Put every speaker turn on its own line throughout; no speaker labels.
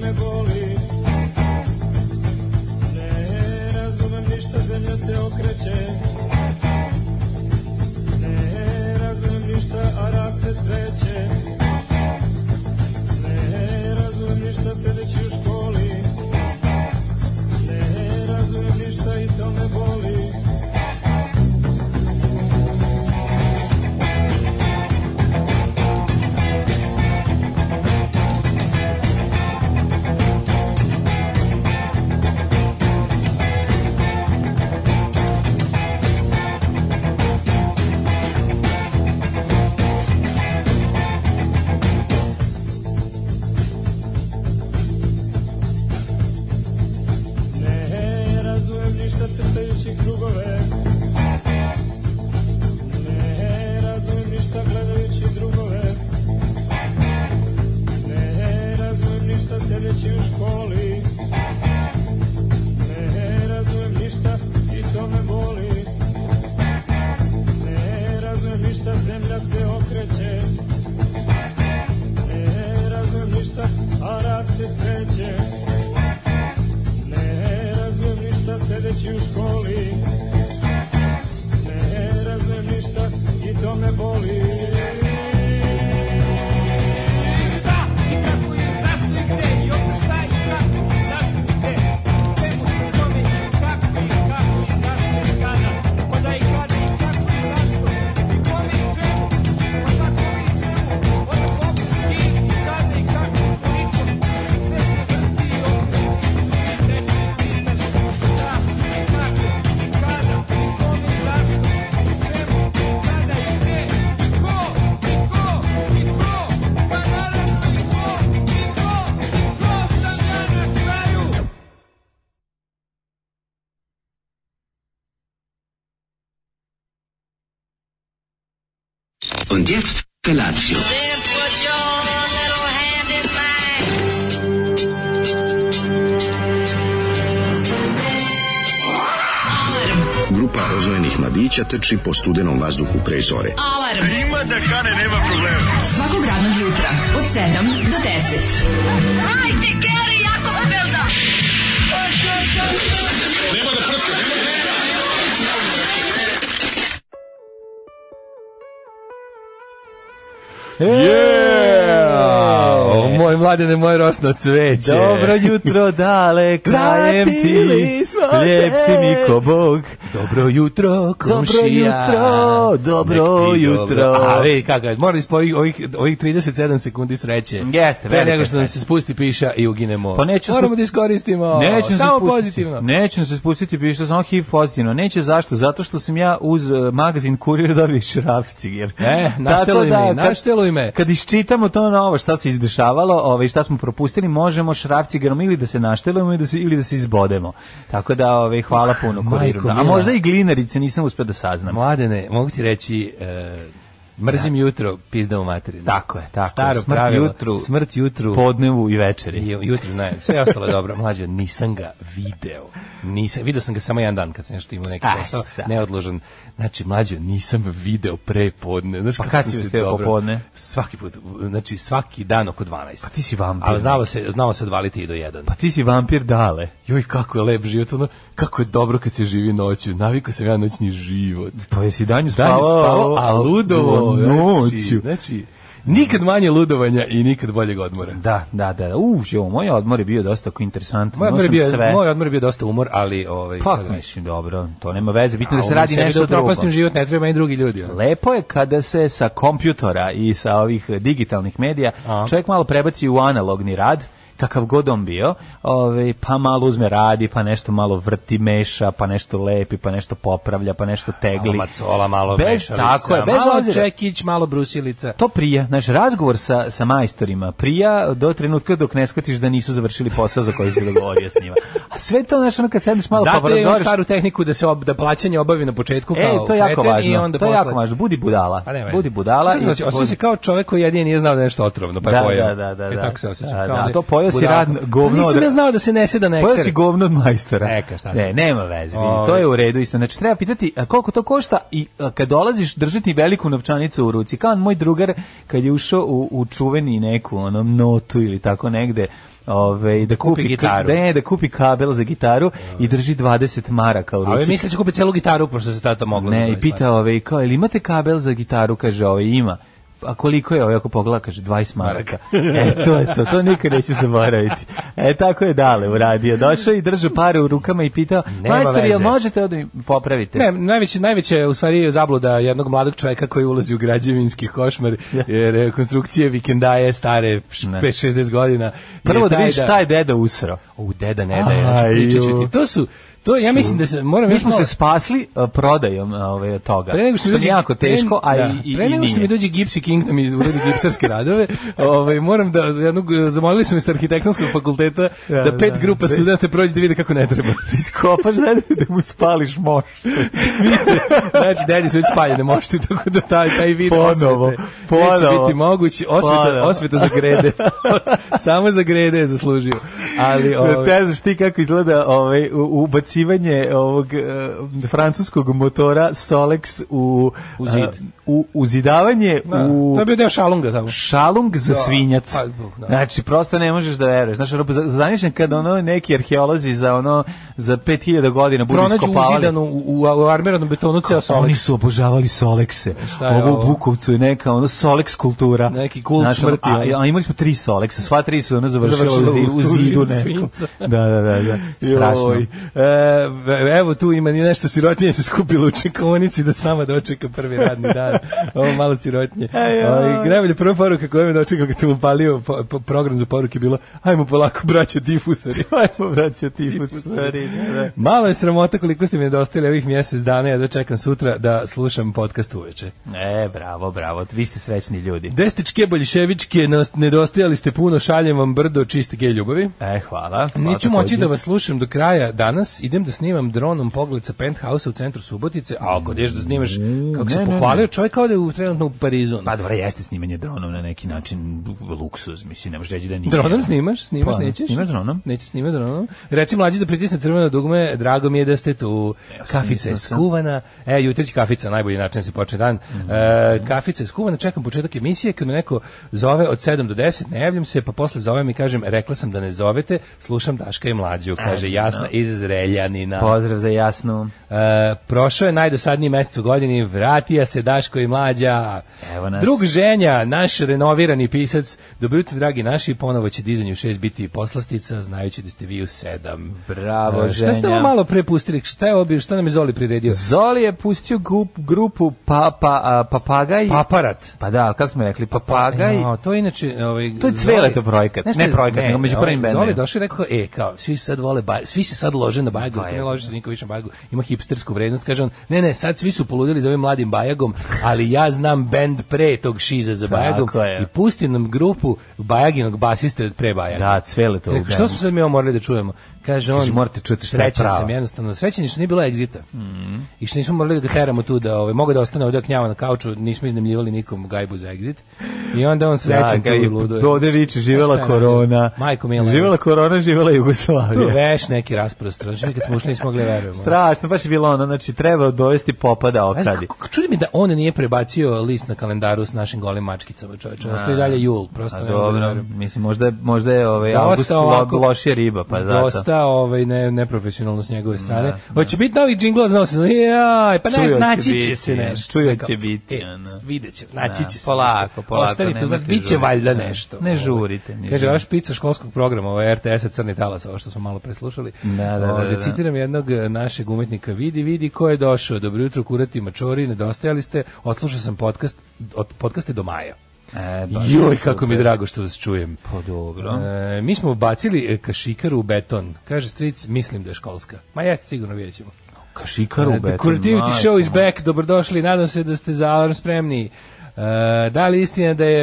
me boli Ne razumem ništa, zemlja se okreće Ne razumem ništa, a raste cveće Ne razumem ništa, sedeći u školi Ne razumem ništa i to me boli Ne razumem ništa crtajući krugove Ne razumem ništa gledajući drugove Ne razumem ništa sedeći u školi Ne razumem ništa i to me boli Ne razumem ništa, zemlja se okreće Ne razumem ništa, a raste cveće ne razumem ništa sedeći u školi Ne razumem ništa i to me boli
Šta i kako je, zašto i gde i opet šta i kako i zašto i gde Čemu i kome i kako i kako i zašto i kada Pa da i kada i kako i zašto i kome i čemu Pa da kome i čemu Onda kome s kim i kada i kako i koliko I sve se vrti i okreći i cugi teče i pitaš Šta i kako i kada i kome i zašto i čemu i kada i gde i ko i ko i ko Pa naravno i ko i ko i ko sam ja na kraju
Und jetzt Felatio.
Grupa rozvojenih mladića teči po studenom vazduhu pre zore.
Alarm. Ima da kane, nema problema. Svakog radnog jutra, od 7 do 10. Hajde, Geri, jako velda.
O, moj mladene, moj rosno cveće.
E. Dobro jutro, dale, krajem ti,
Vratili smo se.
lijep si mi ko Bog.
Dobro jutro, komšija.
jutro, dobro
Nek ti
jutro.
A vidi kako je, morali smo ovih, ovih, ovih 37 sekundi sreće.
Jeste,
Pre
velika
nego što nam
sreća.
se spusti piša i uginemo.
Pa neću
Moramo
spusti-
da iskoristimo.
Neću se
Samo
spustiti.
pozitivno.
Neću se spustiti, piše samo HIV pozitivno. Neće zašto? Zato što sam ja uz eh, magazin Kurir dobio šrafci. Jer...
E,
Tako
našteluj
da,
me,
kad-
našteluj me.
Kad iščitamo to novo šta se izdešavalo, ovaj, šta smo propustili, možemo šrafcigerom ili da se naštelujemo ili da se, ili da se izbodemo. Tako da, ovaj, hvala puno kuriru.
Majko
Da, a
mila.
možda i glinarice, nisam uspio da saznam.
Mladene, mogu ti reći, e, mrzim jutro, pizda u materinu.
Tako je, tako je.
Staro
Smrt
pravilo,
jutru.
Smrt jutru.
Podnevu i večeri.
I jutro ne, sve ostalo je dobro. Mlađe, nisam ga video. Nisam, video sam ga samo jedan dan kad sam nešto imao neki
Aj,
posao,
sad.
neodložen. Znači, mlađe, nisam video pre podne. Znaš, pa
kad si ustao popodne?
Svaki put, znači svaki dan oko 12. Pa
ti si vampir.
Ali znalo se, znalo se odvaliti i do 1.
Pa ti si vampir dale.
Joj, kako je lep život, ono, kako je dobro kad se živi noću. Navikao sam ja na noćni život.
Pa jesi danju
Dan je
spavao,
spavao, a ludovo
noću.
Znači, znači, nikad manje ludovanja i nikad boljeg odmora.
Da, da, da. U, jo, moj odmor je bio dosta ko interesantan.
Moj
Imao
odmor, je
sam
bio,
sve.
moj odmor je bio dosta umor, ali... Ovaj,
Pa,
šta da kažem.
mislim, dobro, to nema veze, bitno da se
A,
radi
sebi
nešto
da
drugo.
upropastim život, ne treba i drugi ljudi. ono.
Lepo je kada se sa kompjutora i sa ovih digitalnih medija
A.
čovjek malo prebaci u analogni rad, kakav god on bio, ovaj, pa malo uzme radi, pa nešto malo vrti, meša, pa nešto lepi, pa nešto popravlja, pa nešto tegli.
Malo macola, malo
bez,
mešalica,
Tako je, bez
malo
obzira.
čekić, malo brusilica.
To prija, znaš, razgovor sa, sa majstorima prija do trenutka dok ne shvatiš da nisu završili posao za koji si dogovorio s njima. A sve to, znaš, ono kad sedneš malo pa
Zato je
porazgovaraš,
staru tehniku da se ob, da plaćanje obavi na početku
E,
kao
to je jako
kreten i
važno.
onda
to je
posle-
jako važno. Budi budala.
Pa nema.
Budi budala.
Znači,
i-
znači, osjeća se kao čovjek koji jedini nije znao da je nešto otrovno, pa je
da,
pojeo.
da, da, da,
I
da.
tako se osjeća.
Da,
kao
da,
da
a
je-
to pojeo Pojeo si radno govno.
Pa nisam
od-
ja znao da se ne seda na eksere.
Pojeo si govno od majstora.
Neka, šta
Ne,
sam.
nema veze. vidi,
Ovaj.
To je u redu isto. Znači treba pitati a, koliko to košta i a, kad dolaziš držati veliku novčanicu u ruci. Kao moj drugar kad je ušao u, u čuveni neku onom notu ili tako negde Ove, da kupi,
gitaru. Ovaj.
Da, ne, da kupi kabel za gitaru i drži 20 maraka u ruci.
A vi mislite da će kupiti celu gitaru, pošto se tata mogla.
Ne,
za
i
to
pita ove, i kao, ili imate kabel za gitaru? Kaže, ove, ima. A koliko je ove, ako pogleda, kaže, 20 maraka. e, to je to, to nikad neće zaboraviti. E, tako je dale uradio. Došao i držao pare u rukama i pitao,
Nema
majstor, jel
veze."
možete da mi popravite?
Ne, najveće, najveće je u stvari je zabluda jednog mladog čoveka koji ulazi u građevinski košmar, jer je konstrukcije vikendaje stare š-
Ne.
5-60 godina.
Prvo
je
da
taj
vidiš šta je deda usro.
U, deda ne da je, znači,
Aj,
pričat ću
ju.
ti. To su, to, ja mislim da se, moram
Mi
još
smo
malo-
se spasli a, prodajom a, ove, toga.
Pre nego što, mi
je
dođe-
jako teško, a
pre-
i, i,
pre
i
nego što mi
nije.
dođe Gipsy King da mi uradi gipsarske radove, ovaj moram da jednog e, zamolili su me sa arhitektonskog fakulteta
Da,
da, pet
da.
grupa studenata prođe da vide kako ne treba.
Iskopaš deda da mu spališ moš.
znači, dedi su već spaljene mošti, tako da taj, taj vid
Ponovo,
osvete neće
ponovo.
biti mogući. Osveta,
Ponovo.
osveta za grede. Samo za grede je zaslužio. Ali,
Da
ovaj,
te znaš ti kako izgleda ovaj, u- ubacivanje ovog eh, francuskog motora Solex u,
U zid.
eh, u uzidavanje
da,
u
to je bio deo šalunga tamo.
šalung za
Da,
svinjac.
pa, da.
Znači, prosto ne možeš da veruješ. Znači, ono, za- zamišljam kad ono neki arheolozi za ono za 5000 godina budu
Pronađu
iskopavali.
uzidanu u, u, u armiranom betonu ceo sa
Oni su obožavali Solekse.
Šta je
Ovo u
ovo?
Bukovcu je neka ono Solex kultura.
Neki kult
Znaš, ono,
smrti,
A,
ono.
a imali smo tri Soleksa, sva tri su ono završila u,
Završila
zi,
u-
u
u
zidu
zidu
neko.
svinjca.
Da, da, da, da. Strašno.
Joj. E, evo tu ima ni nešto sirotinje se skupilo u čekonici da s nama dočeka prvi radni dan. Ovo malo sirotinje.
E,
Ovaj najbolja prva poruka koju mi dočekao kad sam upalio po, po, program za poruke bilo ajmo polako braćo difusori.
Ajmo vraćati tipu stvari. da.
Malo je sramota koliko ste mi nedostajali ovih mjesec dana, ja da čekam sutra da slušam podcast uveče.
E, bravo, bravo. Vi ste srećni ljudi.
Destičke boljševičke, nos- nedostajali ste puno, šaljem vam brdo čiste gej ljubavi.
E, hvala. hvala
Neću moći
takođe.
da vas slušam do kraja danas. Idem da snimam dronom pogled sa penthouse u centru Subotice. A ako ideš da snimaš, kako
Mm, ne,
se
ne,
pohvalio, čovjek kao da je u- trenutno u Parizu. ono.
Pa dobro, jeste snimanje dronom na neki način luksuz, mislim, ne možeš reći da nije.
Dronom snimaš? Snimaš,
Pa,
nećeš?
snimaš dronom.
Nećeš snimati dronom. Reci mlađi da pritisne crveno dugme, drago mi je da ste tu. kafica
stisnuo
je
sam. Mhm.
skuvana. E, jutrić kafica, najbolji način da se počne dan. E, kafica je skuvana, čekam početak emisije, kad me neko zove od 7 do 10, ne javljam se, pa posle zovem i kažem, rekla sam da ne zovete, slušam Daška i
E,
mlađu, kaže Jasna iz Zreljanina.
Pozdrav za jasnu.
E, prošao je najdosadniji mesec u godini, vratija se Daško i mlađa.
Evo nas.
Drug ženja, naš renovirani pisac. Dobro jutro, dragi naši, ponovo će dizanju šest biti poslastica, znajući da ste vi u sedam.
Bravo,
E, Šta ste ovo
ženja.
malo prepustili? Šta je obi, šta nam je Zoli priredio?
Zoli je pustio grup, grupu pa, pa, a, Papagaj.
Aparat.
Pa da, ali kako smo rekli, papagaj.
No, to je inače... Ovaj,
To je Cveleto projekat.
Znaš šta
Ne
je-
projekat, nego među
ovaj,
prvim bendovima.
Zoli je došao i rekao, e, kao, svi sad vole baj, svi se sad lože na
Pa
bajagom, ne lože se niko više na bajagom, ima hipstersku vrednost, kaže on, ne, ne, sad svi su poludili za ovim mladim bajagom, ali ja znam bend pre tog šiza za bajagom
Tako je.
i pusti nam grupu bajaginog basiste od pre bajaga.
Da, Cveleto.
Rekao, što smo sad mi ovo morali da čujemo? Kaže on,
Kaže, morate čuti šta je
srećan
pravo.
sam jednostavno, srećan je što nije bilo egzita. I što nismo morali da ga teramo tu, da ovaj, mogu da ostane ovdje knjava na kauču, nismo iznemljivali nikom gajbu za egzit. I onda on srećan tu luduje.
pa Ovde viče, živela
Pa Šta je radio?
korona.
Majko mila.
Živela korona, živela
Tu
Jugoslavija.
veš neki rasprostran, znači mi kad smo ušli nismo mogli da verujemo.
Strašno, baš je bilo ono, znači treba dovesti popa da
Znaš,
optadi.
kako- Čudi mi da on nije prebacio list na kalendaru s našim golim mačkicama, čoveče. Ostaje i dalje jul, prosto
A
ne mogu da
dobro,
ono, verujem.
mislim, možda je, možda je ovaj,
Dosta
august
ovako-
lo, lošija riba, pa zato.
Dosta ovaj ne neprofesionalno s njegove strane. Hoće biti novi džingl, znao sam. Jaj, pa
Čuo
ne,
će
naći će
biti,
se nešto.
čuo
Neka-
će biti,
E,
ono.
videće, naći
Da,
će se.
polako,
nešto.
polako,
Ostanite,
nemojte
znači biće
žuriti.
valjda
Ne,
nešto.
ne
Ovaj.
žurite, ne
Kaže
žurite.
vaš pica školskog programa, ovaj RTS-a Crni talas, ovo što smo malo preslušali.
Da, da, da,
Ovaj,
da, da.
Citiram jednog eh, našeg umetnika, vidi, vidi ko je došao. Dobro jutro, kurati mačori, nedostajali ste. Odslušao sam podcast od podcaste do maja.
E, baš
Joj, kako mi je drago što vas čujem.
Pa dobro.
E, mi smo bacili e, kašikaru u beton. Kaže stric, mislim da je školska. Ma jeste, sigurno vidjet ćemo.
Kašikar u
E,
beton.
The Creativity
majko
Show is
moja.
back, dobrodošli, nadam se da ste za alarm spremni. E, da li je istina da je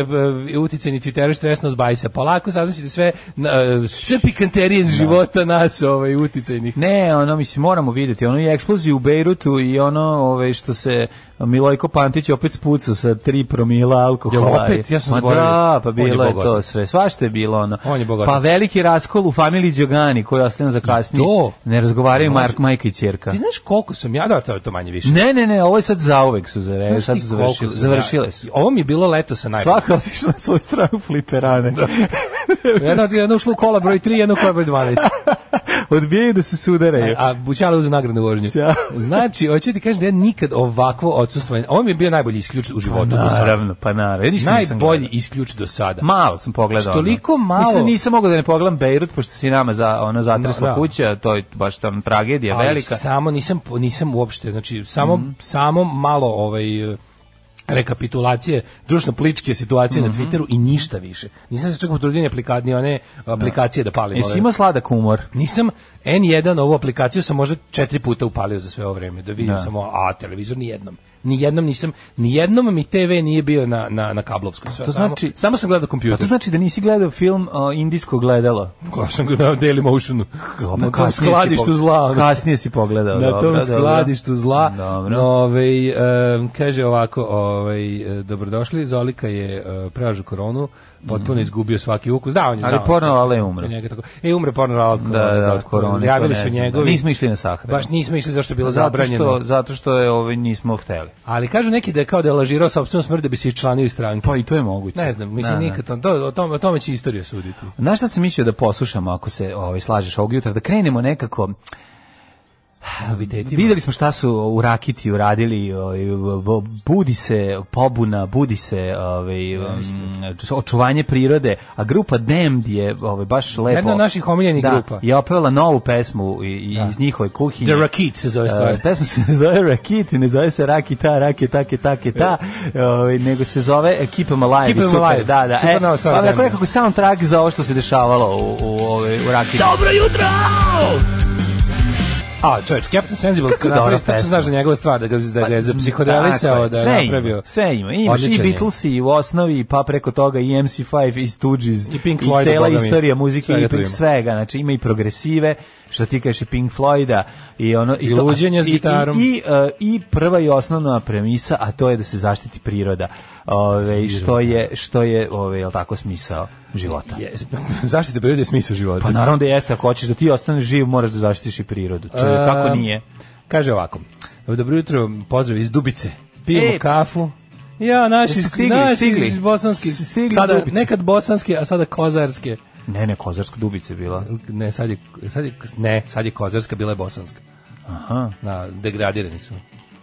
e, uticeni Twitter stresno zbajsa? Polako saznaćete sve, na, e, sve pikanterije iz života nas ovaj, uticajnih.
Ne, ono mislim moramo vidjeti, ono je eksplozija u Bejrutu i ono ovaj što se Milojko Pantić opet spucao sa 3 promila alkohola.
Jel opet? Ja sam
Ma
zaboravio.
da, pa
On je
bilo je, to
bogat.
sve. Svašta je bilo ono.
On je bogat.
pa veliki raskol u familiji Đogani koji ostavljam za kasnije.
to?
Ne razgovaraju Mark, majka i ćerka.
Ti znaš koliko sam ja, da, to je to manje više.
Ne, ne, ne, ovo je sad zauvek su zare,
Znaš
sad
ti
su
koliko
završile,
sam
završile
ja-
su.
Ovo mi je bilo leto sa najboljim.
Svaka otišla na svoju stranu fliperane.
Jedno, jedno ušlo u kola broj 3, jedno u kola broj 12.
Odbijaju da se sudaraju.
E, A Bućala uz nagradu vožnju.
Ćao.
Znači, hoću ti kažem da ja nikad ovakvo odsustvo, ovo mi je bio najbolji isključ u životu do sada.
Pa Naravno, pa naravno. Ja ništa nisam
Najbolji
gledao.
isključ do sada.
Malo sam pogledao. ono.
Toliko malo.
Mislim, nisam mogao da ne pogledam Bejrut, pošto si nama za, ona zatresla
Da, da.
kuća, to je baš tam tragedija
Ali
velika. Mhm.
samo nisam nisam uopšte, znači samo samo malo ovaj eh, rekapitulacije društveno političke situacije
Mhm.
na Twitteru i ništa više. Nisam se čak potrudio ni aplika- ni one aplikacije da palim.
Jesi
ove.
imao sladak umor?
Nisam N1 ovu aplikaciju sam možda četiri puta upalio za sve ovo vreme, da vidim samo a televizor ni jednom. Ni jednom nisam, ni jednom mi TV nije bio na na na kablovskom. Sve,
to
samo-
znači-
samo, sam gledao
A to
kompjuter.
znači da nisi gledao film o, Indijsko gledalo?
Gledao sam ga na Daily Motionu. Na tom
Pa Kasnije si
skladištu
pog-
zla. ono.
Kasnije si pogledao.
na
dobro,
tom
dobro.
skladištu zla.
Dobro.
Ovaj, em, kaže ovako, ovaj, e, dobrodošli, Zolika je e, prelažu koronu, potpuno izgubio svaki ukus. Da, on je
Mhm. Ali
znao.
porno ale je umro.
Njega tako- E, umre porno ale od korone.
Da, da, od korone,
Javili
to ne
su
znam, da.
njegovi.
Nismo išli na sahranu.
Baš nismo išli zašto je bilo
Zato što,
zabranjeno.
zato što je ovaj nismo hteli.
Ali kažu neki da je kao da je lažirao sopstvenu smrt da bi se iščlanio iz stranke.
Pa i to je moguće.
Ne znam, mislim
Da, da.
nikad to, to- o, tome, o tome će istorija suditi.
Znaš šta sam mislio da poslušamo ako se ovaj, slažeš ovog jutra? Da krenemo nekako...
Novitetima.
Videli smo šta su u Rakiti uradili, ovaj, b- budi se pobuna, budi se ovaj, mm, očuvanje prirode, a grupa Damned je ovaj, baš lepo...
od naših omiljenih
da,
grupa.
je opevala novu pesmu i- i- iz njihove kuhinje.
The Rakit se zove stvar.
E, pesma se ne zove Rakit i ne zove se Rakita, Rakita, Rakita, Rakita, ovaj, nego se zove Keep 'em Alive.
Keep 'em
i super,
Alive.
Da, da.
Super
E,
nova stvar,
pa
Damned.
onako nekako soundtrack za ovo što se dešavalo u, u, ovaj, u Rakiti.
A, čovječ, Captain Sensible,
Kako
kako
dobra
da to
pesma.
znaš da njegova stvar, da ga, da
Pa,
ga
tako
je zapsihodelisao,
je,
da je
sve
eh, napravio.
Ima, sve ima. Imaš i
Odličan je.
Beatles i u osnovi, pa preko toga i MC5 i Stooges
I Pink Floyda,
cela
boga mi.
istorija muzike
Svega
i
tu
Pink
ima.
svega. Znači ima i progresive, što ti kažeš i Pink Floyda i ono
I
to-
luđenje s
i- i-
gitarom.
I, e, i prva i osnovna premisa, a to je da se zaštiti priroda. Ove, što je što je ove jel tako smisao života.
Jes, zaštita prirode je smisao života.
Pa naravno da jeste, ako hoćeš da ti ostaneš živ, moraš da zaštitiš i prirodu. To je- kako
Ehm,
nije?
Kaže ovako, dobro jutro, pozdrav iz Dubice, pijemo
E,
kafu, Ja, naši,
Jesu stigli,
naši
stigli?
iz bosanskih,
S- stigli
sada,
Dubice.
nekad bosanske, a sada kozarske.
Ne, ne, Kozarska dubica je bila.
Ne, sad je, sad je, ne, sad je kozarska, bila je bosanska.
Aha.
Na, degradirani su.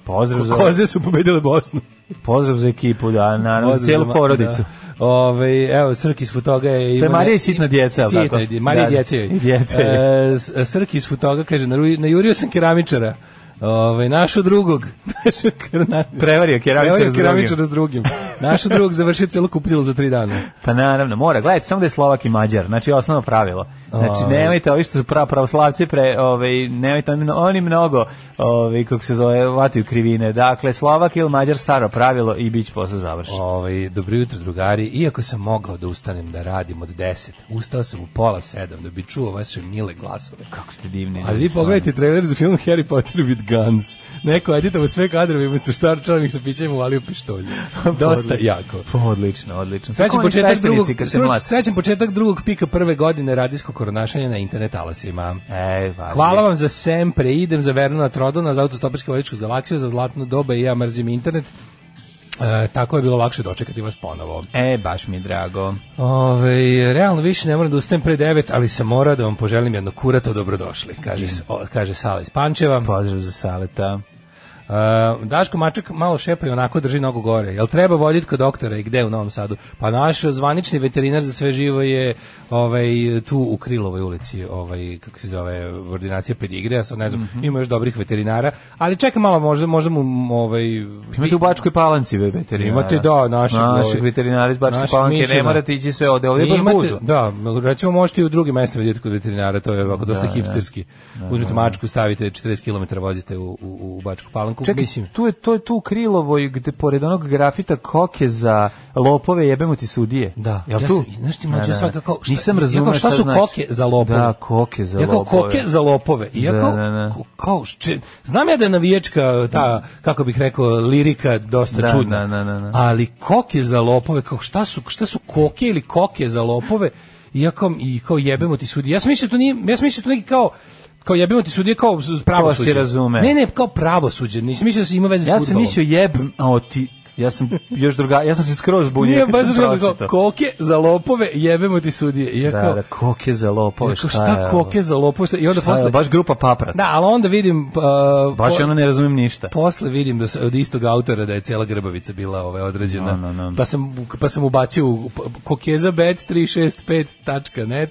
Pozdrav za...
Koze su pobedile Bosnu.
Pozdrav za ekipu, da, naravno, za
Pozdrav
cijelu
za ma-
porodicu.
Da. Ove, evo, Srki iz toga je...
To je
Ivana-
Marija i sitna djeca, jel
Sitna
tako?
je dje- Marija
Da,
i djeca joj.
i djeca
E, s- Srki iz toga kaže, "Naru- najurio sam keramičara. Ove, našo drugog. Našo keramičara.
Prevario keramičar s drugim.
keramičara s drugim. Našo drugog završio celo kupitilo za tri dana.
Pa naravno, mora, gledajte, samo da je Slovak i Mađar, znači osnovno pravilo. Znači, nemojte, ovi što su pra, pravoslavci, pre, ovaj, nemojte, oni, oni mnogo, ovaj, kako se zove, vataju krivine. Dakle, Slovak ili Mađar staro pravilo i bit će posao završen.
Ovaj dobro jutro drugari. Iako sam mogao da ustanem da radim od 10, ustao sam u pola 7 da bi čuo vaše mile glasove.
Kako ste divni.
Ali
ljudi,
vi pogledajte trailer za film Harry Potter with Guns. Neko editamo sve kadrove umesto štarčanih sa pićem uvalio pištolje. Dosta jako.
stvarno. Pa Odlično, odlično.
Srećan
Kako oni
početak,
sveštenici
drugog,
kad se
srećan-
mlade.
srećan početak drugog pika prve godine radijskog koronašanja na internet alasima.
E, važi.
Hvala vam za sempre, idem za Vernona Trodona, za autostoperski vodičku galaksiju, za zlatnu doba i ja mrzim internet. E, tako je bilo lakše dočekati vas ponovo.
E, baš mi je drago.
Ove, realno više ne moram da ustajem pre 9, ali sam morao da vam poželim jedno kurato dobrodošli, kaže, s- o, kaže Sala iz Pančeva.
Pozdrav za Saleta.
Uh, Daško Mačak malo šepa i onako drži nogu gore. Jel treba voditi kod doktora i gde u Novom Sadu? Pa naš zvanični veterinar za sve živo je ovaj, tu u Krilovoj ulici, ovaj, kako se zove, ordinacija pedigre, ja sad ne znam, ima još dobrih veterinara, ali čekaj malo, možda, možda mu m, ovaj...
Imate u Bačkoj Palanci ve- veterinara.
Imate, da, našeg,
našeg
ovaj,
veterinara iz Bačke
našeg
Palanke, ne
Mićuna.
morate ići sve ovde, ovde je baš
Imate-
gužva.
Da, recimo možete i u drugim mestima vidjeti kod veterinara, to je ovako dosta hipsterski. Uzmete mačku, stavite 40 km, vozite u, u, u Bačku banku,
Čekaj,
mislim.
tu je to je tu u Krilovoj gde pored onog grafita koke za lopove jebemo ti sudije.
Da,
Jel
ja
tu?
sam- znaš ti, mlađe,
Da, da.
svakako, šta-
Nisam
ja kao,
razumeo
šta su
znači.
koke za lopove?
Da, koke za
ja kao
lopove.
koke za lopove. I ja
Da,
kao,
da, da.
ko- kao šče- znam ja da je navijačka ta, kako bih rekao, lirika dosta
Da,
čudna.
da, da, da, da.
Ali koke za lopove, kao šta su, šta su koke ili koke za lopove? I ja kao, i kao jebemo ti sudi. Ja sam mislio da to nije, ja sam mislio da to neki kao kao jebemo ti sudije kao s- pravosuđe.
si razumeo.
Ne, ne, kao pravosuđe. Nisam mislio da se ima veze s
Ja sam
fudbalom.
mislio jebem, a o ti ja sam još druga, ja sam se skroz bunio.
Nije
kad
baš
sam
kao,
pročitao.
kao, koke za lopove, jebemo ti sudije. I ja
Da,
kao,
da, koke za lopove,
Rekao,
šta,
šta,
je
koke za lopove, šta- i onda
Šta je,
posle...
baš grupa paprat.
Da, ali onda vidim... Uh,
Baš ono ne razumem ništa.
Posle vidim da se od istog autora da je cela grbavica bila ovaj određena.
No, no, no.
Pa sam pa sam ubacio u p- kokeza bet365.net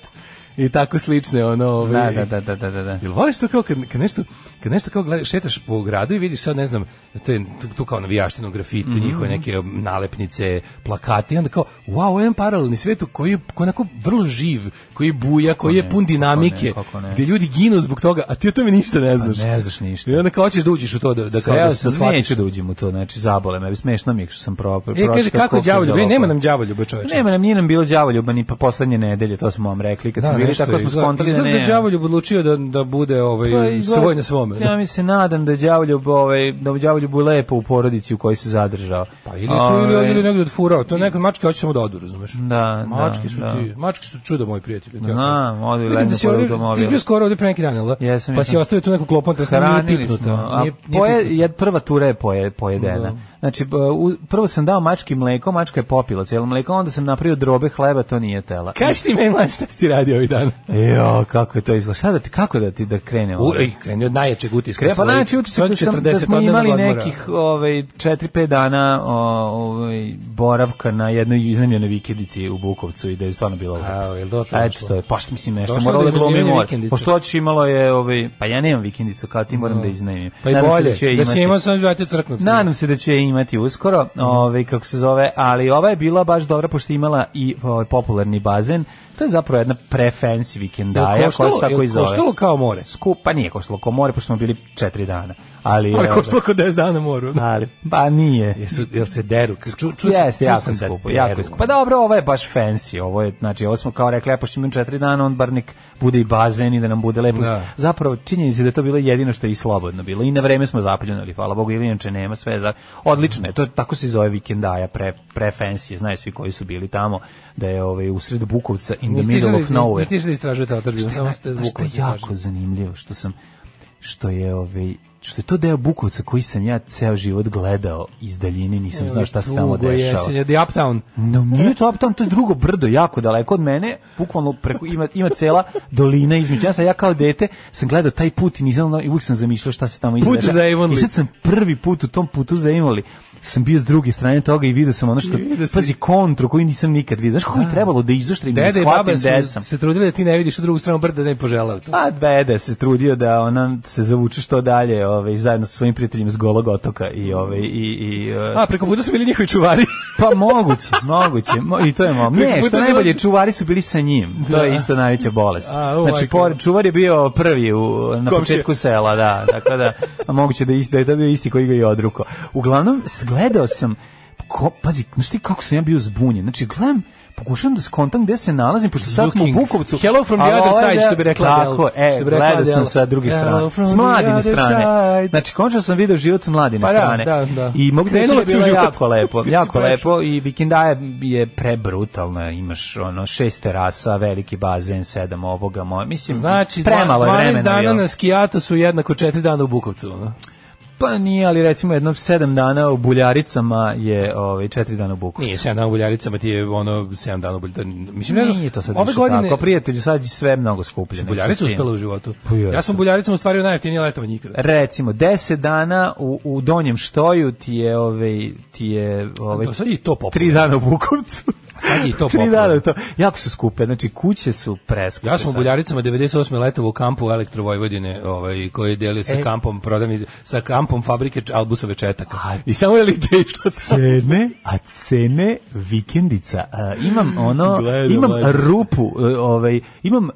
i tako slične ono
Da,
ovaj
da, da, da, da, da, da.
Jel voliš to kao kad, kad nešto kad nešto kao gledaš šetaš po gradu i vidiš sad ne znam te tu, tu kao navijaštinu grafite
Mhm.
njihove neke um, nalepnice plakate i onda kao wow jedan paralelni svet u koji je koji je onako vrlo živ koji buja koji je
ne,
pun
kako ne,
dinamike
kako ne. Pa
gdje ljudi ginu zbog toga a ti o tome ništa ne znaš
ne znaš ništa.
i onda kao hoćeš da uđeš u to da da kao
Sreo
da,
sam,
da shvatiš.
neću da uđem u to, znači zabole me, smešno mi je što sam pro,
E,
pročitao.
kaže, kako je
koliko za
đavoljuba? E, nema
lopove.
nam đavoljuba, čoveče.
Nema nam, nije nam bilo đavoljuba ni pa poslednje nedelje, to smo vam rekli, kad smo bili,
nešto
tako
je,
smo
izgleda-
skontali da
izgleda
ne.
da đavoljub odlučio da, da bude
Pa,
ovaj,
izgleda-
svoj na svome.
Ja mi se nadam da đavoljub, ovaj, da đavoljub je lepo u porodici u kojoj se zadržao.
Pa ili to ili
Ovaj,
on ili negde odfurao, to neka mačka hoće samo da odu, razumeš?
Da,
mačke
da,
su
da.
ti, mačke su čudo moji prijatelji. tako.
Znam, odu
Vidim
ledno
da si
pored
ovdje-
automobila.
Ti si bio skoro ovde pre neki dan, jel da?
Jesam,
Pa si
jesam.
ostavio tu neku klopom, to sam nije
Hranili smo,
pipnuto.
a
nije- nije
poje,
pipnuto.
jed, prva tura je poje, pojedena. Znači, b- u- prvo sam dao mački mleko, mačka je popila cijelo mleko, onda sam napravio drobe hleba, to nije tela.
Kaži ti meni, mlađe, šta si ti radio ovih dana?
Jo, kako je to izgleda. Šta da ti, kako da ti da krenem?
U, e, ej, kreni od najjačeg utiska.
Krepa,
svojih.
znači, utisak da, sam, da
140
smo
odnevnog
imali
odmora.
nekih ovaj, 4-5 dana o, ovaj, boravka na jednoj iznajmljenoj vikendici u Bukovcu i da je stvarno bilo lepo.
A, jel došlo
A,
nešto?
Eto, to je, pa što mislim nešto,
Došlo
moralo
do
da glumi
iznajmljivanja
mora.
vikendice?
Pošto hoćeš imalo je, ovaj, pa ja nemam vikendicu, kao ti moram da iznajmim.
Pa i
Nadam se
bolje,
ću je
da si
imati.
imao sam zvati crknut.
Nadam se da će je imati uskoro,
Mhm.
ovaj kako se zove, ali ova je bila baš dobra pošto je imala i ovaj popularni bazen. To je zapravo jedna prefancy vikendaja koja se tako i zove.
Koštalo kao more.
Skup, pa nije koštalo ko more, pošto smo bili četiri dana. Ali,
Ali
ovaj,
koštalo kao 10 dana moru.
ali pa nije.
Jesu, jel se deru? Ču, ču, ču,
Jeste,
čuo
jako
sam da
skupo,
deru.
jako skupo. Pa dobro, ovo je baš fancy, ovo je, znači, ovo smo kao rekli, ja pošto imam četiri dana, on bar nek bude i bazen i da nam bude lepo.
Da.
Zapravo, činjenica je da je to bilo jedino što je i slobodno bilo. I na vreme smo zapljunuli, hvala Bogu, jer inače nema sve za... Odlično je, to tako se zove vikendaja, pre, pre fancy, je, znaju svi koji su bili tamo, da je ovaj, u sred Bukovca, in the
Niste
middle
išli-
of nowhere.
Niste išli da istražujete otadžbinu,
Šta je
samo ste
naj- znaš šta
zvukove
je jako zanimljivo što sam što je ovaj što je to deo Bukovca koji sam ja ceo život gledao iz daljine, nisam znao šta se tamo dešava. Mm,
The Uptown.
No,
E.
nije to uptown, to je drugo brdo, jako daleko od mene, bukvalno preko, ima, ima cela dolina između. Ja sam, ja kao dete, sam gledao taj put i nisam, znao- i uvijek sam zamišljao šta se tamo
Put
izdešava.
za Avonlea.
I sad sam prvi put u tom putu za Avonlea sam bio s druge strane toga i vidio sam ono što,
I vidio si-
pazi, kontru koju nisam nikad vidio. Znaš kako mi je trebalo da izoštrim i da
Dede i
shvatim
baba
gde
su
sam?
se trudili da ti ne vidiš u drugu stranu brda da ne bi poželao to.
Pa Bede se trudio da ona se zavuče što dalje, ovaj zajedno sa svojim prijateljima s Golog otoka i ovaj i i eh,
A, preko puta su bili njihovi čuvari.
pa moguće, moguće. mo- I to je mo.
Preko
Ne,
puta
što
je bilo-
najbolje čuvari su bili sa njim. To je isto najveća bolest.
A, o,
Znači
majko.
pored čuvar je bio prvi u, na
Komšija.
početku sela, da. Tako da a moguće da je isti- da je to bio isti koji ga je odruko. Uglavnom s- gledao sam ko, pazi, znaš ti kako sam ja bio zbunjen. Znači gledam Pokušavam da skontam gde se nalazim, pošto sad smo u
Looking.
Bukovcu.
Hello from the
a
other
ovaj
side,
deo-
što bi rekla
Tako,
Adele.
e,
Što bi rekla
gledao sam
Adele.
sa druge
Hello
strane.
from
S
the
mladine
other
strane.
side.
Znači, končno sam video život s mladine
Pa da,
strane.
da, da.
I mogu da
Krenulo
reći da
ti u
je bilo
život.
jako lepo,
Kad si
jako
prešao.
lepo i vikendaja je prebrutalna, imaš ono šest terasa, veliki bazen, sedam ovoga, moja, mislim,
Znači,
premalo je
12
vremena.
dana
bilo.
na skijatu su jednako 4 dana u Bukovcu. ono.
Pa nije, ali recimo jedno sedam dana u Buljaricama je ovaj, četiri dana u Bukovcu.
Nije 7 dana u Buljaricama, ti je ono 7 dana u Buljaricama. Mislim, ne znam,
Nije to sad
ove
više
godine,
tako, prijatelju, sad je sve mnogo skuplje.
Buljarica
nego što
uspela u
je.
životu.
Pa E, jeste.
Ja sam Buljaricom ostvario najjeftinije letovanje ikada.
Recimo, 10 dana u, u Donjem Štoju ti je, ovaj, ti je ovaj,
Do sad je i to popularno.
tri dana u Bukovcu.
Sad je i to
Tri
popularno.
dana je to. Jako su skupe, znači kuće su preskupe.
Ja sam u
sad.
Buljaricama 98. letovo u kampu Elektrovojvodine, ovaj, koji je delio sa
E.
kampom, prodam, sa kampom fabrike Č- Albusove četaka.
A-
I samo je li te išla sa...
cene, a cene vikendica. A,
Hmm,
imam ono,
Gledam,
imam
ajde.
rupu, e, ovaj, imam e,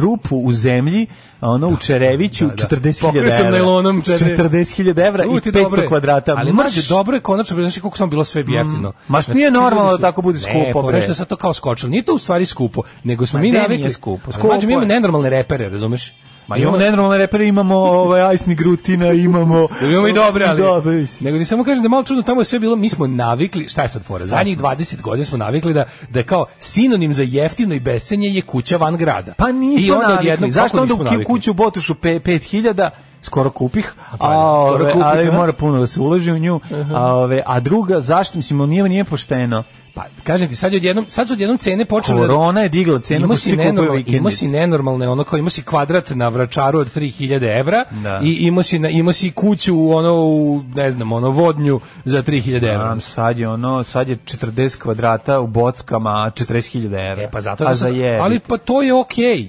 rupu u zemlji, a ono u Čereviću
da, da.
40.000 evra.
Pokrio sam najlonom četiri-
40.000 evra
U, ti
i 500
dobro je.
kvadrata.
Ali
Mrš!
mlađe, dobro je konačno, znaš koliko samo bilo sve jeftino. Znači,
ma što nije normalno da tako bude
Ne,
skupo,
pa
bre.
nešto sad to kao skočilo. Nije to u stvari skupo, nego smo
Ma
mi
gde
navikli.
nije skupo?
Ali,
Skupo
Mlađe, mi imamo
je.
nenormalne repere, razumeš?
Ma imamo nenormalne repere, imamo ovaj ajsni grutina, imamo... Ovaj,
Imamo i dobre, ali...
Dobre, mislim.
Nego ti samo kažem da je malo čudno, tamo je sve bilo, mi smo navikli, šta je sad fora, zadnjih 20 godina smo navikli da, da je kao sinonim za jeftino i besenje je kuća van grada.
Pa nismo
I onda
navikli.
odjednom,
Zašto
kako
onda u
nismo
ki-
navikli? Pa,
kuću u Botušu pe, 5000 skoro kupih, a,
skoro
ove,
kupih,
ali
a?
mora puno da se uloži u nju, a, ove, a druga, zašto, mislim, nije, nije pošteno.
Pa kažem ti, sad, je odjednom, sad su odjednom cene počele da-
Korona je digla cenu,
Imao
pa
si,
svi kupuju
nenormal, imao si
vikendice.
nenormalne, ono kao imao si kvadrat na vračaru od 3000 evra
Da.
i imao si, na- imao si kuću u ono, u, ne znam, ono vodnju za 3000 evra.
Znam, sad je ono, sad je 40 kvadrata u bockama, 40.000 evra.
E pa zato
a
da
za
sam,
jebi.
ali pa to je okej.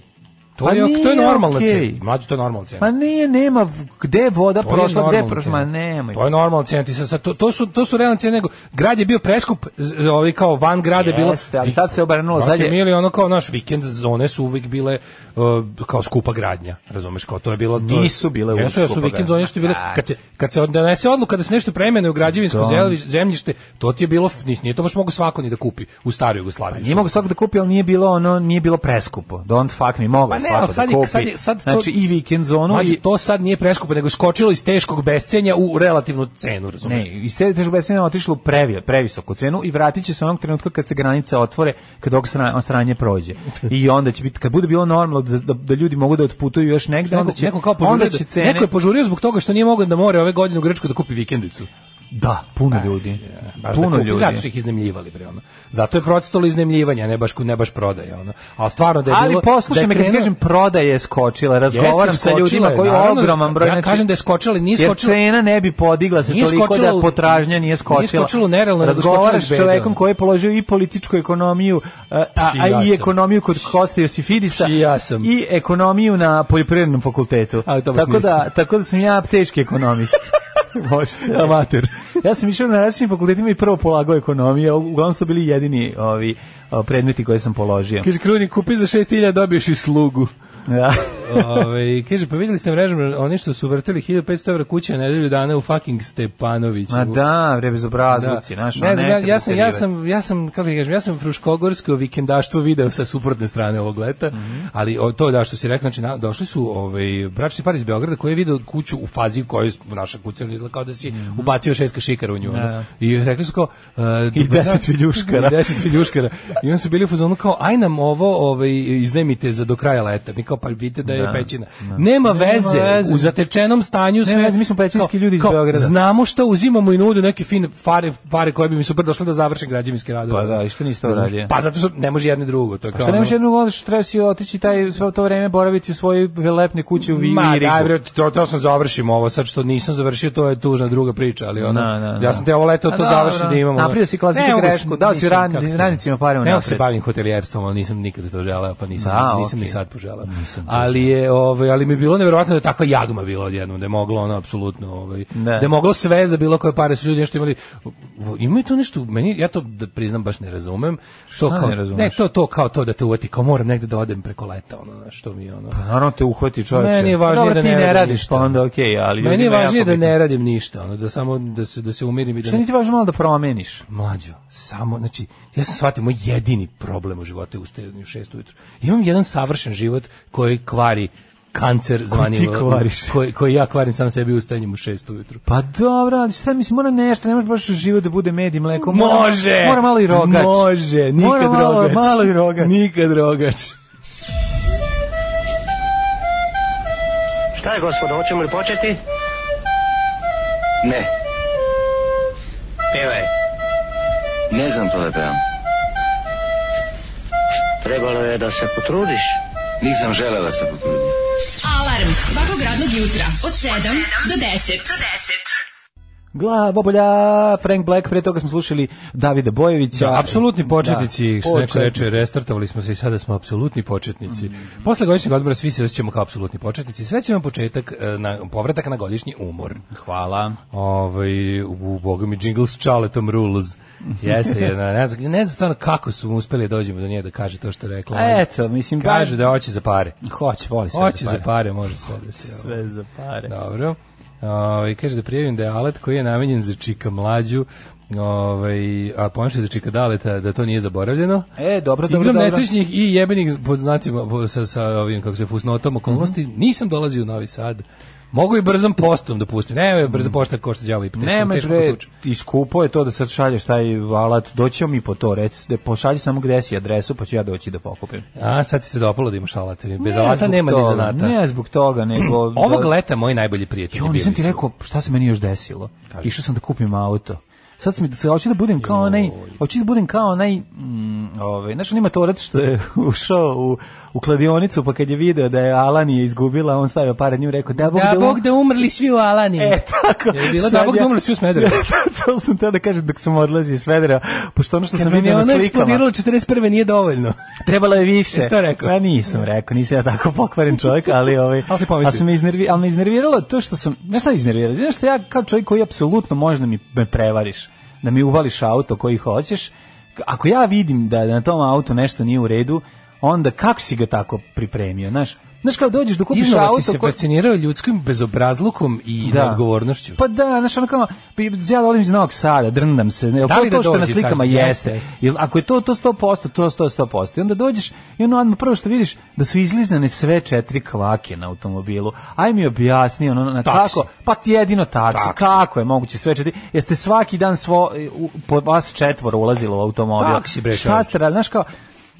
To
Pa
je ok- to je
nije
normalna
okej.
cena. Mlađe to je normalna cena.
Pa nije, nema, v- gde je voda
To je
prošla, gde je
normalna
prošla,
cena.
ma nemoj.
To je normalna cena, ti sad, sad, to, to su to su realne cene, nego grad je bio preskup, z- z- ovaj kao van grada je bilo.
Jeste, ali sad se obrnulo,
Brate
sad je-
mili, ono kao naš vikend zone su uvek bile uh, kao skupa gradnja, razumeš, kao to je bilo to.
Nisu bile uvek
Jesu, jesu,
skupa
vikend
gradnja.
zone su ti bile
Da.
kad se kad se donese odluka da se nešto premene u građevinsko
To.
zeli- zemljište, to ti je bilo nis- nije to baš mogu svako ni da kupi u staroj Jugoslaviji.
Nije mogu svako da kupi, ali nije bilo ono, nije bilo preskupo. Don't fuck me, mogu
Pa ne,
svako
ali sad,
da
je,
kupi.
sad, je, sad to,
znači i vikend zonu
Mlađe,
i
to sad nije preskupo, nego je skočilo iz teškog bescenja u relativnu cenu, razumeš?
Ne, i sve teško besene otišlo u previ, previsoku cenu i vratit će se onog trenutka kad se granice otvore, kad ovog sra- sranje prođe. I onda će biti, kad bude bilo normalno da, da, da ljudi mogu da otputuju još negde,
Neko,
onda će,
neko kao požurio,
onda
da-
će cene...
neko je požurio zbog toga što nije mogao da more ove godine u Grčku da kupi vikendicu.
Da, puno ljudi.
E, Baš da
Puno
kupi,
ljudi.
Zato su ih iznemljivali bre ono. Zato je procitalo iznemljivanje, a ne baš ne baš prodaja ono. Ali stvarno da je
Ali
bilo
poslušaj
je
me, kad ti
krenuo-
kažem prodaje skočila,
Jeste,
razgovaram sa
skočila
ljudima
je,
koji je
naravno,
ogroman broj.
Ja
znači,
kažem da je skočila, nije
jer
skočila.
cena ne bi podigla se
Nije
toliko
skočila
da
u-
potražnja nije skočila.
nije skočila u nerealno, nego skočila
Razgovaraš
iz
s
bede,
čovekom
ono.
koji je položio i političku ekonomiju, a, a,
Či
a
ja
i
sam.
ekonomiju kod Kosta Josifidisa
Či ja sam.
i ekonomiju na poljoprivrednom fakultetu.
Ali to baš
Tako da,
nisam.
tako da sam ja teški ekonomist. Može se.
Amater.
Ja sam išao na različitim fakultetima i prvo polagao ekonomije, uglavnom su to bili jedini ovi o, predmeti koje sam položio.
Kaže Kruni, kupi za 6000 dobiješ i slugu.
Da.
Ove, i kaže, pa vidjeli ste mrežom oni što su vrtili 1500 evra kuće nedelju dana u fucking Stepanoviću.
Ma da, bre bezobrazluci,
Da.
znaš,
ne
ono
znam, ja,
nekad
ja sam ja
preterivaju.
sam ja sam kako da kažem, ja sam fruškogorsko vikendaštvo video sa suprotne strane ovog leta,
Mhm.
ali o, to da što si rekao, znači na, došli su ovaj bračni par iz Beograda koji je video kuću u fazi u kojoj naša kuća izgleda kao da si
Mhm.
ubacio šest kašikara u nju. ono. I rekli su kao uh,
I deset viljuškara.
I 10 viljuškara. I onda su bili u fazonu kao aj nam ovo ovaj iznemite za do kraja leta. Mi kao pa vidite da je pećina. Nema, veze,
veze.
u zatečenom stanju sve.
veze, mi smo pećinski ljudi iz Beograda.
Znamo šta uzimamo i nudu neke fine pare, pare koje bi mi super došle da završim građevinske radove.
Pa da, i što nisi to
Razumeš?
radio?
Pa zato što ne može jedno i drugo. To je kao
Šta nemaš
ono-
jednog onda što treba si otići taj, sve to vreme boraviti u svojoj velepne kući u Vi-
Ma,
Virigu.
daj bre, to, to sam završim ovo, sad što nisam završio, to je tužna druga priča, ali ono,
Da, da, da.
ja sam te ovo leto
A
to
da,
završio
dobro.
da imamo.
Napravio si klasičnu
Ne mogu se-
grešku, dao si
nisam,
rad-
kako ti-
radnicima pare
Ne mogu
unapred.
se bavim hotelijerstvom, ali nisam nikada to želeo, pa nisam,
Da,
nisam ni
okej.
sad poželeo. Ali je, ovaj, ali mi je bilo neverovatno da je takva jagma bila odjednom, da je moglo ono apsolutno, ovaj,
Da.
da je moglo sve za bilo koje pare su ljudi nešto imali. v- Imaju to nešto, meni ja to da priznam baš ne razumem. Što
Šta
kao,
ne razumeš?
Ne, to to kao to da te uvati, kao moram negde da odem preko leta, ono, znaš, što mi je ono.
Pa Naravno te uhvati čovječe.
Meni je važnije
Dobro,
da
ti
ne
ne
radim
radiš,
ništa.
pa onda okej, ali
Meni je
ljudima
važnije
jako
da
bitno.
ne radim ništa, ono, da samo da se da se umirim i da
Šta niti važno malo da promeniš?
mlađo, samo, znači, ja sam shvatio, moj jedini problem u životu je ustajanje u šest ujutru. Imam jedan savršen život koji kvari kancer zvani ono,
ti kvariš?
koji, koji ja kvarim sam sebi ustajanjem u šest ujutru.
Pa dobro, ali šta mislim, mora nešto, ne može baš život da bude med i mleko. Mora,
može!
Mora malo i rogač.
Može, nikad
Mora malo-
rogač.
Malo i rogač.
Nikad rogač.
Šta je, gospodo, hoćemo li početi?
Ne,
Pevaj.
ne znam to da pevam.
Trebalo je da se potrudiš.
Nisam želeo da se potrudim.
Alarm svakog radnog jutra od 7 do 10. Do 10.
Glavobolja, Frank Black, pre toga smo slušali Davida Bojevića.
Da, apsolutni početnici,
Da,
što neko reče,
početnici.
restartovali smo se i sada smo apsolutni početnici. Posle godišnjeg odmora svi se osjećamo kao apsolutni početnici. Srećan vam početak, e, na, povratak na godišnji umor.
Hvala.
Ovaj, u boga mi jingle s Charlottom Rules. Jeste jedna, ne znam, ne znam stvarno kako su mu uspeli da dođemo do nje da kaže to što je rekla.
A eto, mislim,
Kaže
baš-
da hoće za pare.
Hoće, voli sve
Hoće
za
za
pare.
pare, može sve da se...
Sve za pare.
Dobro. Ovaj kaže da prijavim da je alat koji je namenjen za čika mlađu, ovaj a pomešaj za čika daleta, da to nije zaboravljeno.
E, dobro, dobro,
Igram
dobro.
nesrećnih i jebenih pod znacima po- sa, sa ovim, kako se fusnotom
Mhm.
okolnosti, nisam dolazio u Novi Sad. Mogu i brzom postom da pustim. Ne, je brzo pošta košta đavo i teško,
Nema
teško
Mhm. bre,
potuče.
i skupo je to da sad šalješ taj alat, doćemo mi po to, rec, da pošalji samo gde si adresu, pa ću ja doći da pokupim.
A, sad ti se dopalo da imaš alate. Bez
Ne
alata
zbog
nema ni
toga,
zanata.
Ne zbog toga, nego...
Ovog
da-
leta moji najbolji prijatelji
Jo,
bili
nisam ti
su-
rekao šta se meni još desilo. Išao sam da kupim auto. Sad sam se hoću da budem kao onaj, hoću da budem kao onaj, mm, ovaj, znaš, on ima torac što je ušao u, u kladionicu, pa kad je video da je Alan je izgubila, on stavio pare nju i rekao, da Bog
Da
da,
Bog da umrli svi u Alani.
E, tako.
Je bilo
Sad
da Bog da umrli svi u Smederevu.
to sam teo da kažem dok sam odlazio iz Federa, pošto ono što sam
Kad vam je
vidio na
ono
slikama,
eksplodiralo 41. nije dovoljno.
trebalo je više.
Jesi to rekao?
Ja pa nisam rekao, nisam ja tako pokvaren čovjek, ali ovaj
Ali si pomislio.
al sam me iznervi, al me iznerviralo to što sam, znaš šta je iznerviralo? Znaš što ja kao čovjek koji apsolutno može da mi me prevariš, da mi uvališ auto koji hoćeš. Ako ja vidim da na tom autu nešto nije u redu, onda kako si ga tako pripremio, znaš? Znaš kao dođeš da kupiš
Iznova
auto
si se
koji-
fascinirao ljudskim bezobrazlukom i da. neodgovornošću.
Pa da, znaš, ono kao, pa ja da odim iz Novog Sada, drndam se, jel
Da
to
li da
to što na
dođe,
slikama
kažete?
jeste?
Jeste, jeste.
Jel, ako je to, to 100%, to 100%, 100%. I onda dođeš i ono odmah prvo što vidiš da su izlizane sve četiri kvake na automobilu. Aj mi objasni, ono, na
Taksi.
kako, pa ti jedino taksi,
Taksi.
kako je moguće sve četiri, jeste svaki dan svo, e, u, po vas četvoro ulazilo u automobil.
Taksi, bre,
Šta
čoveče.
ste radili, znaš kao,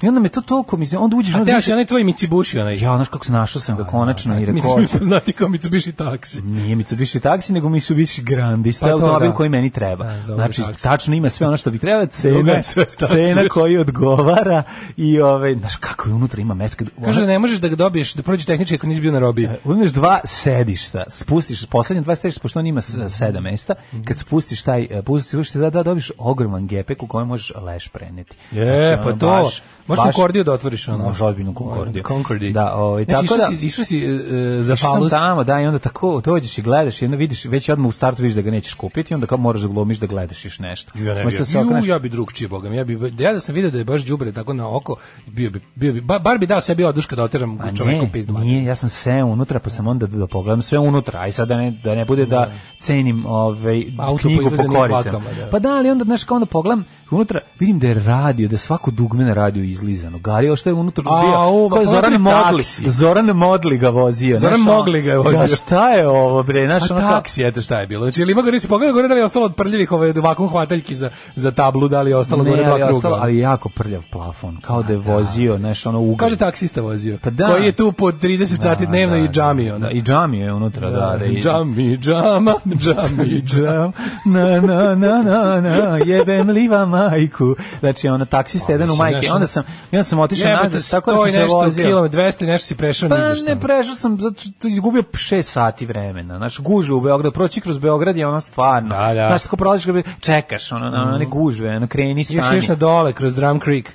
I onda me to toliko, mislim, onda uđeš...
A
onda
te
vidiš-
još onaj tvoj Mitsubishi, onaj.
Pa, Ja, ono znaš kako se našao sam ga konačno i rekao...
Mislim, mi poznati kao Mitsubishi taksi.
Nije Mitsubishi taksi, nego Mitsubishi Grandis. to
Pa
je
to
automobil
da.
koji meni treba.
Da, za ovaj
znači,
taksi.
tačno ima sve ono što bi trebalo,
Druga
cena,
je sve taksi.
cena koji odgovara i ovaj, znaš kako je unutra ima mesta.
Kažu da ne možeš da ga dobiješ, da prođe tehnički ako nisi bio na robiji.
Uzmeš dva sedišta, spustiš poslednje dva sedišta, pošto on ima s- sedam mesta,
Mhm.
kad spustiš taj, e, pustiš se da, da dobiš ogroman gepek u kojem možeš leš preneti.
Je,
Znači,
pa
ono,
to.
baš-
Možeš
baš-
Konkordiju da otvoriš, ono.
Može ozbiljno Konkordiju.
Konkordiju.
Da, ovaj,
znači,
tako
išao
da-
Si, išao si e, e, za
Išao Znači, sam
falus.
tamo, da, i onda tako dođeš i gledaš i onda vidiš, već odmah u startu vidiš da ga nećeš kupiti i onda kao moraš da glumiš da gledaš još nešto.
Ju, Ja ne
Možda
bi,
se okreneš-
ju, ja bi drug čije, boga mi. Ja, bi, ja da sam vidio da je baš đubre tako na oko, bio bi, bio bi, ba- bar bi dao sebi oduška da oteram
A
čoveku
ne,
pizdu.
nije, ja sam sve unutra, pa sam onda da pogledam sve unutra, aj sad da ne, da ne bude da cenim ovaj,
Auto po
knjigu po
izlazenim
koricama.
pakama, da.
Pa da, ali onda, znaš, kao onda pogledam unutra, vidim da je radio, da je svako dugme na radio izlizano. Gario, što je unutra
A,
bio?
u,
Ko
ma
je
pa
Zoran
onda
Modli?
taksi.
Zoran Modli ga vozio.
Zoran
znaš, ono-
Mogli ga je vozio.
Da, šta je ovo, bre? Znaš,
Pa
ono kao-
taksi, eto šta je bilo. Znači, ili ima gore, si pogledao gore da li je ostalo od prljivih ove vakum hvataljki za, za tablu, da li je ostalo gore
Ne, ali,
dva
je
kruga.
ostalo, ali jako prljav plafon, kao da je vozio, znaš, ono ugalj.
Kao da je taksista vozio.
Pa da.
Koji je tu po 30 sati dnevno i džami. ono.
Da,
Ona.
I džami je unutra, da. da i,
Džami, džama, džami, džama.
džam, na, na, na, na, na, jebem liva majku. Znači, ono, taksista jedan u
mislim,
majke.
znaš,
Onda sam, i onda sam otišao
Jebate,
nazad, tako da
sto
sam
i
se
nešto
vozio.
kilometra, 200 i nešto si prešao ni za
Pa
šta.
ne prešao sam, zato što izgubio 6 sati vremena. Znaš, gužve u Beogradu, proći kroz Beograd je ono stvarno.
Da, da. Mhm.
Znaš, tako prolaziš, kroz Beograd, čekaš, ono, ono, one gužve, ono, kreni, stani.
Još još na dole, kroz Drum Creek.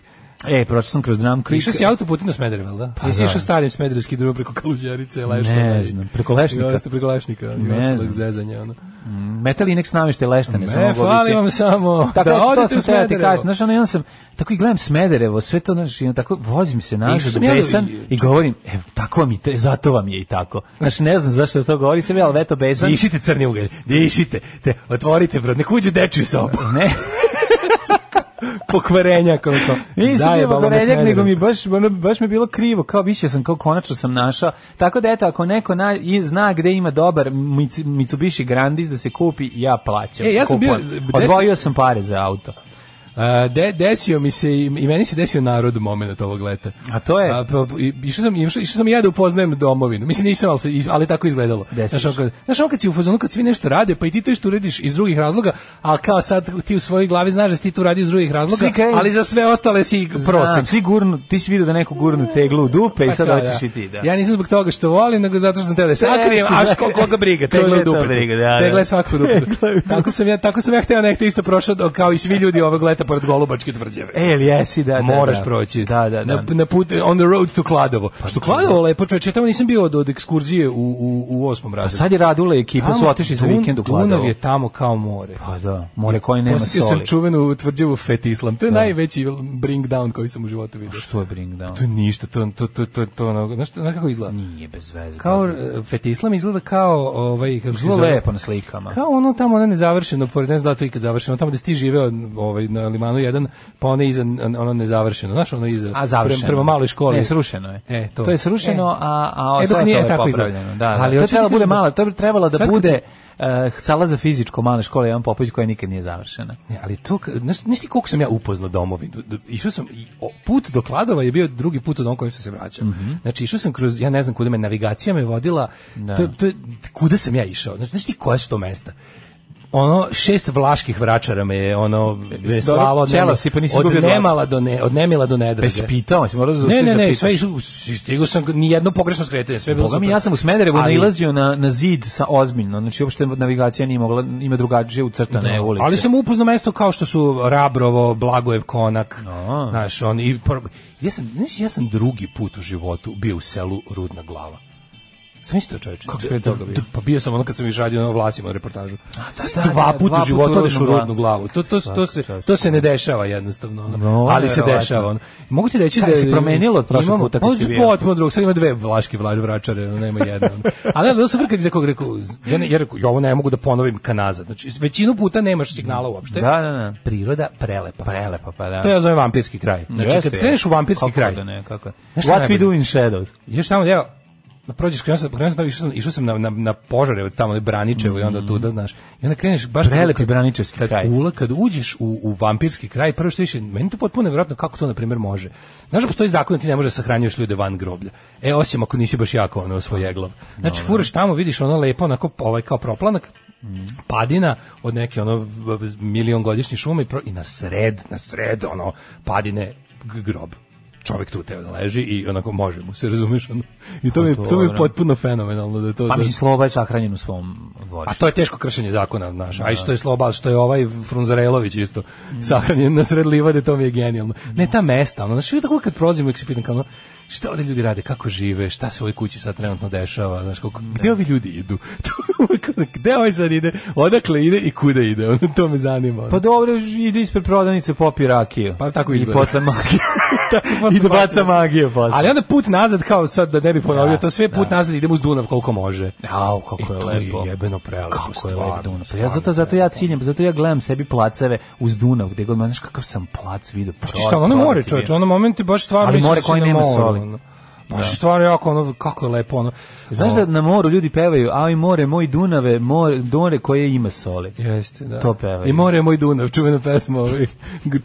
E, prošao sam kroz Drum Creek.
Išao si autoputem do Smedereva, da? Pa Jesi
da.
išao starim smederevski drugo preko Kaluđerice, Lešta.
Ne
dalje?
znam, preko Lešnika?
I ostalo preko Lešnika, i
Ne
ostalog
znam.
zezanja. Ono.
Metalinex namještaj leštane sam
Ne,
mogao
fali
obići.
vam samo
Tako
da
da, to sam
odete u
teo ti
Smederevo.
kažem, znaš, ono, i onda sam, tako i gledam Smederevo, sve to, znaš, i onda tako vozim se
Išao
nazad u
sam ja da
besan
vidim.
i govorim, e, tako vam i te, zato vam je i tako. Znaš, ne znam zašto to govorim, sam ja, ali veto besan.
Disite crni ugalj, disite, te, otvorite brod, nek uđe dečiju sobu.
Ne,
Pokvarenja koliko.
nisam bio
Zajebalo me
pogorenjak, nego
Smederevo.
mi baš, ono, baš mi je bilo krivo, kao više sam, kao konačno sam našao. Tako da, eto, ako neko na, i zna gde ima dobar Mic- Mitsubishi Grandis da se kupi, ja plaćam.
E, ja sam bio-
kupujem. Odvojio sam pare za auto.
A, de, desio mi se, i i meni se desio narod moment ovog leta.
A to je?
A, pa, i- išao sam, išao, išao sam i ja da upoznajem domovinu. Mislim, nisam, ali, se- is- ali tako je izgledalo.
Desiš.
Znaš, ono kad, znaš, ono kad si u fazonu, kad svi nešto rade, pa i ti to što uradiš iz drugih razloga, ali kao sad ti u svojoj glavi znaš da si ti to uradio iz drugih razloga,
Svi krenu-
ali za sve ostale si
Prosim,
prosim.
svi gurnu, ti si vidio da neku gurnu teglu u dupe i
Pa
sad
kao
hoćeš
da.
i ti, da.
Ja nisam zbog toga što volim, nego zato što sam teo da je sakrijem,
si,
a
da.
ško, koga briga,
Koga
tegla je
to
dupe.
briga, da, da.
Tegla je svakako dupe.
Tegla je u dupe.
tako, sam ja, tako sam ja hteo nekto isto prošao do- kao i svi ljudi ovog leta pored Golubačke tvrđave.
E, ili jesi, da, da,
Moraš
da.
proći.
Da, da, Pa da.
Na, na put, on the road to Kladovo. što Kladovo lepo, čovječe, ja tamo nisam bio od, od ekskurzije u, u, u osmom
A
razredu.
sad je Radula i ekipa su otišli za
Dun-
vikend u
Dunav
Kladovo.
je tamo kao more.
Pa da, more koji nema
Posjetio sam
soli.
čuvenu tvrđavu Fet Islam. To je najveći bring down koji sam u životu vidio.
Pa Što je bring down?
To je ništa, to, to, to, to, to ono, znaš, znaš kako izgleda?
Nije bez veze.
Kao e, fetislam izgleda kao ovaj kako se
Zlo
zove?
lepo na slikama.
Kao ono tamo ono nezavršeno, pored ne znam da li to ikad završeno, tamo da si ti živeo ovaj, na Limanu 1, pa ono iza, ono nezavršeno, znaš ono iza,
A završeno.
prema, prema maloj školi.
Ne, srušeno je.
E, to.
to je srušeno,
E.
a, a
E, dok
ostalo
nije
je
tako
popravljeno.
izgleda.
Da,
Ali
Ali to je
hoću ti
trebalo da bude
kažem-
malo, to bi trebalo da
Sad kad
bude uh, sala za fizičko male škole Ivan Popović koja nikad nije završena.
Ne, ali to, ka- znaš, znaš ti koliko sam ja upoznao domovinu? D- Išao sam, i, o, put do Kladova je bio drugi put od onog kojim sam se vraćao.
Mhm.
Znači, išao sam kroz, ja ne znam kuda me, navigacija me vodila, to, je- to, je- kuda sam ja išao? Znači, znaš ti koja su to mesta? ono šest vlaških vračara me je ono me slalo od,
Čelo
nema-
si, pa nisi
od
izgubio glavu.
nemala do ne, od nemila do nedrage.
Pa si pitao, si morao da
Ne,
zaustaviš
ne,
da
ne,
pitaš.
sve išao, stigao sam ni jedno pogrešno skretanje, sve je bilo
Boga mi,
super.
ja sam u Smederevu
Ali-
nailazio na, na zid sa ozbiljno, znači uopšte navigacija nije mogla, ima drugačije ucrtane ulice.
Ali sam upoznao mesto kao što su Rabrovo, Blagojev konak.
A.
Znaš, on i prv- ja sam, znaš, ja sam drugi put u životu bio u selu Rudna glava. Sam isto čoveče.
Kako si prije toga bio?
Pa bio sam ono kad sam još radio na vlasima reportažu.
da, da,
dva
da,
puta
dva
u životu
puta u
odeš u
Rudnu
Rudnu glavu. To, to, to, se,
čast.
to se ne dešava jednostavno. ono.
No,
ali se
verovatno.
dešava. Ono. Mogu ti reći
Kaj
da...
si promenilo od prošlog
imamo-
puta kad si
Pa,
bio?
potpuno drugo. Sad ima dve vlaške vlađe vračare, ono, nema jedne. ono. Ali ja bilo sam kad je rekao, rekao, ja, ne, ja, rekao, ja ovo ne mogu da ponovim ka nazad. Znači, većinu puta nemaš signala uopšte.
Da, da, da.
Priroda prelepa.
Prelepa, pa da.
To ja zovem vampirski kraj. Znači,
Jeste,
kad kreneš u vampirski
kako
kraj,
Da ne, kako.
Znaš šta je
What we
najbolje?
do in shadows.
Još tamo, evo, na prođeš, krenuo sam, krenuo sam, tamo, išao sam, išao sam na, na, na požare od tamo, na Braničevo i onda tuda, znaš. I onda kreneš baš...
Prelepi Braničevski
kad,
kraj.
Ula, kad uđeš u, u vampirski kraj, prvo što više, meni to potpuno nevjerojatno kako to, na primjer, može. Znaš da postoji zakon da ti ne može da sahranjuješ ljude van groblja. E, osim ako nisi baš jako, ono, svojeglav. Znači, furaš tamo, vidiš ono lepo, onako, ovaj, kao proplanak, padina od neke ono v- v- milion godišnje šume i, pro, i na sred, na sred ono padine g- grob čovjek tu teo da leži i onako može mu se razumeš ono. i to mi je- to mi je
Pa dobro.
potpuno fenomenalno da je to
Pa
da-
mislim, Sloba je sahranjen u svom
a
dvorištu.
to je teško kršenje zakona znaš a i što je sloba što je ovaj Frunzarelović isto sahranjen na sred livade to mi je genijalno ne ta mesta ono znači tako kad prolazimo uvijek se pitam kao ono, šta ovde ljudi rade kako žive šta se u ovoj kući sad trenutno dešava znaš kako gde ovi ljudi idu To je uvijek ono, gde ovaj sad ide odakle ide i kuda ide ono, to me zanima ono.
Pa dobro, ide ispred prodavnice, popi rakiju.
Pa tako
I
izgleda.
posle magije.
Tako posle
I da baca magije posle.
ali onda put nazad kao sad da ne bi ponovio
Da,
to sve put
da.
nazad idemo uz Dunav koliko može
Au, kako
I
je
E, to
lepo.
je jebeno prelepo,
Kako je
stvarno,
lepo Dunav. Pa ja
stvarno
zato, zato ja ciljam, zato ja gledam sebi placeve uz Dunav, gde god, znaš kakav sam plac vidio.
Znači šta, ono more, čoveče, ono moment je baš stvarno...
Ali
misliš
more
da si
koje
na
nema
moru,
soli.
ono. Baš je stvarno jako, ono, kako je lepo, ono...
Znaš da na moru ljudi pevaju, aj more, moj Dunave, more, Dore koje ima soli.
Jeste, da.
To peva.
I more je moj Dunav, čuvena pesma ovaj,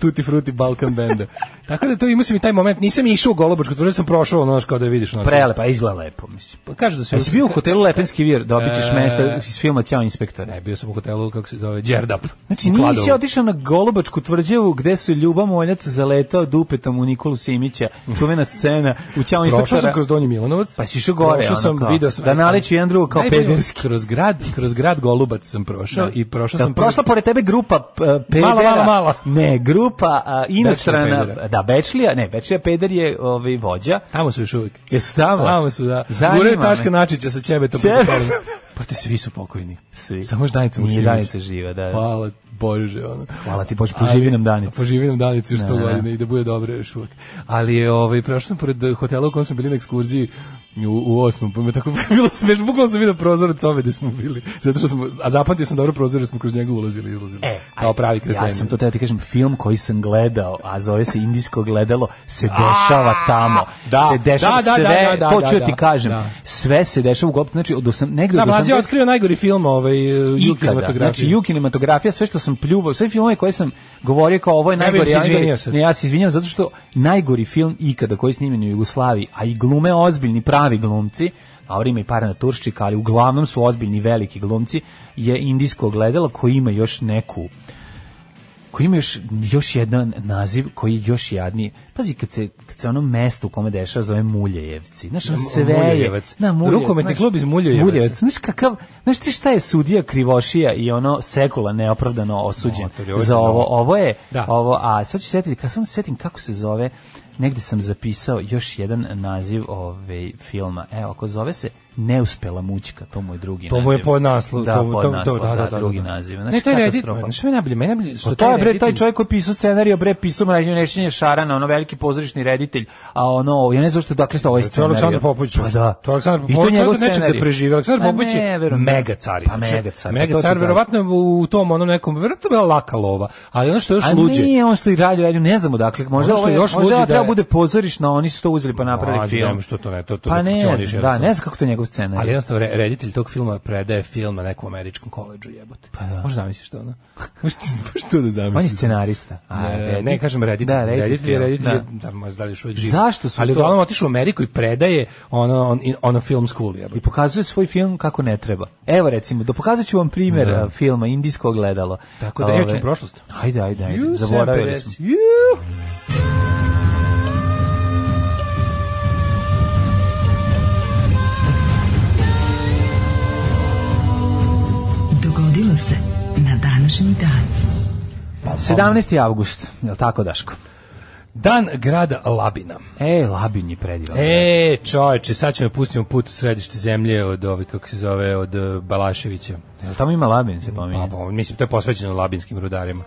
Tutti Frutti Balkan Benda. Tako da to imao sam i taj moment, nisam išao u Golubačku, tvrdo sam prošao, ono, znaš, kao da je vidiš. Ono,
Prelepa, izgleda lepo, mislim.
Pa kaže da se...
Jesi bio u hotelu Lepenski vir, dobit ćeš
E,
mesta iz filma Ćao inspektore.
Ne, bio sam u hotelu, kako se zove, Đerdap.
Znači
u
nisi
Kladovu.
otišao na Golubačku tvrđavu gde su Ljuba Moljac zaletao dupetom u Nikolu Simića, čuvena scena u Ćao
Prošao sam
inspektora.
kroz Donji Milanovac.
Pa si išao gore,
Prošao
ono
sam,
kao,
video sam.
da naleću jedan drugog kao
Najbolje,
pederski.
Kroz grad, kroz grad Golubac sam prošao i prošao
Da,
sam...
prošla pored tebe grupa p- pedera.
Mala, mala, mala.
Ne, grupa a, inostrana,
pedera.
da, Bečlija, ne, Bečlija peder je ovaj, vođa.
Tamo su još uvijek.
Jesu tamo?
Tamo su, da.
Zanima
Guraju
me.
Taška Načića sa ćebetom.
Ćebe-
preko kolena. Pa te svi su pokojni.
Svi.
Samo još Danica
Nije
Maksimović.
Danica živa, da, da.
Hvala Bože. Ono.
Hvala ti, Bože, poživi
Ali- pa
nam Danicu.
Poživi nam Danicu još
Da,
sto
da, da.
godina i da bude dobro još uvijek. Ali je, ovaj, prošao sam pored hotela u kojem smo bili na ekskurziji u, u osmom, pa me tako bilo smešno, bukvalno sam vidio prozor od sobe gde smo bili, zato što smo, a zapamtio sam dobro prozor jer smo kroz njega ulazili i izlazili,
E,
kao pravi kreteni.
Ja sam to teo ti kažem, film koji sam gledao, a zove se Indijsko gledalo, se dešava tamo.
da,
se dešava
da, da,
sve,
da, da,
to
da,
ću
da,
ti kažem.
da.
Sve se dešava u Goptu, znači od osam, negde
Da,
od
mlađe je
80
otkrio najgori film ovaj, Juki
ikada.
kinematografije.
Znači, ju kinematografija, sve što sam pljuvao, sve filmove koje sam govorio kao ovo je
Ja bih
najgori,
se
ja,
izvinio sad.
ne, ja se izvinjam zato što najgori film ikada koji je snimljen u Jugoslaviji, a i glume ozbiljni pravi glumci, a ovdje ima i para na Turščika, ali uglavnom su ozbiljni veliki glumci, je indijsko gledalo koji ima još neku koji ima još, još jedan naziv koji je još jadniji. Pazi, kad se, kad se ono mesto u kome dešava zove Muljejevci. Znaš, ono sve je...
Muljejevac.
Na,
Rukometni klub iz Muljejevaca.
Muljejevac. Znaš, kakav, znaš ti šta je sudija Krivošija i ono sekula neopravdano osuđen
Motor, ovo je
za
novo.
ovo. Ovo je,
Da.
ovo, a sad ću setiti, kad sam se setim kako se zove, negdje sam zapisao još jedan naziv ove filma. Evo, ako zove se Neuspela mućka, to mu je drugi
To
naziv.
mu je podnaslov,
Da,
to mu- to- to-
podnaslov,
da, da, da, da.
drugi naziv. Znači,
ne, to je Reddit,
katastrofa.
što je najbolje, meni je najbolje, što
Pa to je bre
Reddit-
taj čovjek koji je pisao scenarijo, bre pisao mražnje nešenje Šarana, ono veliki pozorišni reditelj, a ono ja ne znam što dakle sta ovaj
To je
scenarijo.
Aleksandar Popović.
Pa da.
To je Aleksandar
I to je
Popović,
njegov
čovjek od nečeg da
scenarij.
preživi. Aleksandar
Pa
Popović
ne,
je
verujem.
mega car.
Pa
inače.
mega car, pa
Mega
to ti
car,
kažem.
verovatno je u tom onom nekom, verovatno je bila laka lova, ali ono što je još
A
luđe.
nije on što i radi, radi, ne znamo dakle, možda
Ono što
ovo je-
je još
možda
luđe
ovo
da
treba
je-
bude pozorišno, a oni su to uzeli pa napravili
Mlađe,
film.
nema što to ne, to, to
Pa ne
funkcioniše,
znam, da,
jednostavno.
ne znam kako to je njegov
Ali
scenarij.
jednostavno, re, reditelj tog filma predaje film na nekom američkom koleđu, jebote. Pa da. Možda zamisliš to, ono? Možda, možda to da zamisliš.
On je scenarista. A,
E,
reditelj.
ne kažem reditelj,
Da,
da,
reditelj,
reditelj, je, reditelj,
da.
je, da. možda da li još uvijek živ.
Zašto su
Ali
to-
uglavnom otišao u Ameriku i predaje ono, on, ono film school, jebote.
i pokazuje svoj film kako ne treba. Evo recimo, da pokazat ću vam primjer
Da.
a, filma Indijsko gledalo.
Tako da, evo ćemo
Ove-
u prošlost.
Ajde, ajde, ajde. Zaboravili smo.
Dogodilo se na današnji dan.
17. avgust, je li tako Daško?
Dan grada Labina.
E, Labin je predivno.
E, čoveče, sad ćemo pustimo put u središte zemlje od ove, kako se zove, od e, Balaševića.
Tamo ima Labin, se
Pa,
pominje.
pa, mislim, to je posvećeno labinskim rudarima.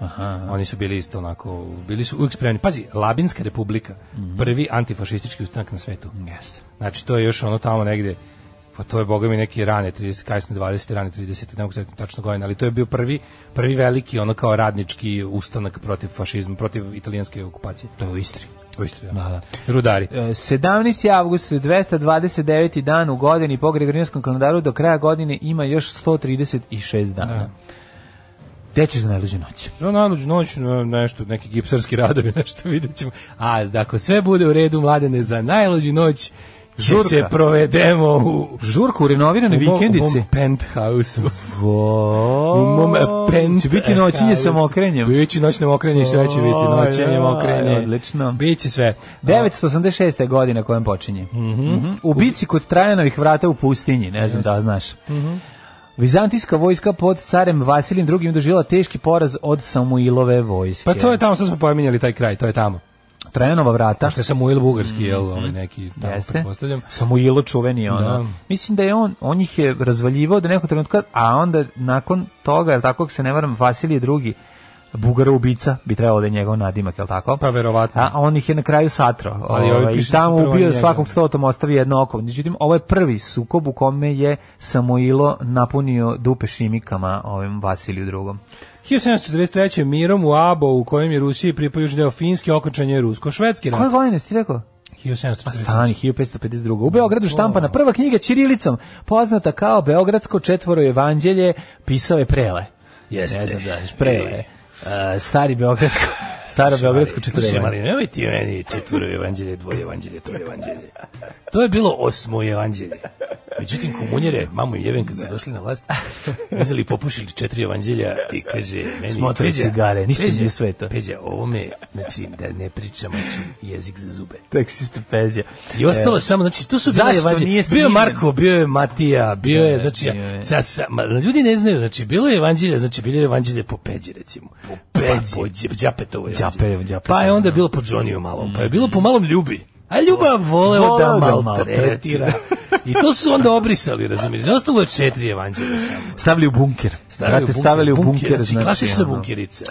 Oni su bili isto onako, bili su uvijek spremni. Pazi, Labinska republika,
Mhm.
prvi antifašistički ustanak na svetu.
Jeste.
Znači, to je još ono tamo negde, pa to je, boga mi, neki rane 30, kasne 20, rane 30, ne mogu se setiti tačno godine, ali to je bio prvi, prvi veliki, ono kao radnički ustanak protiv fašizma, protiv italijanske okupacije. To je u Istri. U Istri, da. Rudari.
E, 17. avgust, 229. dan u godini po Gregorijanskom kalendaru, do kraja godine ima još 136 dana. Gde ćeš za najluđu noć?
Za naluđu noć ne- nešto, neki gipsarski radovi, nešto vidjet ćemo. A ako sve bude u redu, mladene, za najluđu noć će
Žurka.
se provedemo u...
Žurku u renovirane
u mom- U
vikendici.
mom penthouse.
Vo-
U mom penthouse.
Će biti noćenje sa mokrenjem.
Biće noćno mokrenje i sve će biti.
Oj,
Noćenje,
oj,
mokrenje.
odlično.
Biće sve.
986. godina kojem počinje. Mhm. U bici kod Trajanovih vrata u pustinji, ne znam da znaš.
Mhm.
Vizantijska vojska pod carem Vasilijem II doživjela teški poraz od Samuilove vojske.
Pa to je tamo, sad smo pominjali taj kraj, to je tamo.
Trajanova vrata.
Što je Samuil Bugarski, jel, ovaj neki, tamo
Jeste.
pretpostavljam.
Samuilo čuveni ono.
Da.
Mislim da je on, on ih je razvaljivao do nekog trenutka, a onda nakon toga, jel tako ako se ne varam, Vasilije II Bugara ubica bi trebalo da je njegov nadimak, jel tako?
Pa verovatno.
A on ih je na kraju satro.
Ali ovi
ovaj, I
pišu
tamo
su prvo
ubio
njega.
svakog stotom, ostavi jedno oko. Međutim, ovo je prvi sukob u kome je Samuilo napunio dupe šimikama ovim Vasiliju drugom.
1743. mirom u Abo, u kojem je Rusiji pripao južni deo Finske, okončan je Pa rusko-švedski
Koje
rat.
godine si ti rekao?
1743.
Stani, 1552. U Beogradu štampana prva knjiga Čirilicom, poznata kao Beogradsko četvoro evanđelje, pisao je Prele.
Jeste.
Ne znam da znaš, Prele. E, stari Beogradsko, staro Beogradsko četvoro
Slušaj,
evanđelje.
Marina, nemoj ti meni četvoro evanđelje, dvoje evanđelje, troje evanđelje. To je bilo osmo evanđelje. Međutim, komunjere, mamu i jeben kad su došli na vlast, uzeli i popušili četiri evanđelja i kaže meni...
Smotrali
Peđa,
cigare, ništa
Peđa,
nije sveto.
Peđa, ovo me, znači, da ne pričam, znači, jezik za zube.
Taksista Peđa.
I ostalo samo, znači, tu su bile
Zašto
evanđelje.
nije
Bio je
snimljen?
Marko, bio je Matija, bio je,
Ne,
znači,
bio je.
sad, sa- ma, ljudi ne znaju, znači, bilo je evanđelje, znači, bilo je evanđelje po Peđi, recimo. Po
Peđi.
Po Đ- Đapetovo evanđelje.
Đapejevo, Đapejevo,
Pa je onda bilo po Johnnyju malo, pa je bilo po malom Ljubi. A Ljubav voleo,
Mhm. Voleo
da
da
maltretira. I to su onda obrisali, razumiješ. Ostalo je četiri evanđelja samo.
Stavili u bunker. znači, ono. Brate, stavili u bunker.
znači, klasična znači, bunkerica.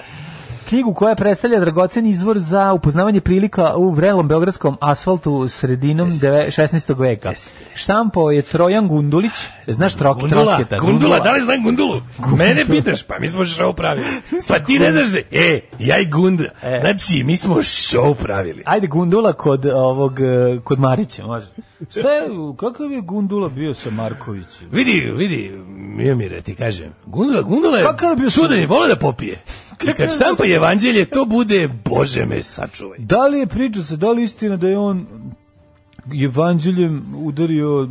Knjigu koja predstavlja dragocen izvor za upoznavanje prilika u vrelom beogradskom asfaltu sredinom deve- 16. veka. Štampo je Trojan Gundulić, znaš trok,
Gundula,
troketa?
Gundula, da li znam Gundulu? Mene pitaš, pa mi smo show pravili. Pa ti ne znaš, se- e, ja i Gunda. Znači, mi smo show pravili.
E. Ajde Gundula kod ovog eh, kod Marića, može. Šta je kakav je Gundula bio sa Markovićem?
Vidi, vidi, Miomire, ti kažem. Gundula, Gundula je čudan je, vole da popije. I kad štampa evanđelje, to bude, Bože me sačuvaj.
Da li je priča se, da li je istina da je on evanđeljem udario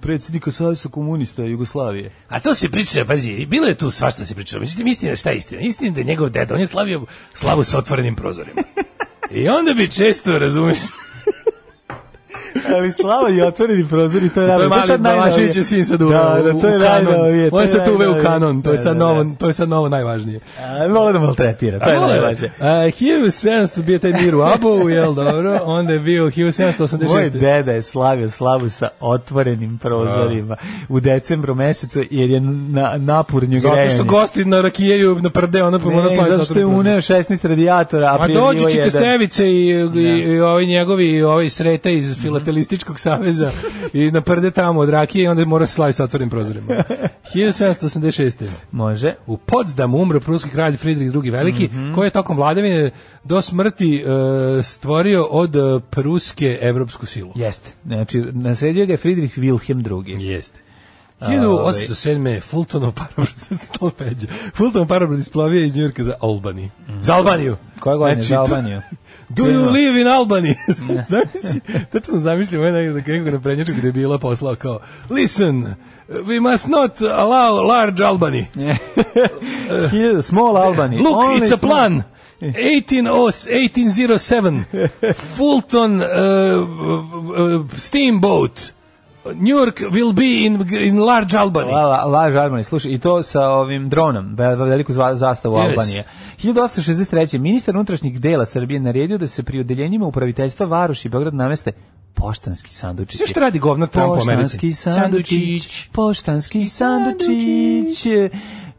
predsjednika Savjesa komunista Jugoslavije?
A to se priča, pazi, i bilo je tu svašta se pričalo. Međutim, istina, šta je istina? Istina je da je njegov deda, on je slavio slavu sa otvorenim prozorima. I onda bi često, razumiješ,
Ali slava i otvoreni prozori, to je najbolje.
To je
sad
mali Balaševićev sin sad uveo
Da, da, to je
u kanon.
najnovije. to
On
je
se tu uveo u
najnovije.
kanon, to je
Da,
sad
da, da.
novo, to je sad novo najvažnije.
A, Vole da maltretira, to je
Vole.
najvažnije.
A, 1700 bio taj mir u Abovu, jel dobro, onda je bio 1786.
Moj deda je slavio slavu sa otvorenim prozorima u decembru mesecu jer je na, napurnju grejanje.
Zato što gosti na rakijeju na prde, ona pa mora
Ne,
slaviti.
zato što je uneo 16 radijatora, a
A
prijavio
dođu će
jedan.
Krstevice i, i, i ovi njegovi i ovi sreta iz
Mhm.
filatelističkog saveza i naprde tamo od rakije i onda mora se slaviti sa otvorenim prozorima. 1786.
Može.
U Potsdamu umro pruski kralj Fridrih II. Veliki,
Mhm.
koji je tokom vladavine do smrti e, stvorio od e, pruske evropsku silu.
Jeste. Znači, nasredio ga je Friedrich Wilhelm II.
Jeste.
ovaj-
1807. je Fultonov parabrood stalo peđe. Fultonov parabrood isplavio iz Njurka za Albani. Za Albaniju.
Koja Mhm. godine
Znači,
za
tu-
Albaniju?
Do you live in Albany? Zamisli, tačno zamislim ovaj nekako kako na prednjačku gde je bila poslao kao Listen, we must not allow large Albany.
Hiljada- Small Albany.
Look,
Only
it's a
small-
plan.
E.
oh, 18 1807 Fulton uh, uh, steamboat New York will be in in large Albany.
La, la, laž Albanije, slušaj, i to sa ovim dronom, ve- ve- veliku zva- zastavu
Yes.
Albanije. 1863. ministar unutrašnjih dela Srbije naredio da se pri udeljenjima upraviteljstva Varoš i Beograd nameste poštanski sandučići.
Sve što radi govnar Trump u Americi?
Poštanski sandučić, poštanski sandučić.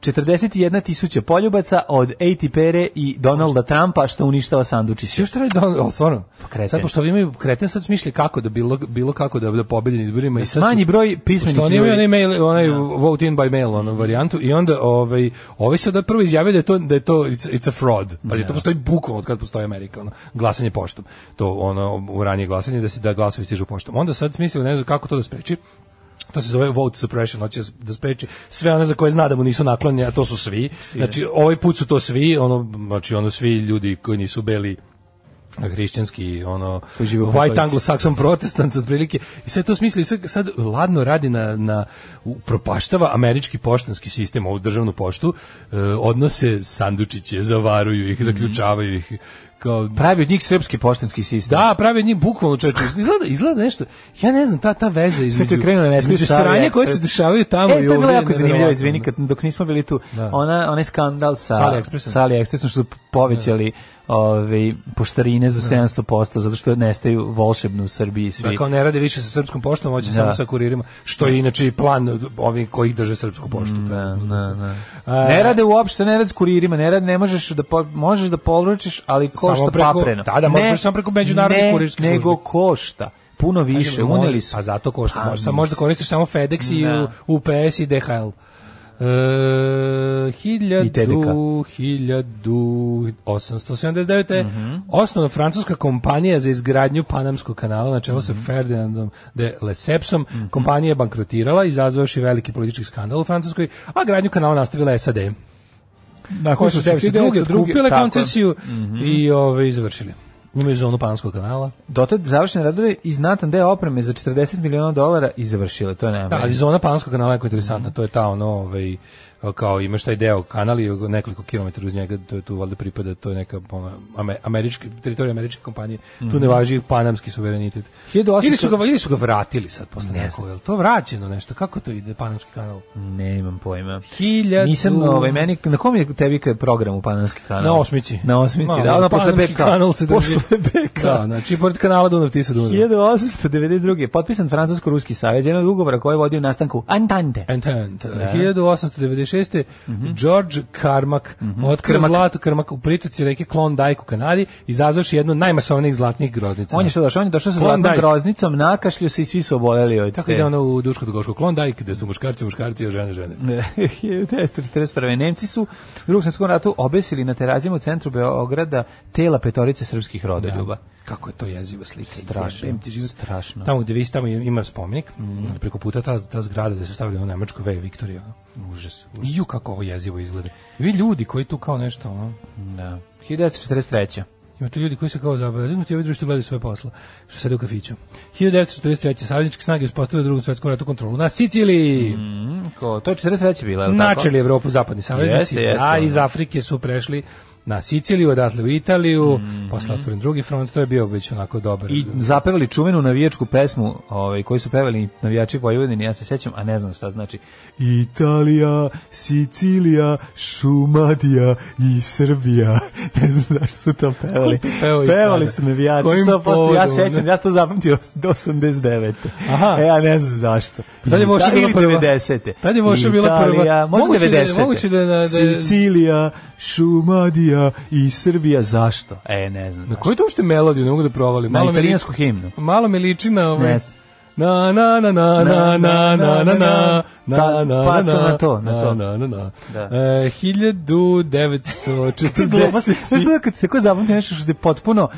41 tisuća poljubaca od Ejti Pere i Donalda Trumpa što uništava sandučiće.
Sve što radi Donald, ali stvarno,
Pa kreten.
sad pošto ovi imaju kreten, sad smišlja kako da bilo, bilo kako da, da pobedi na izborima. i sad su-
Manji broj pismenih
Što oni imaju
ljudi.
onaj mail, onaj vote in by mail onu varijantu i onda ovaj ovaj sad prvo izjavio da je to da je to it's, it's a fraud. Pa to postoji bukvalno od kad postoji Amerika, ono, glasanje poštom. To ono u ranije glasanje da se da glasovi stižu poštom. Onda sad smislio ne znam kako to da spreči. To se zove vote suppression, hoće da spreči sve one za koje zna da mu nisu naklonjeni, a to su svi. Znači, ovaj put su to svi, ono, znači, ono svi ljudi koji nisu beli hrišćanski ono
Koji žive u
white
Katolici.
anglo-saxon protestants otprilike i sve to smisli sad, sad ladno radi na, na u- propaštava američki poštanski sistem ovu državnu poštu e, odnose sandučiće zavaruju
Mhm.
ih zaključavaju ih kao
Pravi od njih srpski poštanski sistem.
da, pravi od njih bukvalno čovječe. Izgleda, izgleda nešto. Ja ne znam, ta, ta veza između,
je krenula na
između
Espresso Savija,
sranja koje se
Ekspres.
dešavaju tamo
e,
i
to je bilo
ovdje,
jako zanimljivo,
nevjerovatno.
izvini, kad, dok nismo bili tu, ona, onaj skandal sa,
Sa AliExpressom.
sa AliExpressom što su povećali ove, poštarine za 700%, zato što nestaju volšebno u Srbiji
Da,
svi.
kao ne rade više sa srpskom poštom, hoće samo sa kuririma, što je inače i plan ovih koji drže srpsku poštu.
Da, da, da.
E.
ne rade uopšte, ne rade s kuririma, ne rade, ne možeš da po, možeš da poručiš, ali košta
preko-
papreno.
da, da, možeš samo preko međunarodnih
ne,
kurirskih
nego
službi.
košta. Puno više,
Može,
uneli su.
Pa zato košta.
Pa,
Možda, možda koristiš samo FedEx i
Da.
U- UPS i DHL. E,
I TDK.
1000, 1879.
Mhm.
Osnovna francuska kompanija za izgradnju Panamskog kanala na čelu
Mhm.
sa Ferdinandom de Lesepsom. Kompanija je bankrotirala, izazvavši veliki politički skandal u Francuskoj, a gradnju kanala nastavila SAD.
Nakon
Koje su 1902. kupile koncesiju
Mhm.
i ove, izvršili. Imaju zonu Panamskog kanala.
Dotad završene radove i znatan deo opreme za 40 miliona dolara i završile, to je nema.
Da, ali zona Panskog kanala je jako interesantna, to je ta ono, ovaj, kao imaš taj deo kanal i nekoliko kilometara uz njega, to je tu valjda pripada, to je neka ono, ame- američki, teritorija američke kompanije, tu
Mhm.
ne važi panamski suverenitet.
1800
Ili su ga, ili su ga vratili sad posle
Ne
nekog, je li to vraćeno nešto, kako to ide panamski kanal?
Ne imam pojma.
Hiljadu...
Nisam, ovaj, meni, na kom je tebi kad program u Panamski kanal?
Na osmici.
Pa Na osmici,
Ma,
da, ono posle
Panamski
BK.
kanal se drži.
Posle BK.
Da, znači, pored kanala Dunav, ti se Dunav.
1892. je potpisan Francusko-Ruski savez, jedan od ugovora koji je vodio nastanku Antante.
And, and, 1896. 1986.
Mhm.
George Carmack mm -hmm. otkrio zlato Carmack u pritoci reke Klondike u Kanadi, izazvavši jednu od najmasovnijih zlatnih groznica.
On je što došao, on je došao sa zlatnom
Klondike.
groznicom, nakašljio se i svi su oboleli od
Tako ide ono u Duško Dugoško Klondike, gde su muškarci, muškarci, a žene, žene.
Mhm. 1941. Nemci su u drugom svjetskom ratu obesili na terazijama u centru Beograda tela petorice srpskih rodoljuba.
Kako je to jeziva slika.
Strašno,
Jebem ti život.
strašno. Mhm.
Tamo gde vi tamo ima spomenik, ono preko puta ta, ta zgrada gde su stavili ono nemačko V Viktorija. Užas. ono. Ju kako ovo jezivo izgleda. I vi ljudi koji tu kao nešto, ono,
Da. 1943.
Ima tu ljudi koji su kao zabrinuti, ovi drugi što gledaju svoje posla, što sede u kafiću. 1943. Savezničke snage uspostavile u drugom svetskom ratu kontrolu na Siciliji.
Ko, to je 43. bila, je li tako?
Načeli Evropu zapadni saveznici,
Jeste, jeste,
a
ono.
iz Afrike su prešli na Siciliju, odatle u Italiju, posle otvoren drugi front, to je bio već onako dobar.
I zapevali čuvenu navijačku pesmu ovaj, koju su pevali navijači Vojvodine, ja se sećam, a ne znam šta znači. Italija, Sicilija, Šumadija i Srbija. Ne znam zašto su to pevali.
Ko je to pevao
pevali
Italija?
su navijači.
Kojim
100%, ja
povodom,
sećam,
ne?
ja sam to zapamtio do 89.
Aha. Pa
E, ja ne znam zašto.
Tad je Voša
Ili
bila prva.
90.
Tad je Voša bila prva.
Italija, možda
Moguće da je-
90.
moguće da je na- da je-
Sicilija, Šumadija i Srbija, zašto? E, ne znam
Na
zašto.
koju to uopšte melodiju ne mogu da provalim?
Na
Malo me liči-
italijansku himnu.
Malo mi liči na ovaj...
Yes.
Na na na na na na na na na na na
Ta- pa to
na
na to, na to.
na na na
Da.
E,
Ti glupost.
1940
Znaš da kad se ko zapamti nešto što je potpuno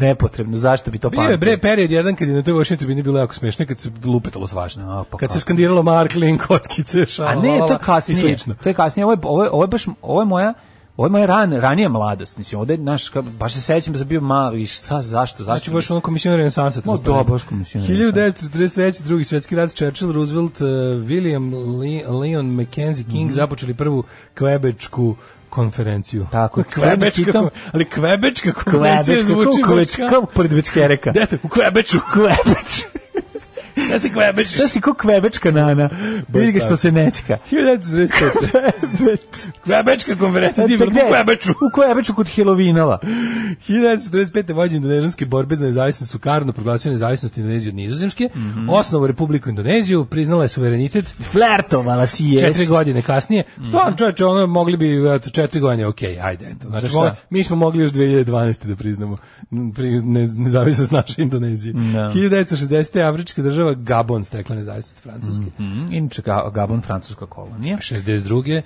nepotrebno, zašto bi to
Bio je
pamtio?
bre period jedan kad je na toj Washington tribini bilo jako smešno kad se lupetalo svašta.
A, pa
kad
kako.
se skandiralo Marklin, kockice, šala,
A ne,
lala
to je
i
kasnije.
slično.
To je kasnije, ovo je, ovo je, ovo je baš, ovo je moja Ovo je moja ran, ranija mladost, mislim, ovde, znaš, ka- baš se sećam da sam bio mali, i šta, zašto, zašto?
Znači baš ono komisioner renesansa.
Ma da, baš komisioner renesanse.
1943. drugi svjetski rat, Churchill, Roosevelt, eh, William Le- Leon Mackenzie King započeli prvu kvebečku konferenciju.
Tako,
kvebečka,
čitam-
ali kvebečka konferencija
Kvebečka,
zvuči
kako
baš
Kvebečka,
kao...
kako pored Bečkereka.
Dete, u kvebeču,
Kvebeč,
ja se kvebečiš.
šta si ko Kvebečka nana? Vidi ga što
tako.
se nečka.
1945.
Kvebeč.
Kvebečka konferencija,
Eto
divno,
E, pa gde?
u kvebeču.
U Kvebeču kod Helovinova.
1945. vođen indonežanske borbe za nezavisnost su Karno proglasio nezavisnost Indonezije od Nizozemske, osnovu Republiku Indoneziju, priznala je suverenitet,
Flertovala si jes.
četiri godine kasnije. Stvarno, čoveče, ono, mogli bi, eto, četiri godine, okej, ajde, eto. Znači,
Za šta?
mo- mi smo mogli još 2012. da priznamo n- pri, ne, nezavisnost naše Indonezije.
Da.
1960. afrička država Gabon stekla nezavisnost Francuske.
Mhm, Inače, Ga- Gabon, francuska kolonija.
62.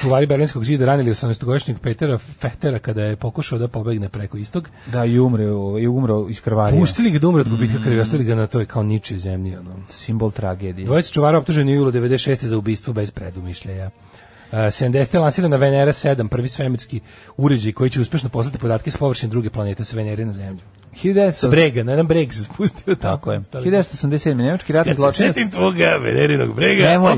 Čuvari Berlinskog zida ranili 18-godišnjeg Petera Fehtera kada je pokušao da pobegne preko istog.
Da, i umre, u- i umro iz krvarija.
Pustili ga da umre od gubitka
Mm.
krvi, ostavili ga na toj kao ničoj zemlji. Ono.
Simbol tragedije.
Dvojica čuvara optuženi u julu 96. za ubistvo bez predumišljaja. Uh, 70. je lansirana Venera 7, prvi svemirski uređaj koji će uspešno poslati podatke s površine druge planete sa Venere na Zemlju.
1900
S brega, na jedan breg se spustio.
Tako je.
Ostali-
1987. Nemački ratni zločinac.
tvoga Venerinog brega,
Nemoj,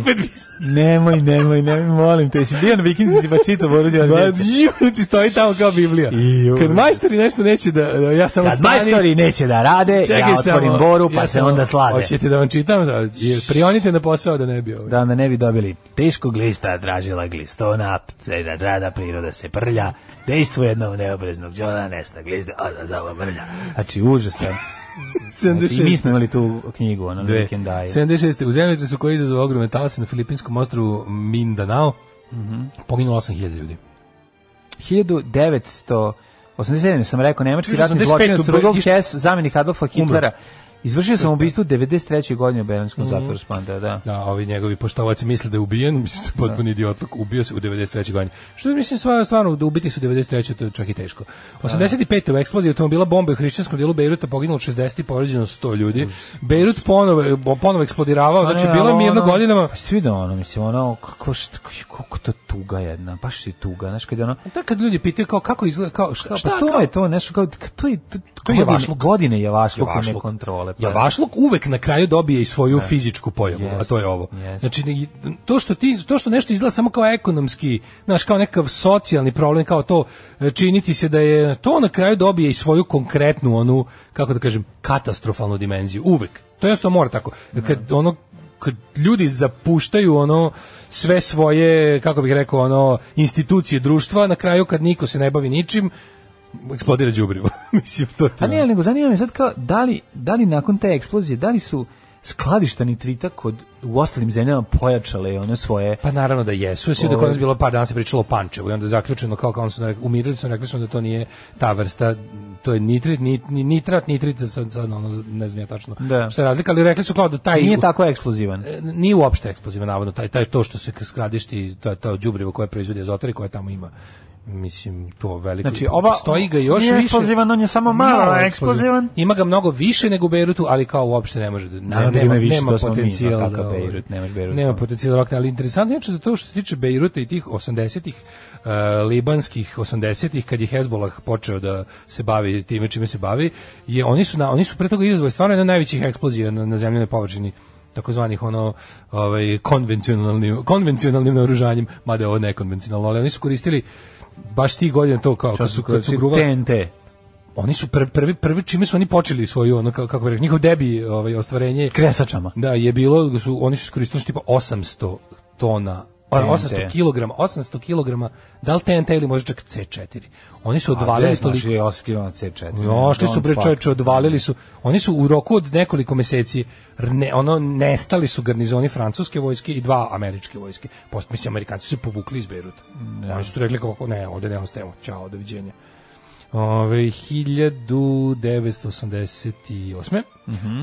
nemoj, nemoj, nemoj, molim te, jesi bio na vikindici pa čito Boru
Ba,
Đorđevića?
ju, znači stoji tamo kao Biblija.
Ju.
Kad majstori nešto neće da, da ja samo
Kad
stanem-
majstori neće da rade, ja
Čekaj samo,
otvorim Boru pa
ja
se
samo-
onda slade.
Hoćete da vam čitam? Jer Prionite na posao da ne bi ovo.
Da onda ne bi dobili teškog lista, tražila glistona, pse da drada priroda se prlja, dejstvo jednog neobreznog džona, nesta glizda, a da zava mrlja. Znači, užasan. Znači, i mi
76.
smo imali tu knjigu, ono, na
Dve.
vikendaje.
76. U zemljotresu koji izazvao ogromne talase na filipinskom ostrovu Mindanao,
Mhm.
poginulo 8000 ljudi.
1987. sam rekao nemački
Išao sam
ratni
85
zločinac
u Br-
Rudolf
iš-
Hess, zamenik Adolfa Hitlera.
Umro.
Izvršio sam ubistvo u 93. godine u Berlinskom
Mhm.
zatvoru Španda, da.
Da, ovi njegovi poštovaci misle da je ubijen, mislim da je potpuni idiotluk, ubio se u 93. godini. Što mislim stvarno, stvarno da ubiti su u 93. to je čak i teško. 85. u eksploziji automobila bombe u hrišćanskom dijelu Bejruta poginulo 60 i povređeno 100 ljudi. Bejrut ponovo ponovo eksplodirao, znači
Ne,
bilo je
ali
mirno
ono-
godinama.
Pa ste vidio ono, mislim, ono, kako, šta, kako to tuga jedna, baš je tuga, znaš, kad je ono,
To je kad ljudi pitaju kao kako izgleda, kao šta,
pa
šta
to
kao-
je to, nešto kao, to je, to,
To je
godine-
javašluk.
godine javašluk, javašluk.
javašluk.
kontrole. Pa,
Javašluk uvek na kraju dobije i svoju fizičku pojavu,
Jeste,
a to je ovo.
jeste.
Znači, ne- to što, ti, to što nešto izgleda samo kao ekonomski, znaš, kao nekakav socijalni problem, kao to e, činiti se da je, to na kraju dobije i svoju konkretnu, onu, kako da kažem, katastrofalnu dimenziju, uvek. To jednostavno mora tako. Kad ono kad ljudi zapuštaju ono sve svoje kako bih rekao ono institucije društva na kraju kad niko se ne bavi ničim eksplodira đubrivo mislim to ti
A
je ono.
ne, nego zanima me sad kao, da li, da li nakon te eksplozije, da li su skladišta nitrita kod u ostalim zemljama pojačale ono svoje
Pa naravno da jesu, sve da
Ovaj.
kod nas bilo par dana se pričalo o Pančevu i onda je zaključeno kao kao su rekli, umirili su, rekli su da to nije ta vrsta to je nitrit, nit, ni- nitrat, nitrit, sad, sad ono, ne znam ja tačno
Da.
šta je razlika, ali rekli su kao da taj
nije tako eksplozivan.
E, nije uopšte eksplozivan navodno taj taj to što se skladišti ta ta đubrivo koje proizvodi azotari koje tamo ima mislim to veliko
Znači, ova-
stoji ga još
nije
više
eksplozivan, on je samo malo
je
eksplozivan.
ima ga mnogo više nego u Beirutu ali kao uopšte ne može da
Naravno da ga ima više,
nema
to smo mi,
potencijal
a
da,
kakav
ovaj,
Bejrut, nemaš Bejrut.
nema potencijal da rokne, ali interesantno je znači da to što se tiče Beiruta i tih 80-ih e, libanskih 80-ih kad je Hezbollah počeo da se bavi time čime se bavi je oni su na, oni su pre toga izazvali stvarno jedna od najvećih eksplozija na, na zemljenoj površini takozvanih ono ovaj konvencionalnim konvencionalnim naoružanjem mada je ovo nekonvencionalno ali oni su koristili baš tih godina to
Pa
kao kad su kad su gruva
TNT.
oni su prvi prvi prvi čime su oni počeli svoju ono kako, kako bih rekao njihov debi ovaj ostvarenje
Kresačama.
da, je bilo, su, oni su iskoristili tipa 800 tona, a,
TNT.
800 kilograma, 800 kilograma, da li TNT ili možda čak C4. Oni su odvalili toliko...
je oskilo C4.
Ošli su bre čoveče, odvalili su. Oni su u roku od nekoliko meseci r- ne, ono nestali su garnizoni francuske vojske i dva američke vojske. Post mislim Amerikanci su se povukli iz Bejruta. Oni su tu rekli kako ne, ovde ne ostajemo. Ćao, doviđenja. Ove 1988.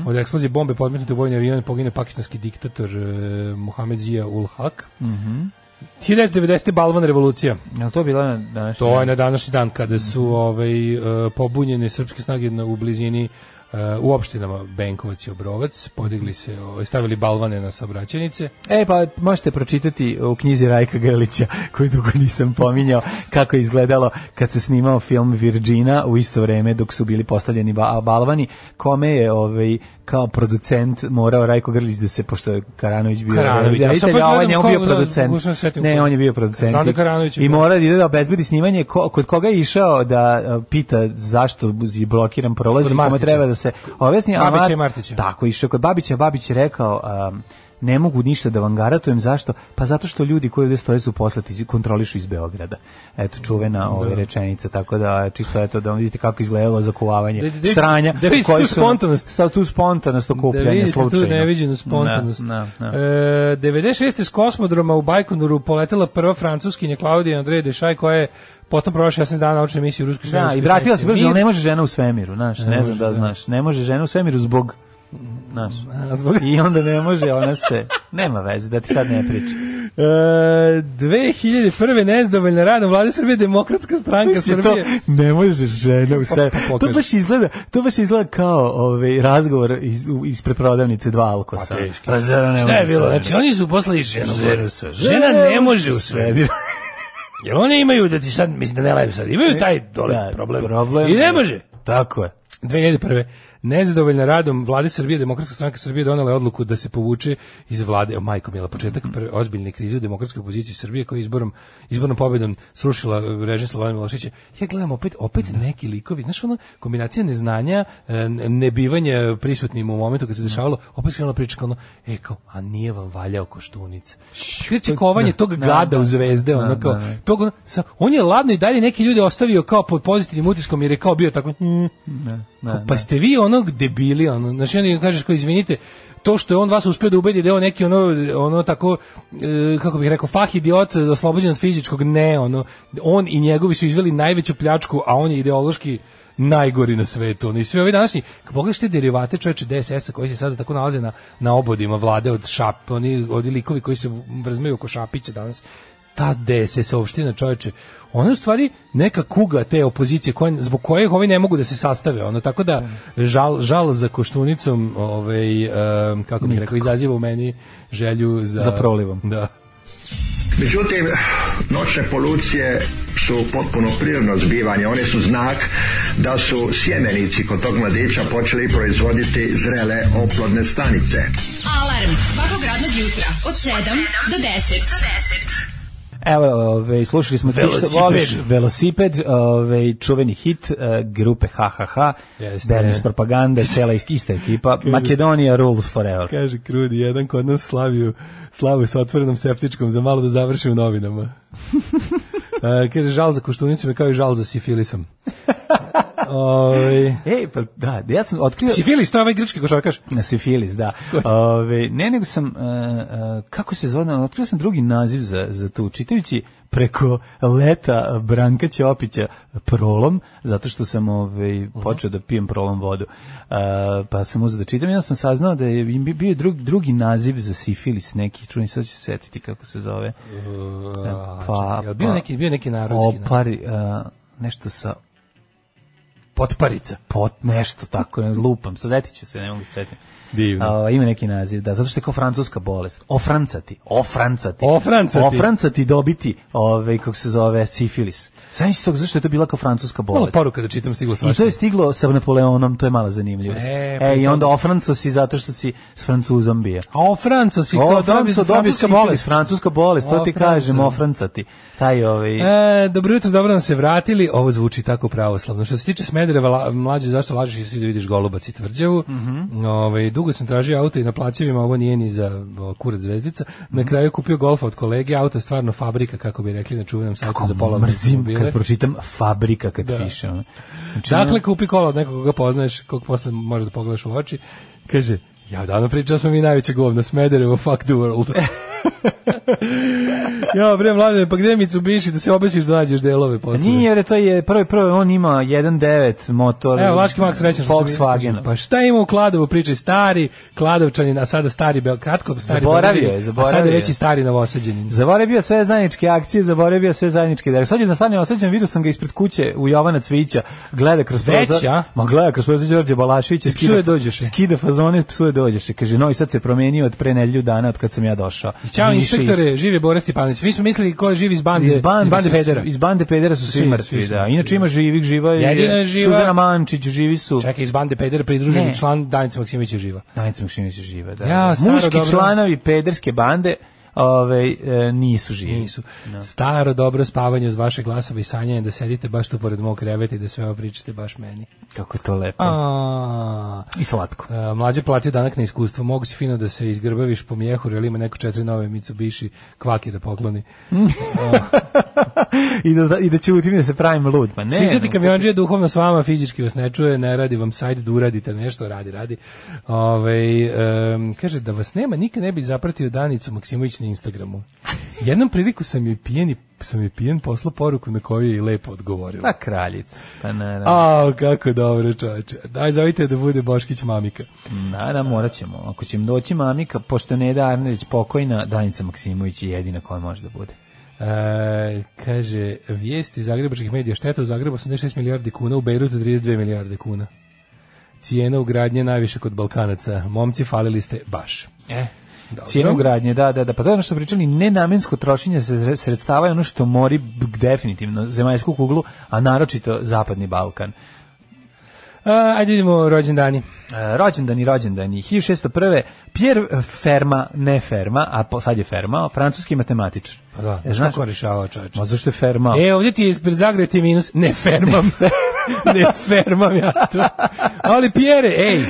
Od eksplozije bombe podmetnute u vojni avion pogine pakistanski diktator e, Mohamed Zia ul Haq. 1990. Balvan revolucija.
Jel to bila na današnja?
To je na današnji dan kada su
Mhm.
ovaj e, pobunjene srpske snage na u blizini e, u opštinama Benkovac i Obrovac podigli se, ovaj, stavili balvane na saobraćajnice.
E, pa možete pročitati u knjizi Rajka Grlića, koju dugo nisam pominjao, kako je izgledalo kad se snimao film Virgina u isto vreme dok su bili postavljeni ba balvani, kome je ovaj, kao producent morao Rajko Grlić da se, pošto je Karanović bio
Karanović, ja sad
reditelj,
opet
a ovaj
gledam
njemu
kako
bio
da-
producent.
kako sam se setio.
ne, on je bio producent.
Znam da je Karanović
I
bio.
mora da ide da obezbedi snimanje. Ko, kod koga je išao da e, pita zašto je blokiran prolaz i
Kod
kome
Martića.
treba da se objasni. a
Babića
Mar-
i Martića.
Tako, išao kod Babića, Babić je rekao... um, ne mogu ništa da vam garatujem, zašto? Pa zato što ljudi koji ovde stoje su poslati, iz- kontrolišu iz Beograda. Eto, čuvena ove rečenica, tako da čisto eto da vam vidite kako izgledalo zakuvavanje
Da- da- da-
sranja.
da vidite
koji
tu
su nam-
spontanost.
Stav tu spontanost okupljanja
da vidite
slučajno.
tu neviđenu spontanost.
Da, da, da.
E, 96. s kosmodroma u Bajkonuru poletela prva francuskinja Klaudija Andreja Dešaj koja je potom provela 16 dana naučne misije u Ruskoj
Da, i
svemirskoj
vratila se
stanici
brzo, ali
Mir.
ne može žena u svemiru, znaš, ne, znam
može,
da
da.
znaš, ne može žena u svemiru zbog, znaš,
A, zbog-
i onda ne može, ona se, nema veze, da ti sad ne pričam.
E, 2001. nezdovoljna radom vlade Srbije demokratska stranka
Mislim,
Srbije.
To ne može žena u sebi.
pa
To
pokaži.
baš izgleda, to baš izgleda kao ovaj razgovor iz, u- ispred prodavnice dva alkosa.
Pa teški.
Pa zar ne
Šta
može
je bilo?
sve?
Znači, oni su poslali ženu.
Žena u sve.
Žena, ne može u sve.
Sve.
Jer oni imaju, da ti sad, mislim da ne lajem sad, imaju taj dole
E, Da,
problem. I ne može.
Tako je.
2001. Nezadovoljna radom vlade Srbije, Demokratska stranka Srbije donela je odluku da se povuče iz vlade, o majko mila, početak prve ozbiljne krize u demokratskoj opoziciji Srbije koja je izborom, izbornom pobedom srušila e, režim Slovana Milošića. Ja gledam opet, opet neki likovi, znaš ono, kombinacija neznanja, e, nebivanja prisutnim u momentu kad se dešavalo, opet krenula priča kao ono, e kao, a nije vam valjao koštunica. Kreće kovanje tog gada u zvezde, ono kao, tog, ono, sa- on je ladno i dalje neki ljudi ostavio kao pod pozitivnim utiskom jer je kao bio tako, "Mm,
Da,
pa ste vi onog debili, ono, znači oni kažeš ko izvinite, to što je on vas uspio da ubedi da je on neki ono, ono tako, e, kako bih rekao, fah idiot oslobođen od fizičkog, ne, ono, on i njegovi su izveli najveću pljačku, a on je ideološki najgori na svetu. Ono, I sve ovi današnji, kad pogledaš te derivate čoveče DSS-a koji se sada tako nalaze na, na obodima vlade od šap, oni, od likovi koji se vrzmeju oko Šapića danas, ta DSS opština čoveče, ona je u stvari neka kuga te opozicije koja, zbog kojih ovi ne mogu da se sastave, ono, tako da žal, žal za koštunicom ovaj, em, kako bih rekao, izaziva u meni želju za...
Za prolivom.
Da.
Međutim, noćne polucije su potpuno prirodno zbivanje. One su znak da su sjemenici kod tog mladića počeli proizvoditi zrele oplodne stanice.
Alarm svakog radnog jutra od 7 do 10.
Evo, ove, slušali smo ti što
Velosiped.
voliš, Velosiped, ove, čuveni hit e, grupe HHH,
Jeste.
Bernis Propaganda, cela is- ista ekipa, Makedonija rules forever.
Kaže Krudi, jedan kod nas slaviju, slavu sa otvorenom septičkom, za malo da završi u novinama. E, kaže, žal za koštunicom je kao i žal za sifilisom. Ovaj.
Ej, pa da, ja sam otkrio...
Sifilis, to je ovaj grčki košarkaš.
Na sifilis, da. Ove, ne, nego sam, e, e, kako se zove, otkrio sam drugi naziv za, za tu, čitajući preko leta Branka Ćopića prolom, zato što sam ove,
Mhm.
počeo da pijem prolom vodu. E, pa sam uzeo da čitam i onda sam saznao da je im bio drug, drugi naziv za sifilis, neki, čujem, sad ću se setiti kako se zove. E,
Pa, E, Jel bio neki, bio neki narodski. Opa.
Opari, e, nešto sa
Potparica.
pot, nešto tako, ne, lupam, sazetit ću se, ne mogu se setiti.
Divno.
A, ima neki naziv, da, zato što je kao francuska bolest. Ofrancati, ofrancati.
Ofrancati.
Ofrancati dobiti, ove, kako se zove, sifilis. Sam tog, zašto je to bila kao francuska
Malo
bolest?
poruka da čitam stiglo
I to
svašta.
je stiglo sa Napoleonom, to je mala zanimljivost.
E,
E,
pa
i
to-
onda ofranco si zato što si s francuzom bio.
A o Franco si kao dobio
Ofranco dobio
francuska bolest.
francuska bolest, to ti
Ofranco.
kažem, ofrancati. Taj ovaj...
E, dobro jutro, dobro nam se vratili. Ovo zvuči tako pravoslavno. Što se tiče Smedereva, la, mlađe, zašto lažeš i svi da vidiš Golubac i Tvrđavu? Ovaj, dugo sam tražio auto i na plaćevima, ovo nije ni za o, kurac zvezdica. Na kraju kupio golfa od kolege, auto je stvarno fabrika, kako bi rekli na čuvenom sajtu za pola
mrzim kad pročitam fabrika kad piše. ono. Znači,
Dakle, kupi kola od nekog koga poznaješ, kog posle možeš da pogledaš u oči. Kaže, ja davno pričao smo mi najveće govno, Smederevo, fuck the world. ja, bre, mladine, pa gde mi Mitsubishi da se obećiš da nađeš delove posle?
Pa Nije, jer to je prvi prvi on ima 1.9 motor.
Evo, Vlaški Max srećan što sam vidio.
Volkswagen.
Pa šta ima u Kladovu, pričaj stari Kladovčanin, a sada stari, Bel, kratko stari
Zaboravio
Beograđanin,
je, zaboravio
A sada je
je.
veći stari Novosađanin.
Zaboravio sve zajedničke akcije, zaboravio sve zajedničke dare. Sad je na stanje osjećan, vidio sam ga ispred kuće u Jovana Cvića, gleda kroz
Već, a?
prozor. Ma gleda kroz prozor Đorđe Balaševića,
I psuje dođeš.
skida fazone, psuje dođeš. I Kaže, no i sad se promenio od pre nedelju dana od kad sam ja došao.
Ćao
Nije išao
inspektore, žive Bore Stipanović. Mi smo mislili ko je živ iz bande,
iz bande,
Federa.
Iz bande Pedera su svi,
Svi,
mrtvi,
svi su
da.
mrtvi,
Inače ima živih, živa
Jedina je
je
živa-
Suzana Mančić, živi su.
Čekaj, iz bande Pedera pridruženi
Ne.
član Danica Maksimovića živa.
Danica Mišinović je živa, da.
Ja, staro
Muški
dobro.
članovi pederske bande ovaj, e, nisu živi.
Nisu. Staro dobro spavanje uz vaše glasove i sanjanje da sedite baš tu pored mog kreveta i da sve ovo pričate baš meni.
Kako je to lepo.
A,
I slatko.
E, Mlađe platio danak na iskustvo, mogu si fino da se izgrbaviš po mjehuru, ili ima neko četiri nove Mitsubishi kvake da pokloni.
I da, da, i da ćutim i da se pravim lud. Ma ne.
Svi se
no.
ti kamionđe duhovno s vama, fizički vas ne čuje, ne radi vam sajt, da uradite nešto, radi, radi. Ovaj em, kaže, da vas nema, nikad ne bi zapratio Danicu Maksimović na Instagramu. Jednom priliku sam joj pijeni, sam joj pijen poslao poruku na koju je i lepo odgovorila.
Pa kraljica. Pa naravno.
A, kako dobro, čoveče. Daj, zovite da bude Boškić mamika.
Da, da, morat ćemo. Ako će im doći mamika, pošto ne da Arnerić pokojna, Danica Maksimović je jedina koja može da bude.
E, kaže, vijesti zagrebačkih medija šteta u Zagrebu 86 milijardi kuna, u Beirutu 32 milijarde kuna. Cijena ugradnje najviše kod Balkanaca. Momci, falili ste baš.
E. Cijena ugradnje, da, da, da. Pa to je ono što smo pričali, nenamensko trošenje se- sredstava je ono što mori b- definitivno zemaljsku kuglu, a naročito Zapadni Balkan.
E, ajde vidimo rođendani.
E, rođendani, rođendani. 1601. Pierre Ferma, ne Ferma, a po, sad je Ferma, francuski matematičar.
Pa da,
E,
znaš
znaš,
kako rešava čovječ?
ma zašto je Ferma?
E, ovdje ti je ispred Zagreba ti je minus. Ne fermam. ne fermam ja to. Ali Pjere, ej,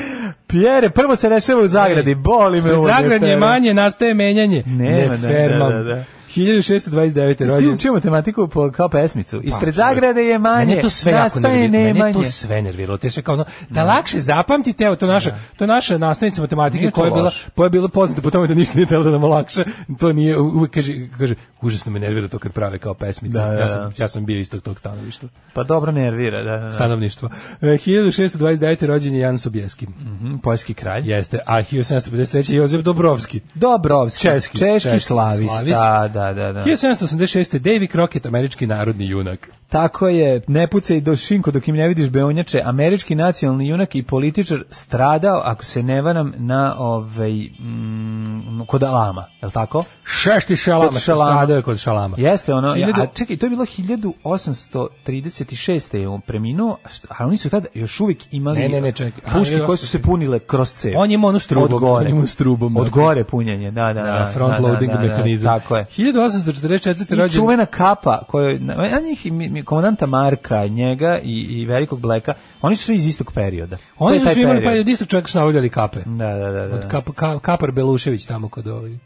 Pierre, prvo se rešava u zagradi, boli me
pred
ovo.
Zagranje
Ferma.
manje, nastaje menjanje.
Nema, da, da,
fermam.
da, da.
1629.
Jesi ti
rođen.
učio matematiku po, kao pesmicu? Ispred
Pa,
zagrade je manje,
Mene je to sve jako
nastaje
nerviralo. Mene je
nemanje.
to sve nerviralo. Te sve kao ono, da lakše zapamtite, evo to naša, to je naša nastavnica matematike
Nije to
koja je bila,
loše.
koja je bila poznata po tome da ništa nije tela da nam olakša. To nije uvek kaže kaže užasno me nervira to kad prave kao pesmice.
Da, da, da.
Ja sam ja sam bio istog tog stanovišta.
Pa dobro nervira, da, da, da.
Stanovništvo. E, 1629. rođen je Jan Sobieski.
Mhm, Poljski kralj.
Jeste, a 1753. Jozef Dobrovski.
Dobrovski,
Češki,
češki,
češki
slavista,
slavist.
da, da, da.
1786. Davy Crockett, američki narodni junak.
Tako je, ne pucaj do šinko dok im ne vidiš beonjače, američki nacionalni junak i političar stradao, ako se ne varam, na ovaj, mm, kod Alama, je li tako?
Šešti šalama,
Kod
što
šalama.
stradao je kod šalama.
Jeste ono,
Pa, Hiljadu-
a čekaj, to je bilo 1836. je on preminuo, a šta- a oni su tada još uvijek imali
Ne, ne, ne, čekaj. A,
puške koje su
1836.
se punile kroz cev.
On je imao onu s trubom,
Od gore.
on je imao s trubom,
Od
da.
gore punjenje, da, da, da.
Da, front
da, da,
loading
da, da,
mehanizam.
Tako je.
1844.
I
rođen
čuvena kapa koju na, na njih mi- mi- komandanta Marka, njega i, i velikog Bleka, oni su svi iz istog perioda. To
Oni
je
su
taj
svi imali pa
period.
od istog čovjeka su navljali kape.
Da, da, da. da.
Od kap, ka, kapar Belušević tamo kod ovaj.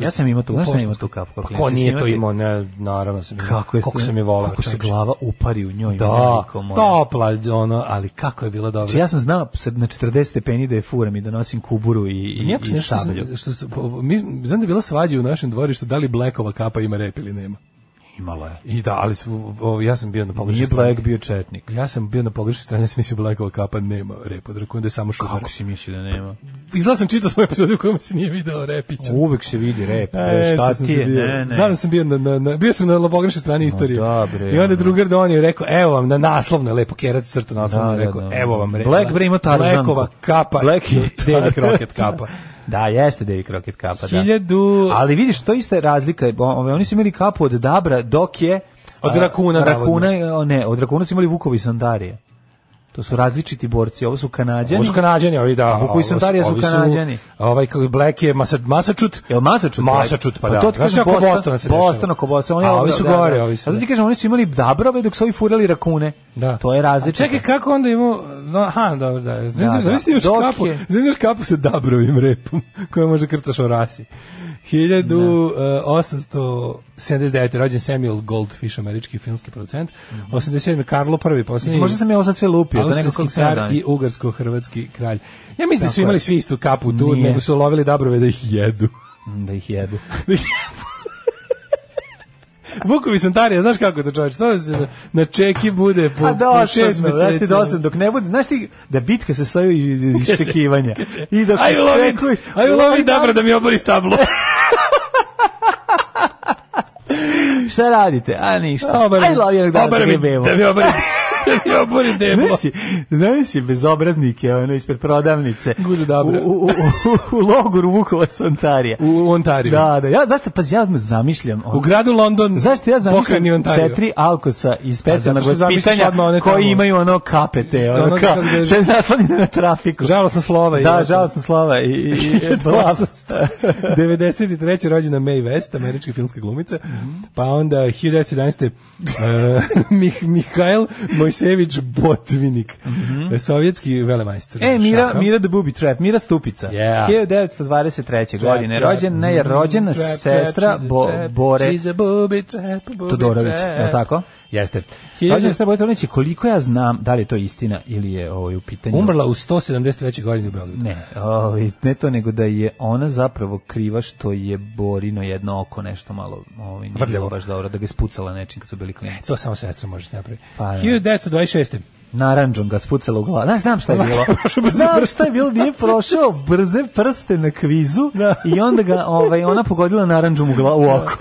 Ja sam imao tu,
u
znaš sam imao
Poštansku.
tu kapu. kao
Pa ko
klinac, jesi
nije to
ti?
imao, ne, naravno sam imao.
Kako, je,
Koliko sam je volao.
Kako se
čovječe.
glava upari u njoj.
Da,
majko moja.
topla, ono, ali kako je bilo dobro.
Znači, ja sam znao sad na 40 stepeni da je furam i da nosim kuburu i, i,
Pa Nije
i
nešto što
sablju.
sam- što su, po- mi, znam da je bila svađa u našem dvorištu da li Blackova kapa ima rep ili nema.
Imala je.
I da, ali su, o, ja sam bio na pogrešnoj
Nije
strani.
Black bio četnik.
Ja sam bio na pogrešnoj strani, ja sam mislio Blackova kapa nema rep, od ruku, onda je samo šubar.
Kako si mislio da nema?
Izgleda sam čitao svoj epizod u kojem se nije video repića.
Uvek se vidi rep.
E,
šta
sam
ti
se
je?
bio.
Ne, ne.
Znam da sam bio na, na, na bio sam na pogrešnoj strani istorije.
da, bre,
I onda je
ono.
drugar donio i rekao, evo vam na naslovno je lepo kerac crta naslovno,
Da, da,
rekao,
da.
evo vam rep.
Black bre ima Tarzanku.
Blackova kapa.
Black
i
je
David
Tarzan.
Rocket kapa.
Da, jeste David Crockett kapa, da.
Hiljadu-
Ali vidiš, to ista je razlika. o- ove, Oni su imali kapu od Dabra, dok je...
Od
a,
Rakuna,
rakuna o, ne, od Rakuna su imali Vukovi Sandarije. To su različiti borci, ovo su Kanadjani.
Ovo su Kanadjani, ovi da.
Vukovi
ovo
Santarija su
ovi
Kanađani.
Ovaj kako je Black je Masa, Masačut.
Jel Masačut?
Masačut, pa da.
To ti
Znaš
kažem
kako
Boston,
Bostona se dešava?
Boston, oko Boston. Oni ono-
A ovi su gore, ovi su.
Zato ti kažem, oni su imali dabrove dok su ovi furali rakune.
Da.
To je različito.
A Čekaj, kako onda imao... no, Aha, dobro, da.
Da, da.
Znači, znači imaš
Dok
kapu,
je-
znači imaš kapu sa dabrovim repom, koja može krcaš o rasi. eh, 1879. rođen Samuel Goldfish, američki filmski producent. 87. Karlo I, posljednji.
Mhm. Možda sam ja ovo sad sve lupio. to nekako
Austrijski
kako sam
car
zamislio.
i ugarsko-hrvatski kralj. Ja mislim da
Tako
su
je.
imali svi istu kapu tu,
Nije.
nego su lovili dabrove da ih jedu.
Da ih jedu.
Vukovi Santarija, znaš kako to čovječ, to se na- na čeki bude po,
Pa
po šest
dosadno, znaš ti
meseci. ono.
dosadno, dok ne bude, znaš ti da bitka se stoji iz iščekivanja. I dok
Aj ulovi,
iščekuješ,
aj ulovi dabra da mi obori stablo.
šta radite? A ništa.
Obara
Aj lovi jednog dana da
mi,
jebemo.
da mi obori, da mi obori deblo.
Znaš si, znaš si bezobraznike, ono, ispred prodavnice.
Gudu dabra.
U, u, u, u logoru Vukova Santarija.
U Ontariju.
Da, da, ja, zašto, pa ja me zamišljam. ono,
U gradu London,
Zašto ja
pokrajini
zamišljam
Ontario.
četiri alkosa iz specijalnog
A zato što zamišljaš
vaspitanja
odmah one tamo.
koji imaju ono kapete, ono,
Ono
kao,
kako se-
se naslanjene na trafiku.
Žalosna slova. i
Da,
ostalo.
žalostna slava i, i, i blast.
93. rođena Mae West, američka filmska glumica. Pa onda 1911. eh, Mih, Mihajl Mojsević Botvinik, sovjetski velemajstor.
Mhm. E, Mira,
šaha.
Mira the Booby Trap, Mira Stupica.
Yeah.
1923. godine.
Trap,
Rođena je
trap,
rođena
trap, trap,
sestra
she's a
Bo,
trap,
Bore
she's a booby trap, booby
Todorović,
trap.
je li tako?
Jeste.
Rođena je sestra Bore Todorović i koliko ja znam, da li je to istina ili je ovo u pitanju.
Umrla u 173. godini u Beogradu.
Ne, ovaj, ne to nego da je ona zapravo kriva što je Borino jedno oko nešto malo ovaj, nije
Vrljavo.
bilo baš dobro, da ga je spucala nečim kad su bili klinici.
To samo sestra može napraviti.
Pa, da.
1926.
Naranđom ga spucala u glavu. Znaš, znam šta je bilo.
brze
Znam šta je bilo, nije prošao brze prste na kvizu i onda ga ovaj, ona pogodila naranđom u, glavu, u oko.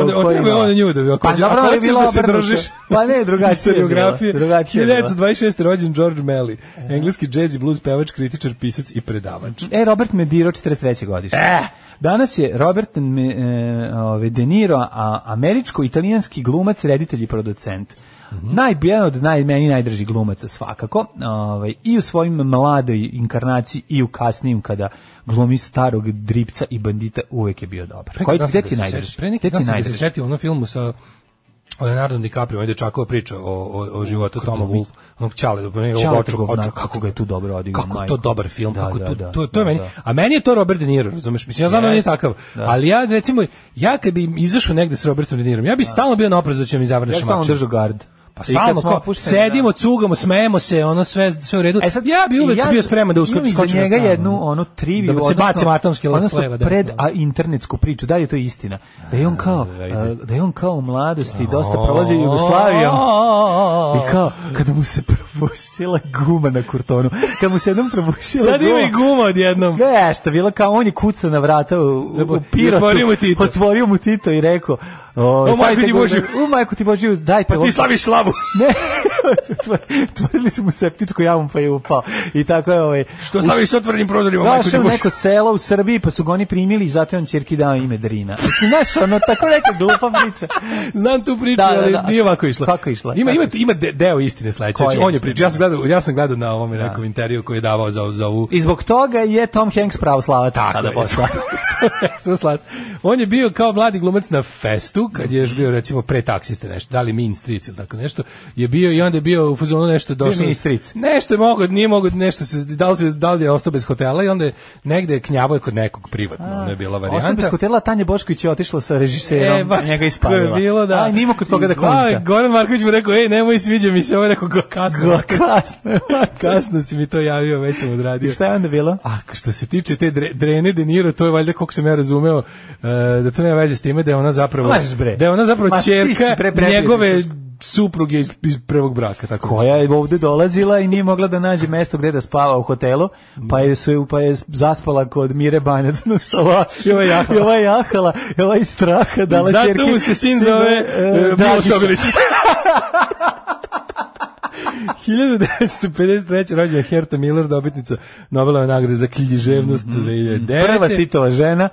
Onda on treba on nju da bi ako
Pa
hoće-
dobro,
ako
ali je
hoćeš
bilo
da se
obrnuto.
držiš.
Pa ne, drugačije je
Historiografije.
bilo, drugačije je bilo.
1926. rođen George Melly, engleski džez i blues pevač, kritičar, pisac i predavač.
E, Robert Mediro, 43. godište.
E!
Danas je Robert Me- e, ovaj, De Niro, a, američko-italijanski glumac, reditelj i producent.
Mhm.
Najbijan od naj, meni najdrži glumaca svakako. Ovaj, I u svojim mladoj inkarnaciji i u kasnijim kada glumi starog dripca i bandita uvek je bio dobar.
Pre
Koji
neki dan
gde
sam
ti
se
najdrži?
setio- Pre neki
Gde ti
dan sam ga se
najdrži?
setio u onom filmu sa o Leonardo DiCaprio, on je dečakova priča o, o, o životu Toma Wolf, onog čale,
Ćale
onog oču,
govnar,
oču,
kako ga je tu dobro odigrao,
Kako je
majko.
to dobar film,
Da,
kako je
da,
to,
da,
to, to je
da,
meni,
da.
a meni je to Robert De Niro, razumeš, mislim, ja znam da on je
Jeste,
takav,
da.
ali ja, recimo, ja kad bi izašao negde s Robertom De Nirom, ja bi stalno bio na oprezu da će mi zavrne
Ja stalno
šamače.
držao gard.
Pa
I
stalno
kad smo
kao,
opušteni, da.
sedimo, cugamo, smejemo se, ono sve sve u redu.
E sad,
ja bi uvek
ja
bio spreman da uskočim
imam
skočim
iza
na
njega
stranu.
jednu onu triviju,
Da se bacim atomski las
odnosno
leva desna.
pred a internetsku priču, da li je to istina? Da je on kao
ajde.
a, da je on kao u mladosti dosta prolazio Jugoslavijom. I kao, kada mu se probušila guma na kurtonu, kada mu se jednom probušila
Sad ima i guma odjednom.
Ne, što bilo e, kao, on je kucao na vrata u, u,
Zabo-
u pirotu,
otvorio mu Tito.
otvorio mu Tito i rekao, o,
O, majku
stavite
ti
gu-
Božju.
u majku ti Božju, dajte
Pa ti slaviš slavu
javu.
Ne, otvorili su mu septičku javu pa je upao. I tako je ovaj...
Što staviš s otvorenim prozorima? majko ti
Došao u
Bože?
neko selo u Srbiji, pa su ga oni primili i zato je on čerki dao ime Drina. Mislim, znaš, ono, tako neka glupa priča.
Znam tu priču,
Da, da,
ali
da.
nije ovako išla.
Kako je išla?
Ima,
Kako
ima,
je išla?
ima de- deo
Koja
istine sledeće. znači,
je
On je
istina?
pričao. Ja sam gledao, ja sam gledao na ovom nekom intervju koji je davao za, za ovu
I zbog toga je Tom Hanks pravoslavac. sada
je.
postao.
Sve slat. On je bio kao mladi glumac na festu, kad je još bio recimo pre taksiste nešto, da li Mean Streets ili tako nešto, je bio i onda je bio u fuzonu nešto došlo.
Mean Streets.
Nešto je mogo, nije mogo, nešto se, da li, se, da li je ostao bez hotela i onda je negde knjavo je kod nekog privatno, ono je bila varijanta.
Osim bez hotela Tanja Bošković je otišla sa režiserom,
E, baš
njega
tako je
ispalila.
bilo, da.
Aj, nima kod koga da
Zvao je
konta.
Goran Marković mu rekao, ej, nemoj, sviđa mi se, ovo je rekao, go, kasno.
Go, kasno.
kasno si mi to javio, već sam odradio.
I šta je onda bilo?
A k- što se tiče te dre- drene De Niro, to je valjda koliko sam ja razumeo e, da to nema veze s time da je ona zapravo
Lažeš, bre.
da je ona zapravo
Ma, ti si
ćerka
prepretio
njegove
se.
supruge iz, iz prvog braka tako.
koja je ovde dolazila i nije mogla da nađe mesto gde da spava u hotelu, pa je, su, je- pa je zaspala kod Mire Banjac na salašu.
I ova je jahala.
I ova je jahala, i ova iz straha dala
Zato
ćerki-
mu se sin zove
e,
e, Miloš
Dragiša.
Obilić. 1953. rođena Herta Miller, dobitnica Nobelove nagrade za književnost 2009.
Mhm. Prva Titova žena.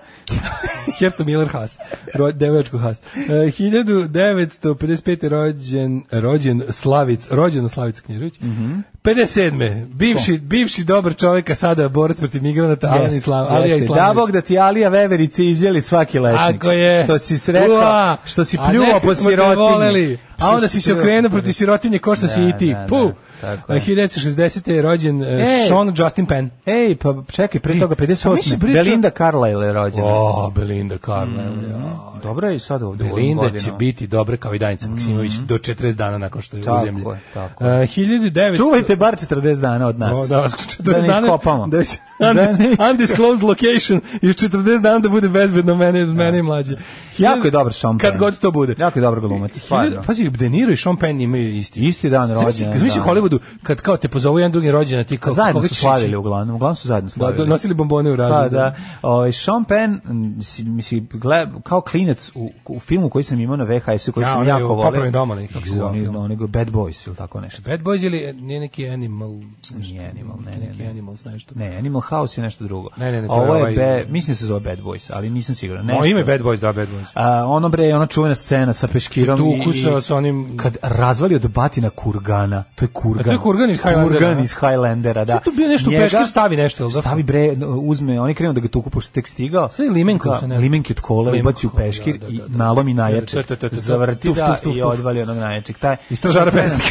Herta Miller Haas, ro, devojačko Haas. E, 1955. rođen, rođen Slavic, rođen Slavic Knježević.
Mhm.
57. Bivši, bivši dobar čovjek, a sada borac protiv migranata, Alan
Jeste,
Islam, Alija
jeste. Da
Islamović.
Bog da ti Alija Veverice izjeli svaki lešnik.
Ako je.
Što si srekao,
Ua,
što si
a
pljuvao
nekad
po
smo te
sirotinji.
voleli,
Što
A onda
si
si se
pljuvao
okrenuo
po-
protiv sirotinje, ko što si
Da,
i ti.
da,
Puh!
da, tako je.
1960. je rođen e,
Ej.
Sean Justin Penn.
Ej, pa čekaj, pre toga
a mi se
58.
priča-
Belinda Carlyle je rođena.
O, Belinda Carlisle. ja.
Dobro je i sad ovde. u ovim
Mm. Belinda će
godinama.
biti dobra kao i Danica Maksimović do 40 dana nakon što je
Mm. Tako
u zemlji.
je, tako
Uh, 1900...
Čuvajte bar 40 dana od nas.
O, da, vas- 40
ne
dana-
iskopamo.
Da se-
Da ne iskopamo.
undis- undisclosed location i 40 dana da bude bezbedno mene, mene i mlađe.
Jako je dobar Sean
Kad
Penn.
god to bude.
Jako je dobar glumac, stvarno. Pa
Hiljadu- pa, Pazi, De Niro i Sean Penn imaju isti.
Isti dan
Zamisli-
rođenja,
Zamisli u
da. Pa
Hollywoodu, kad kao te pozovu jedan drugi rođena, ti kao...
Zajedno
koga
su
ćeš
slavili
ići?
uglavnom, uglavnom su zajedno
Da,
slavili.
do- nosili bombone u
Pa
razredu.
da, ovaj Sean Penn, m, si- mislim, gled, kao klinec u, u filmu koji sam imao na VHS-u, koji
Ja,
sam
onaj
jako
u
voleo.
Popravni domovi, kako se
Ju,
zvao
oni-
film?
oni go- Bad Boys ili tako nešto.
Bad Boys ili e, nije neki Animal... nešto,
Nije Animal, ne,
neki
ne, ne.
Animals nešto.
Ne, Animal House je nešto drugo.
Ne, ne, ne, to je
Ovo je,
ovaj-
be, mislim se zove Bad Boys, ali nisam siguran.
Moje
Nešto.
ime je Bad Boys, da, Bad Boys.
A, ono bre, ona čuvena scena sa peškirom
Tuku
i-
sa,
i-
sa onim...
kad razvali od batina kurgana. To je kurgan.
A to je kurgan iz Highlandera,
Kurgan
ne?
iz Highlandera, da.
Sad tu bio nešto u
Njega-
peškir stavi nešto, jel da?
Stavi bre, uzme, oni krenu da ga tuku pošto je tek stigao.
Sve i limenku
Da,
se ne-
Limenke od kola,
Limenku,
ubaci u peškir
da, da, da,
i
da.
nalomi najjačeg.
To, to, to, to, to.
Zavrti
Tuf,
da
tuf, tuf,
i
tuf.
odvali onog najjačeg. Taj,
I stražara pesnika.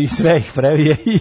I sve ih previje i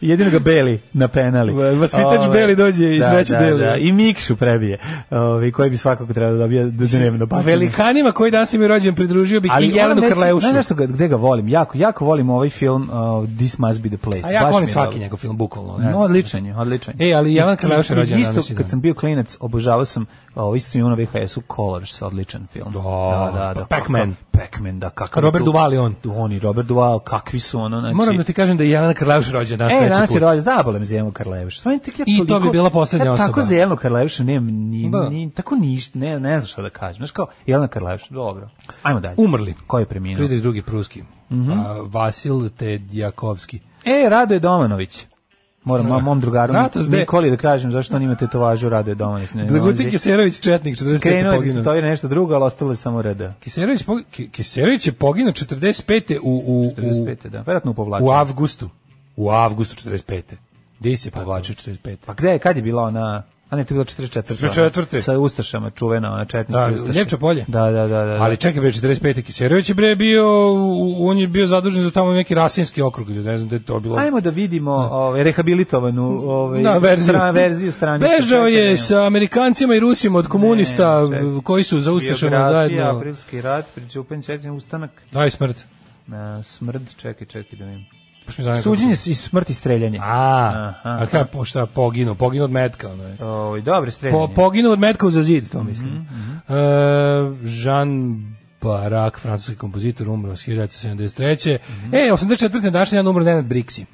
i jedino ga Beli na penali.
Va- vaspitač
Ove,
Beli dođe i
da,
sreće
da,
Beli.
da, I Mikšu prebije, ovaj, koji bi svakako trebao da dobije dnevno batine.
Velikanima koji danas im je rođen pridružio bih i
moram
Jelenu
reći,
Krleušu.
Znaš ono nešto ga- gde ga volim? Jako, jako volim ovaj film uh, This Must Be The Place.
A ja
Baš
volim
mi je
svaki
dobro. E,
njegov film, bukvalno. ne
No,
znam.
odličan je, odličan je.
E, ali Jelan Krleuš je
I- i-
rođen
Isto,
danas, da.
kad sam bio klinac, obožavao sam, o, isto sam imao na VHS-u Colors, odličan film.
Da,
da,
pa Pac-Man.
kakav- Pac-Man, da, kakav.
Robert
tu-
Duvall je on.
On i Robert Duval, kakvi su ono, znači...
Moram da ti kažem da je Jelena Krleuš rođen danas
E,
treći
danas je
put.
rođen, zabolim za Jelenu Karleviš. Stvarno, tek ja
I to
toliko-
bi bila poslednja
ja Tako
osoba.
za Jelenu Karlevišu nemam ni,
Da.
ni, tako ništa, ne, ne znam šta da kažem. Znaš kao, Jelena Karleviš, dobro. Ajmo dalje.
Umrli.
Ko je preminuo?
Friedrich drugi pruski.
Mhm.
A, Vasil Tedjakovski.
E, Radoje Domanović. Moram mom- mom drugaru
Ratos, de.
Nikoli da kažem zašto on ima tetovažu Radoje Domanović. Ne,
Dragutin Kiserović, Četnik, 45.
Krenuo je da se to
poginuo.
je nešto drugo, ali ostalo je samo RD.
Kiserović, pogi- Ki- Kiserović je poginuo 45. u, u, u,
45. da. Verovatno u povlačenju.
u avgustu. U avgustu 45. Gdje se povlačio 45.
Pa gde je, kad je bila ona... A ne, to je bilo 44.
44..
Sa Ustašama, čuvena ona četnica
Da,
Ustaša.
Ljepče polje.
Da, da, da. da.
Ali čekaj, bre, 45. Kiserović je bre bio, u- on je bio zadužen za tamo neki rasinski okrug, ne znam da je to bilo.
Ajmo da vidimo ovaj, rehabilitovanu ovaj,
Na verziju.
Stran, verziju stranice.
Bežao
Čekaj,
je sa Amerikancima i Rusima od komunista
Ne, čekaj.
koji su za ustašama
biografija,
zajedno.
Aprilski rat, pričupen, čekaj, ustanak,
Daj smrt.
na smrt, čekaj, čekaj da vidim.
Baš mi zanima kako-
Suđenje i smrt i streljanje.
A,
Aha.
a kada po, šta, poginuo? Poginuo od metka, ono je.
Ovaj dobro streljanje.
Po, poginuo od metka za zid,
Mhm,
to mislim. E, Jean Barak,
Mhm.
francuski kompozitor, umro 1973. E, 84. na današnji dan umro Nenad Brixi.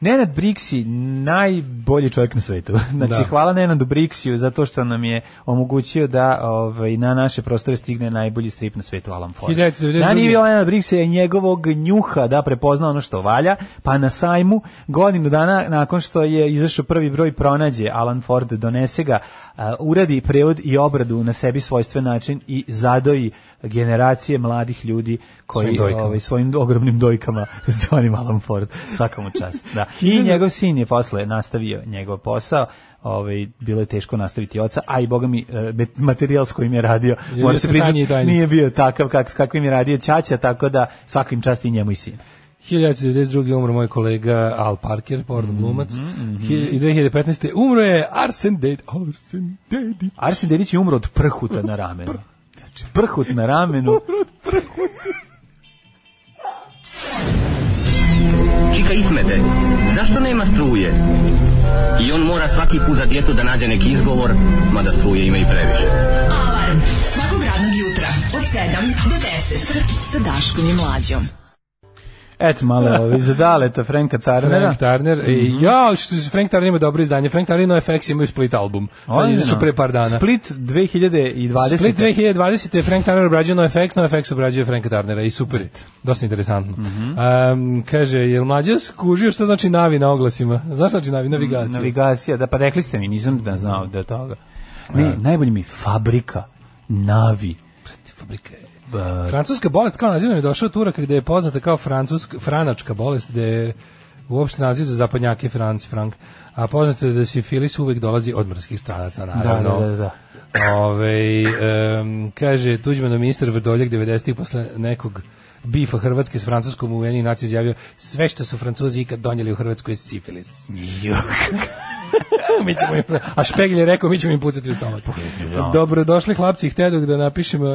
Nenad Briksi, najbolji čovjek na svetu. Znači,
Da.
hvala Nenadu Briksiju zato što nam je omogućio da ovaj, na naše prostore stigne najbolji strip na svetu, Alan Ford.
1992.
Da nije bio Nenad Briksija i njegovog njuha da prepozna ono što valja, pa na sajmu godinu dana nakon što je izašao prvi broj pronađe, Alan Ford donese ga, a, uradi prevod i obradu na sebi svojstven način i zadoji generacije mladih ljudi koji
Svojim dojkama.
ovaj, svojim ogromnim dojkama zvanim Alan Ford, svaka mu čast. Da. I njegov sin je posle nastavio njegov posao, ovaj, bilo je teško nastaviti oca, a i boga mi e, be- materijal s kojim je radio,
bio
mora se
sve
priznati,
tanji i tanji.
nije bio takav kak, s kakvim je radio Ćaća, tako da svakim čast i njemu i sinu.
1992. umro moj kolega Al Parker, porno
Mhm,
glumac. Hilj- I 2015. umro je Arsen Dedi. Arsen Dedi.
Arsen Dedić je umro od prhuta na ramenu. Znači, prhut na ramenu.
Čika Ismete, zašto nema struje? I on mora svaki put za djetu da nađe neki izgovor, mada struje ima i previše.
Alarm svakog radnog jutra od 7 do 10 sa Daškom i Mlađom.
Eto, malo ovi zadaleta Franka Tarnera.
Frank Turner.
Mhm.
I, ja, što se Frank Turner ima dobro izdanje. Frank Turner i NoFX imaju Split album. Sad je
Ozbiljno.
izašao pre par dana.
Split 2020.
Split 2020. je Frank Turner obrađuje NoFX, NoFX obrađuje Franka Turnera i super. je. Dosta interesantno.
Mhm.
Em, kaže, jel mlađe skužio što znači navi na oglasima? Znaš šta znači navi? Navigacija.
Navigacija, da pa rekli ste mi, nisam da znao da je toga. Ne, najbolje mi je fabrika Navi.
Fabrika je-
Ba-
Francuska bolest kao naziv nam je došao od Turaka gde je poznata kao francuska, franačka bolest gde je uopšte naziv za zapadnjake Franc, Frank. A poznato je da sifilis uvek dolazi od mrskih stranaca, naravno.
da, da, da.
Ove, em, kaže Tuđmanov ministar Vrdoljak 90-ih posle nekog bifa Hrvatske s Francuskom u Ujedinjenih nacija izjavio sve što su Francuzi ikad donijeli u Hrvatsku je sifilis. mi ćemo im, a Špegel je rekao, mi ćemo im pucati u stomak. Dobrodošli hlapci, htedog da napišem, uh,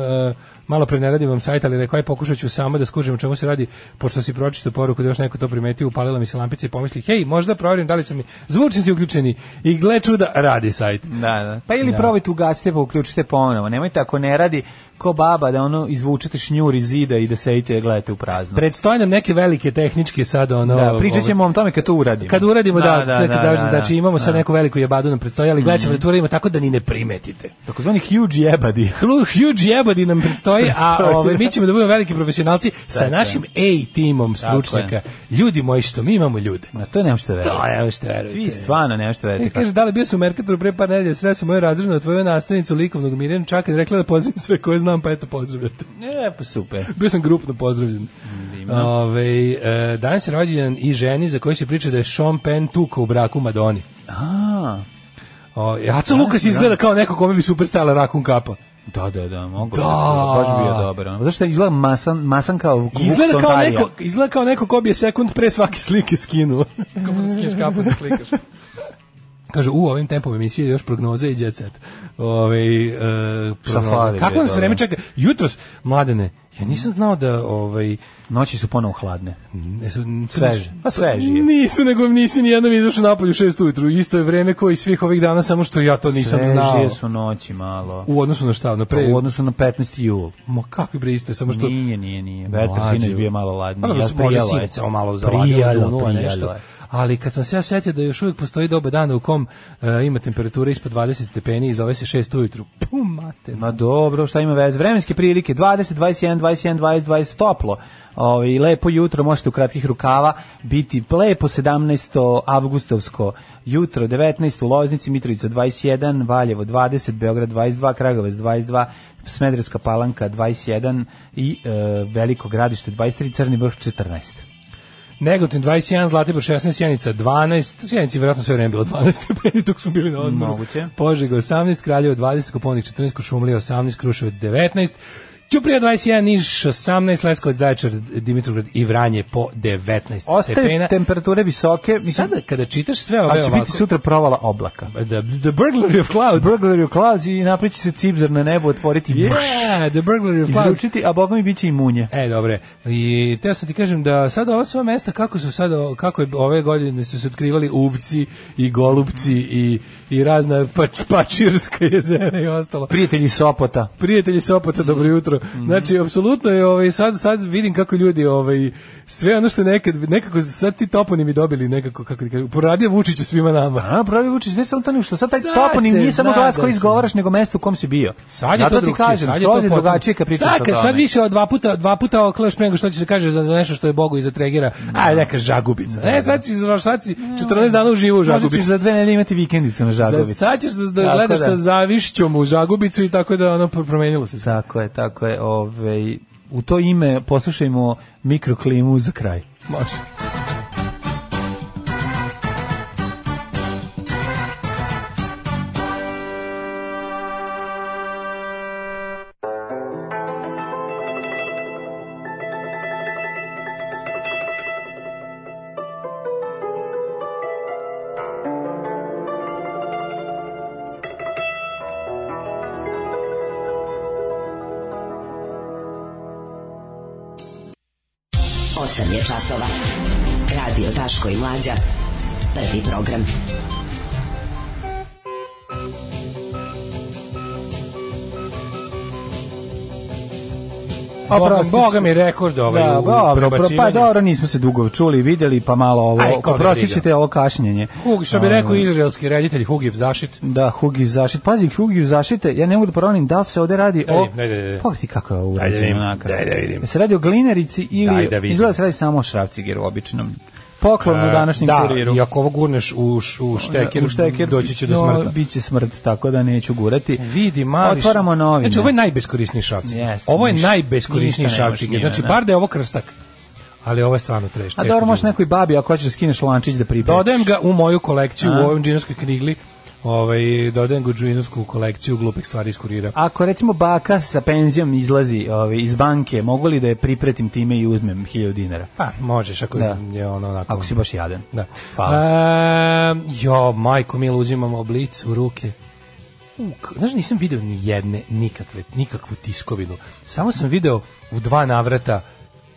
malo pre ne radim vam sajt, ali rekao, aj pokušat ću samo da skužim o čemu se radi, pošto si pročito poruku da još neko to primetio, upalila mi se lampica i pomisli, hej, možda proverim da li su mi zvučnici uključeni i gle čuda, radi sajt.
Da, da. Pa ili
Da.
probajte ugasite pa uključite ponovo. Nemojte ako ne radi ko baba da ono izvučete šnjur iz zida i da sedite i gledate u prazno.
Predstoje nam neke velike tehničke sad, ono...
da, pričat
ove-
ćemo vam tome kad to uradimo.
Kad uradimo, da, sve kad završi, znači imamo sad neku veliku jebadu nam predstoji, ali gledat ćemo da to uradimo tako da ni ne primetite.
Takozvani huge jebadi.
Hlu- huge jebadi nam predstoji, a
Predstoji,
ove,
da.
mi ćemo da budemo veliki profesionalci sa našim A-timom stručnjaka. Ljudi moji, što mi imamo ljude.
Na to nema što verujete.
To je što verujete.
Svi stvarno nema Pa- što
E,
verujete.
kaže, da li bio sam u Merkatoru pre par nedelja, sreo sam moju razrednu tvoju nastavnicu likovnog Mirjana Čaka i rekla da pozdravim sve koje znam, pa eto pozdravljate.
E, pa super.
Bio sam grupno pozdravljen. Ove, e, danas je rođendan i ženi za koju se priča da je Sean Penn tuka u braku Madoni.
A,
O, Aca Lukas izgleda kao neko kome bi super stala rakun kapa.
da, da, da, mogu.
Da.
Baš bi bio dobar. ono. Zašto izgleda masan, masan kao Vuk
Izgleda kao,
Sontarija.
neko, izgleda kao neko ko bi je sekund pre svake slike skinuo. Kako da skineš kapu da slikaš. Kaže, u ovim tempom emisije još prognoze i jet set. Ove, e, prognoze.
fali,
Kako
je,
nas
dobro.
vreme čeka? Jutros, mladene, ja nisam znao da ovaj,
Noći su ponovo hladne.
Ne su, n-
Sveže. Pa svežije.
Nisu, nego nisi ni jednom izašao napolju u šest ujutru. Isto je vreme koji svih ovih dana, samo što ja to nisam
Svežije
znao.
su noći malo.
U odnosu na šta? Na pre...
U odnosu na 15. jul.
Ma kakvi bre isto, je, samo što...
Nije, nije, nije. Vetar
Mlađe,
sinoć bio malo ladniji.
Ono,
jel
može
prijalo je?
sinoć samo malo zaladilo,
Prijalo,
dunula pa nešto.
prijalo je.
Ali kad sam se ja setio da još uvijek postoji doba dana u kom e, ima temperatura ispod 20 stepeni i zove se 6 ujutru. Pum, mater.
Ma dobro, šta ima veze? Vremenske prilike 20, 21, 21, 20, 20 toplo. Ovaj lepo jutro, možete u kratkih rukava biti lepo 17. avgustovsko jutro, 19 u Loznici, Mitrovica 21, Valjevo 20, Beograd 22, Kragujevac 22, Smederevska Palanka 21 i e, Veliko Gradište 23, Crni vrh 14.
Negotin 21, Zlatibor 16, Sjenica 12, Sjenici je vjerojatno sve vreme bilo 12 stepeni dok smo bili na odmoru.
Moguće.
Požega 18, Kraljevo 20, Koponik 14, Košumlija 18, Kruševac 19, Ćuprija 21, Niš 18, Leskovac, Zaječar, Dimitrovgrad i Vranje po 19
Ostaje
stepena.
temperature visoke, mislim,
Sada kada čitaš sve ove
ali će
Pa ovako...
biti sutra provala oblaka.
The, the Burglary of Clouds.
Burglary u clouds i napriči se cipzer na nebu, otvoriti
yeah, The Burglary of Clouds.
Izlučiti, a boga mi bit će i munje.
E, dobre. I teo sam ti kažem da sad ova sva mesta kako su sad kako je ove godine su se otkrivali uvci i golubci i i razna pač, pačirska jezera i ostalo.
Prijatelji Sopota.
Prijatelji Sopota, dobro jutro. Znači, apsolutno je ovaj sad sad vidim kako ljudi ovaj sve ono što nekad, nekako sad ti toponimi dobili nekako, kako ti kažu, proradio Vučić u svima nama.
A, proradio Vučić, ne samo to nego što sad taj
Sad
toponim
se
nije samo
zna
glas
da
koji
se-
izgovaraš, nego mesto u kom si bio.
Sad je
Zato
to
ti
drugčije,
kažem,
sad je to
skroz je
potpuno-
drugačije kad pričaš
sad,
o
kad
tome.
Sad više od dva puta, dva puta oklaš nego što će se kaže za, za nešto što je Bogu izatregira, a neka žagubica. Ne, sad si, sad si 14 dana u živu u
Možda
žagubici.
ćeš za dve nedelje imati vikendicu na Žagovici.
Za- Sad ćeš da
Tako
gledaš
da.
sa zavišćom u žagubicu i tako da ono pro- promenilo se. sve.
Tako je, tako je. Ove, u to ime poslušajmo mikroklimu za kraj.
Može.
Osam je časova. Radio Daško i Mlađa. Prvi program.
Boga, Boga mi rekord ovaj
Da,
u
dobro, pro, pa
prebacivanju.
dobro, nismo se dugo čuli i vidjeli, pa malo
Aj,
ovo,
koga
oprostit
briga.
ćete ovo kašnjenje.
Hug, što bi
Ono,
rekao izraelski reditelj Hugiv Zašit.
Da, Hugiv zašit. Pazi, Hugiv zašite, ja ne mogu da pronanim da li se ovde radi
Ajde,
o...
ajde, ajde.
Pogledaj ti kako je ovo
Ajde,
urađeno
vidim,
onaka.
daj da vidim.
Jel se radi o glinerici
Daj
ili...
da vidim.
izgleda da se radi samo o šrafcigeru običnom. Poklon u
E,
današnjem
da,
kuriru.
i ako ovo gurneš u, š- u štekir,
u štekir,
doći će do
no,
smrti.
Biće smrt, tako da neću gurati.
Vidi, mali š-
Otvaramo novine.
Znači, ovo je najbeskorisniji šavcik.
Jeste,
ovo je
ništa-
najbeskorisniji
ništa ne možeš
šavcik.
njime,
Znači,
da.
bar da je ovo krstak. Ali ovo je stvarno treš.
A
teško
dobro, možeš nekoj babi ako hoćeš da skineš lančić da pripečeš.
Dodajem ga u moju kolekciju,
A?
u ovom džinovskoj knjigli. Ovaj, dodajem ga u džinovsku kolekciju glupih stvari iz kurira.
Ako recimo baka sa penzijom izlazi ovaj, iz banke, mogu li da je pripretim time i uzmem 1000 dinara?
Pa, možeš, ako
Da.
je ono onako...
Ako si baš jadan.
Da.
Hvala.
E, jo, majko, mi uzimamo oblic u ruke. U, k- znaš, nisam video ni jedne, nikakve, nikakvu tiskovinu. Samo sam video u dva navrata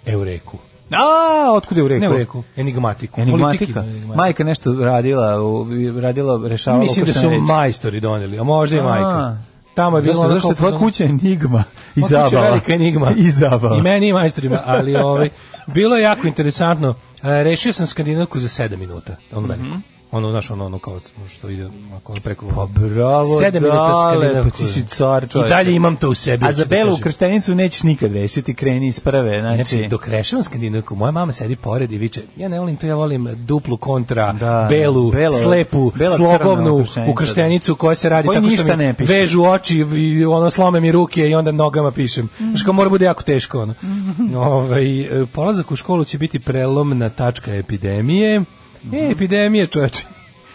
Eureku.
A, otkud je u reku?
Ne Eureku, enigmatiku.
Enigmatika.
Politiki, enigmatiku.
Majka nešto radila, u- radila, rešavala.
Mislim da su
ukraštene reči.
majstori doneli, a možda i
A.
majka. Tamo je bilo...
Zašto,
ono
zašto je
koliko
tvoja
sam-
kuća enigma i
Moja kuća je
zabava?
velika enigma.
I zabava.
I meni i majstorima, ali ovaj, bilo je jako interesantno. E, Rešio sam skandinavku za 7 minuta, ono veliku.
Mhm.
Ono, znaš, ono, ono kao što ide ako ono preko... Pa
Bravo,
Sedam minuta
dale,
skandinavku.
pa ti si car čovječe.
I dalje imam to u sebi.
A
hoću
za
da
belu
kažem.
krstenicu nećeš nikad rešiti, kreni iz prve. Znači,
Znači, dok rešavam skandinavku, moja mama sedi pored i viče, ja ne volim to, ja volim duplu kontra, belu,
belo-
slepu,
bela crna
slogovnu
ukrštenica,
ukrštenicu koja se radi
Koji
tako što
ništa
mi
ne piše.
vežu oči i ono slome mi ruke i onda nogama pišem. Znači, kao mora bude jako teško. Ono. Ovaj, e, polazak u školu će biti prelomna tačka epidemije. E, epidemije, čoveče.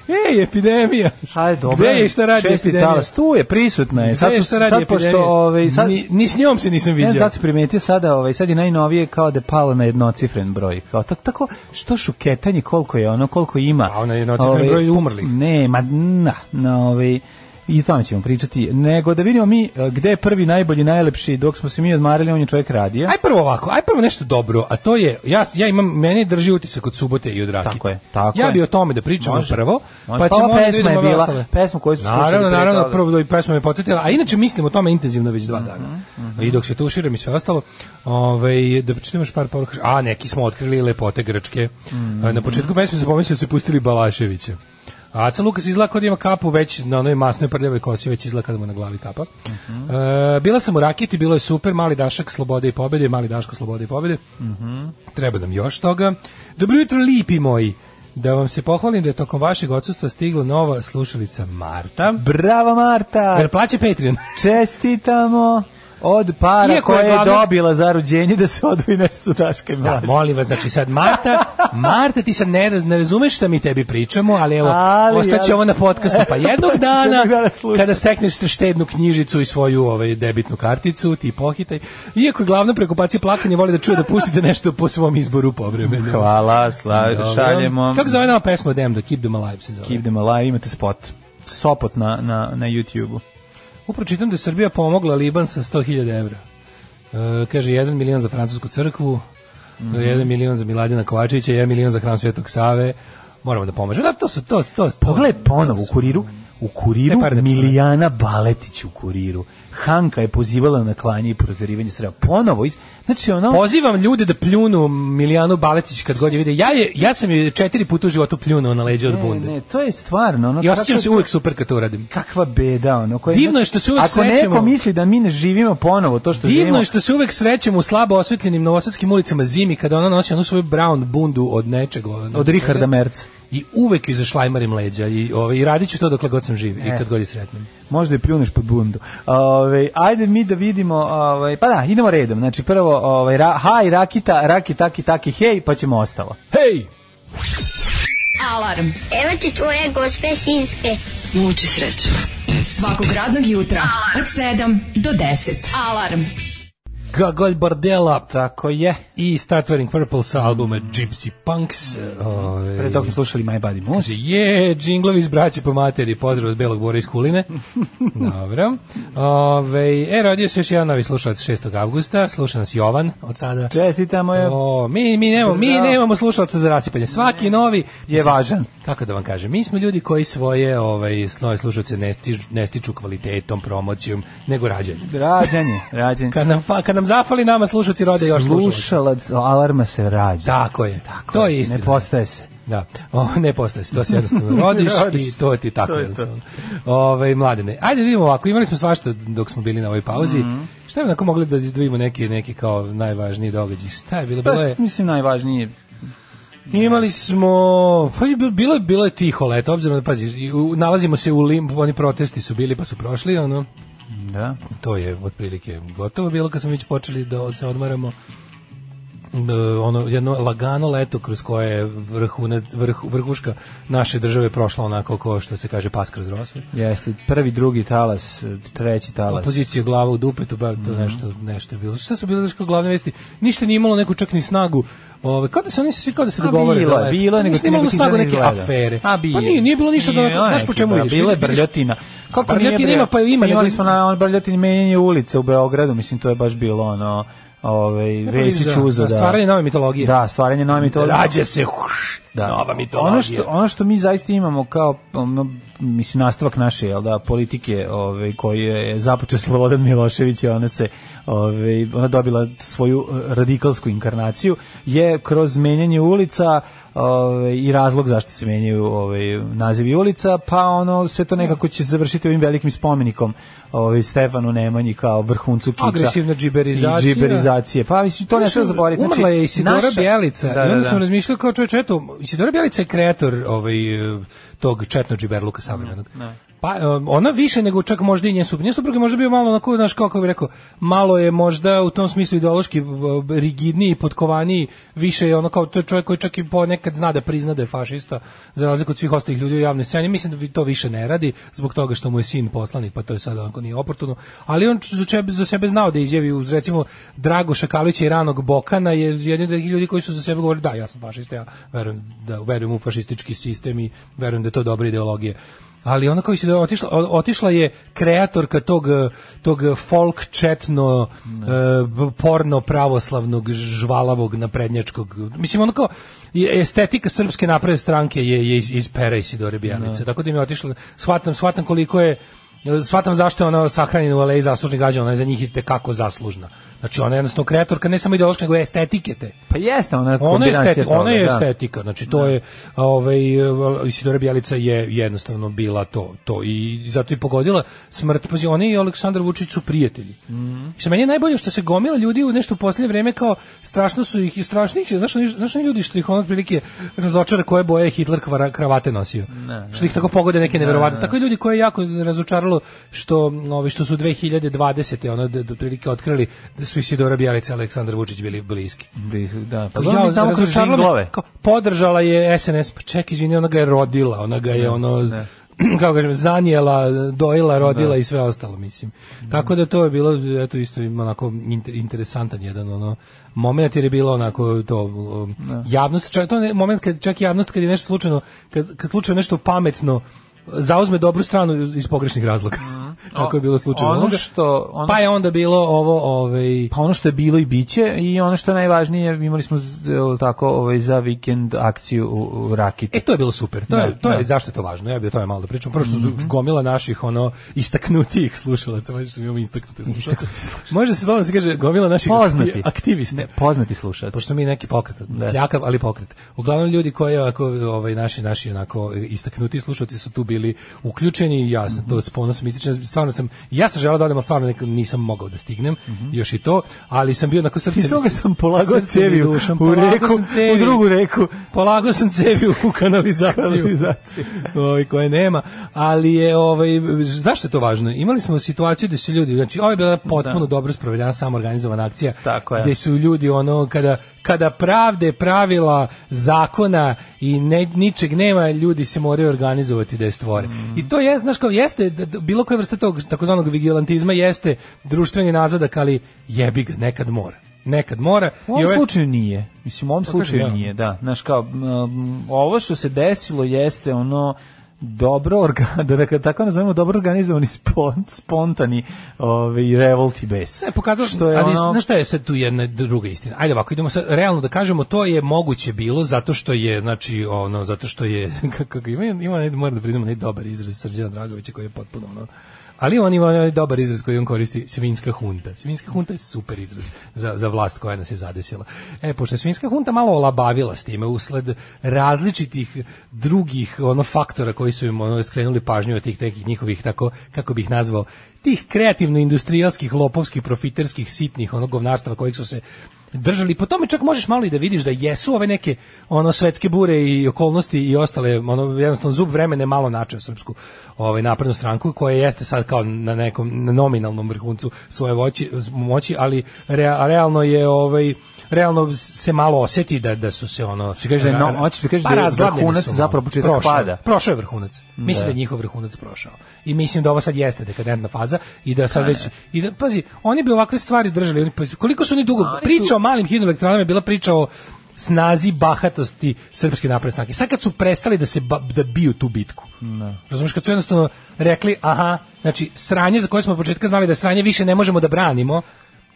Ej, epidemija.
Hajde, dobro.
Gde je i šta radi
Šesti
epidemija?
talas, tu je, prisutna je. Sad,
Gde je
su,
i šta radi
sad pošto,
epidemija?
ovaj, sad,
Ni, ni s njom se nisam
Ne
vidio.
znam da si primetio sada, ovaj, sad je najnovije kao da je palo na jednocifren broj. Kao, tako, tako što šuketanje, koliko je ono, koliko ima. Ovaj,
A ono je jednocifren broj umrlih.
Ne, ma na, na ovaj, i o tome ćemo pričati. Nego da vidimo mi eh, gde je prvi najbolji, najlepši, dok smo se mi odmarili, on je čovjek radio.
Aj prvo ovako, aj prvo nešto dobro, a to je ja ja imam mene drži utisak od subote i od rakije.
Tako je, tako
ja
je.
bi o tome da pričamo
Može.
prvo,
Može.
pa
Pa
ćemo
ova
onda da
pesma je
vidimo ove
bila-
ostale.
pesma koju smo slušali
Naravno,
pre
naravno,
toga.
prvo i pesma me podsjetila, a inače mislim o tome intenzivno već dva dana. I dok se tuširam i sve ostalo, ovaj da pročitam još par poruka. A neki smo otkrili lepote grčke. A, Na početku pesme se pomislio da su pustili Balaševića. A Aca Lukas izgleda kao da ima kapu već na onoj masnoj prljavoj kosi, već izgleda kao da mu je na glavi kapa. E, bila sam u Rakiti, bilo je super, mali dašak slobode i pobede, mali daško slobode i pobede. Treba nam još toga. Dobro jutro, lipi moji. Da vam se pohvalim da je tokom vašeg odsustva stigla nova slušalica Marta.
Bravo Marta!
Jer plaće Patreon.
Čestitamo od para
Iako je
koje je,
glavna-
dobila za rođenje da se odvoji nešto Daška i
Da,
Mlađe.
molim vas, znači sad Marta, Marta ti sad ne, raz- ne razumeš šta mi tebi pričamo, ali evo,
Ali, ali-
ostaće ovo na podcastu, pa jednog dana,
jednog dana slušati.
kada stekneš štednu knjižicu i svoju ovaj, debitnu karticu, ti pohitaj. Iako je glavna preokupacija plakanje, voli da čuje da pustite nešto po svom izboru povremeno.
Hvala, sla,
Dobro.
šaljemo.
Kako zove nama pesma Damn, da Keep Them Alive se zove?
Keep them alive, imate spot. Sopot na, na, na YouTube-u.
Upravo čitam da je Srbija pomogla Liban sa 100.000 evra. E, kaže, 1 milion za francusku crkvu,
Mhm.
1 milion za Miladina Kovačevića, 1 milion za hram Svetog Save. Moramo da pomažemo. Da, to su E, to, to, to.
Pogledaj ponovo u kuriru. u kuriru,
Te pare ne postoje.
Milijana Baletić u kuriru. Hanka je pozivala na klanje i prozirivanje Srba. Ponovo, iz... znači ono...
Pozivam ljude da pljunu Milijanu Baletić kad god je vide. Ja, je, ja sam je četiri puta u životu pljunuo na leđe od
Ne,
bunde.
Ne, to je stvarno. Ono,
I osjećam
kakva-
se uvek super kad to uradim.
Kakva beda, ono. Koje,
Divno je što se uvek
Ako
srećemo.
neko misli da mi ne živimo ponovo to što živimo...
Divno je što se uvek srećemo u slabo osvetljenim novosadskim ulicama zimi kada ona nosi onu svoju brown bundu od nečeg. ono,
Od Richarda Merca.
I uvek ju zašlajmarim leđa i, ovaj, i radit ću to dokle god sam živ i
E.
kad god je sretnim.
Možda je pljuneš pod bundu. Ove, ajde mi da vidimo, ove, pa da, idemo redom. Znači prvo, ove, ra, haj, rakita, raki, taki, taki, hej, pa ćemo ostalo.
Hej!
Alarm. Evo ti
é
tvoje gospe sinske.
Muči sreće. Svakog radnog jutra od 7 do 10. Alarm.
Gagolj Bardella.
Tako je.
I Start Wearing Purple sa albuma Gypsy Punks. Ovaj,
Mm. Pre toga smo slušali My Buddy Moose.
Je, džinglovi iz braće po materi, pozdrav od Belog Bora iz Kuline. Dobro. Ove, e, rodio se još jedan novi slušalac 6. avgusta, sluša nas Jovan od sada.
Čestitamo je.
O, mi, mi, nemamo, mi
Bravo.
nemamo slušalca za rasipanje. Svaki novi
Je važan.
Kako da vam kažem, mi smo ljudi koji svoje ovaj, svoje slušalce ne, stižu, ne stiču kvalitetom, promocijom, nego rađanjem.
Rađanje, rađanje.
Kad nam, fa- kad nam zafali, nama slušalci rode još slušalci.
Slušalac alarma se rađa.
Tako je, to je istina.
Ne postaje se.
Da, o, ne postaje se, to se jednostavno rodiš,
Rodiš.
i to ti tako
To je to.
jednostavno. Ove, mladene, ajde da vidimo ovako, imali smo svašta dok smo bili na ovoj pauzi.
Mhm.
Šta bi onako mogli da vidimo neki, neki kao najvažniji događaj? Šta je bilo?
Pa
Bilo je...
mislim najvažnije.
Imali smo, pa je bilo- bilo je bilo je tiho leto, obzirom da pazi, i u- nalazimo se u limbu, oni protesti su bili pa su prošli, ono,
Da.
to je otprilike gotovo bilo kad smo već počeli da se odmaramo. E, ono jedno lagano leto kroz koje je vrhune, vrh, vrhuška naše države prošla onako ko što se kaže pas kroz rosu.
Jeste, prvi, drugi talas, treći talas.
Opozicija glava u dupetu, ba, to
Mhm.
nešto, nešto je bilo. Šta su bile znaš, kao glavne vesti? Ništa nije imalo neku čak ni snagu. Ove, kao da se oni svi kao da se
A,
dogovore.
bilo je,
da lepo. Pa
bilo je, nego
Ništa
ti-
nije imalo
nego ti
snagu
sad
neke
izgleda.
afere.
A, bilo
Pa nije,
je.
nije bilo ništa da
Nije,
onako, znaš po
neki,
čemu
da,
vidiš.
Bila je
vidiš-
brljotina. Kako nije
brljotine
bre?
ima, pa ju ima,
Imali
nego-
smo na on brljotini menjanje ulica u Beogradu, mislim to je baš bilo ono, ovaj Vesić
pa da,
uzo
da,
da.
stvaranje nove mitologije.
Da, stvaranje nove mitologije.
Rađa se huš, nova mitologija.
Ono što ono što mi zaista imamo kao ono, mislim nastavak naše jel da politike, ovaj koji je započeo Slobodan Milošević i ona se ovaj ona dobila svoju eh, radikalsku inkarnaciju je kroz menjanje ulica ovaj, i razlog zašto se menjaju ovaj nazivi ulica, pa ono sve to nekako će završiti ovim velikim spomenikom ovaj Stefanu Nemanji kao vrhuncu kiča.
Agresivna džiberizacija.
I džiberizacije. Pa mislim to ne
Znaš,
treba zaboraviti. znači,
Umrla je Isidora Bjelica.
Da,
I
da,
onda
da.
sam razmišljao kao čovječ, eto, Isidora Bjelica je kreator ovaj, eh, tog četno džiberluka savremenog. Pa em, ona više nego čak možda i njen suprug. Njen suprug je možda bio malo onako, znaš, kako bih rekao, malo je možda u tom smislu ideološki eh, rigidniji, potkovaniji, više je ono kao to je čovjek koji čak i ponekad zna da prizna da je fašista, za razliku od svih ostalih ljudi u javnoj sceni. Mislim da vi- to više ne radi zbog toga što mu je sin poslanik, pa to je sad onako nije oportuno. Ali on za sebe, za sebe znao da izjavi uz recimo Drago Šakalića i Ranog Bokana je jedni od nekih ljudi koji su za sebe govorili da ja sam fašista, ja verujem, da, verujem u fašistički sistem i verujem da je to dobra ideologija. Ali ona koji se da otišla, o- otišla je kreatorka tog, eh, tog folk četno eh, b- porno pravoslavnog žvalavog naprednjačkog. Mislim ono kao je- estetika srpske napredne stranke je, je iz, iz pera Isidore Bjelice. Tako da im je otišla, shvatam, shvatam koliko je shvatam zašto je ona sahranjena u aleji zaslužnih građana, ona je za njih itekako zaslužna. Znači ona je jednostavno kreatorka ne samo ideološka, nego estetike te.
Pa jeste, ona je
Ona je,
kombinacija
estetika,
toga,
ona je
da.
estetika, znači to je ovaj Isidora Bjelica je jednostavno bila to, to i zato je pogodila smrt. Pazi, oni i Aleksandar Vučić su prijatelji.
Mhm.
Mm. Sa meni je najbolje što se gomila ljudi u nešto u poslednje vreme kao strašno su ih i strašnih, znaš, oni- znaš oni ljudi što ih ono prilike razočara koje boje je Hitler kvara, kravate nosio. Što ih tako pogode neke neverovatne. Tako i ljudi koje je jako razočaralo što ovi što su 2020. ono da, da prilike otkrili da su Isidora Bjelica i Aleksandar Vučić bili bliski.
Blizu, Da, pa
Kao,
dobro, mi znamo kroz
razočarala me-
žinglove.
kao, podržala je SNS, pa ček, izvini, ona ga je rodila, ona ga je ono, kako kažem, zanijela, dojela, rodila i sve ostalo, mislim. Tako da to je bilo, eto, isto ima onako inter- interesantan jedan, ono, moment jer je bilo onako to um, javnost čak to je moment kad čak i javnost kad je nešto slučajno kad kad slučajno nešto pametno zauzme dobru stranu iz iz pogrešnih razloga Tako je bilo slučaj
Mhm. Ono
ovoga.
što- ono
pa je onda bilo ovo, ovaj...
Pa ono što je bilo i biće i ono što je najvažnije, imali smo z- jel tako ovaj, za vikend akciju u, u Rakiti.
E, to je bilo super. To
Da,
je, to je,
da. Mhm.
zašto je to važno? Ja bih o tome malo da pričam. Prvo što su gomila naših ono istaknutijih slušalaca, možda što mi imamo istaknute slušalce. Može se slobodno se kaže gomila naših
Poznati.
akti- aktivista.
poznati slušac.
Pošto mi neki pokret, ljakav, ali pokret. Uglavnom ljudi koji ovako, ovaj, naši, naši onako istaknuti slušalci su tu bili uključeni i ja sam to s ponosom ističem. Stvarno sam, ja sam želao da odem, ali stvarno nekako nisam mogao da stignem, još i to, ali sam bio onako srcem.
Mhm. Iz toga sam polagao
srcem i
cevi u-
dušom,
u
polagao
reku,
sam cevi.
u drugu reku.
Polagao sam cevi u kanalizaciju.
Kanalizaciju.
Ovaj, koje nema, ali je ovaj zašto je to važno? Imali smo situaciju da se ljudi, znači ovo je bila potpuno
Da.
dobro sprovedena samoorganizovana akcija
Tako je.
gde su ljudi ono kada kada pravde, pravila, zakona i ne, ničeg nema, ljudi se moraju organizovati da je stvore.
Mm.
I to je, znaš, kao jeste, da- da- bilo koje vrste tog takozvanog vigilantizma jeste društveni nazadak, ali jebi ga, nekad mora. Nekad mora.
U ovom
I ove-
slučaju nije. Mislim, u ovom
Pa kažem,
slučaju
ja.
nije, da. Znaš, kao, um, ovo što se desilo jeste ono dobro organ, da, da tako nazovemo dobro organizovani spon, spontani ovaj revolt i bes.
Ne, E, pokazalo
što je
ali
ono,
znaš šta je sad tu jedna druga istina. Ajde ovako, idemo sad realno da kažemo to je moguće bilo zato što je znači ono zato što je kako ga ima ima moram da priznam onaj dobar izraz Srđana Dragovića koji je potpuno ono Ali on ima onaj dobar izraz koji on koristi, svinska hunta. Svinska hunta je super izraz za, za vlast koja nas je zadesila. E, pošto je svinska hunta malo olabavila s time usled različitih drugih ono faktora koji su im ono, skrenuli pažnju od tih nekih njihovih, tako, kako bih ih nazvao, tih kreativno-industrijalskih, lopovskih, profiterskih, sitnih onog govnarstava kojih su se držali. Po tome čak možeš malo i da vidiš da jesu ove neke ono svetske bure i okolnosti i ostale, ono jednostavno zub vremena je malo načeo srpsku ovaj naprednu stranku koja jeste sad kao na nekom na nominalnom vrhuncu svoje voći, moći, ali rea- realno je ovaj realno se malo oseti da da su se ono
Hoćeš da kažeš da je no- hoćeš da kažeš da je
razglabljeni
vrhunac
su malo.
zapravo početak
Prošao je-
pada.
Prošao je vrhunac. Mislim
Da.
da je njihov vrhunac prošao. I mislim da ovo sad jeste dekadentna faza i da sad već i da pazi, oni bi ovakve stvari držali, oni pazi, koliko su oni dugo
Oni su-
priča o malim hidroelektranama je bila priča o snazi bahatosti srpske napredne stranke. Sad kad su prestali da se ba- da biju tu bitku. Da. Razumeš kad su jednostavno rekli, aha, znači sranje za koje smo od početka znali da je sranje više ne možemo da branimo.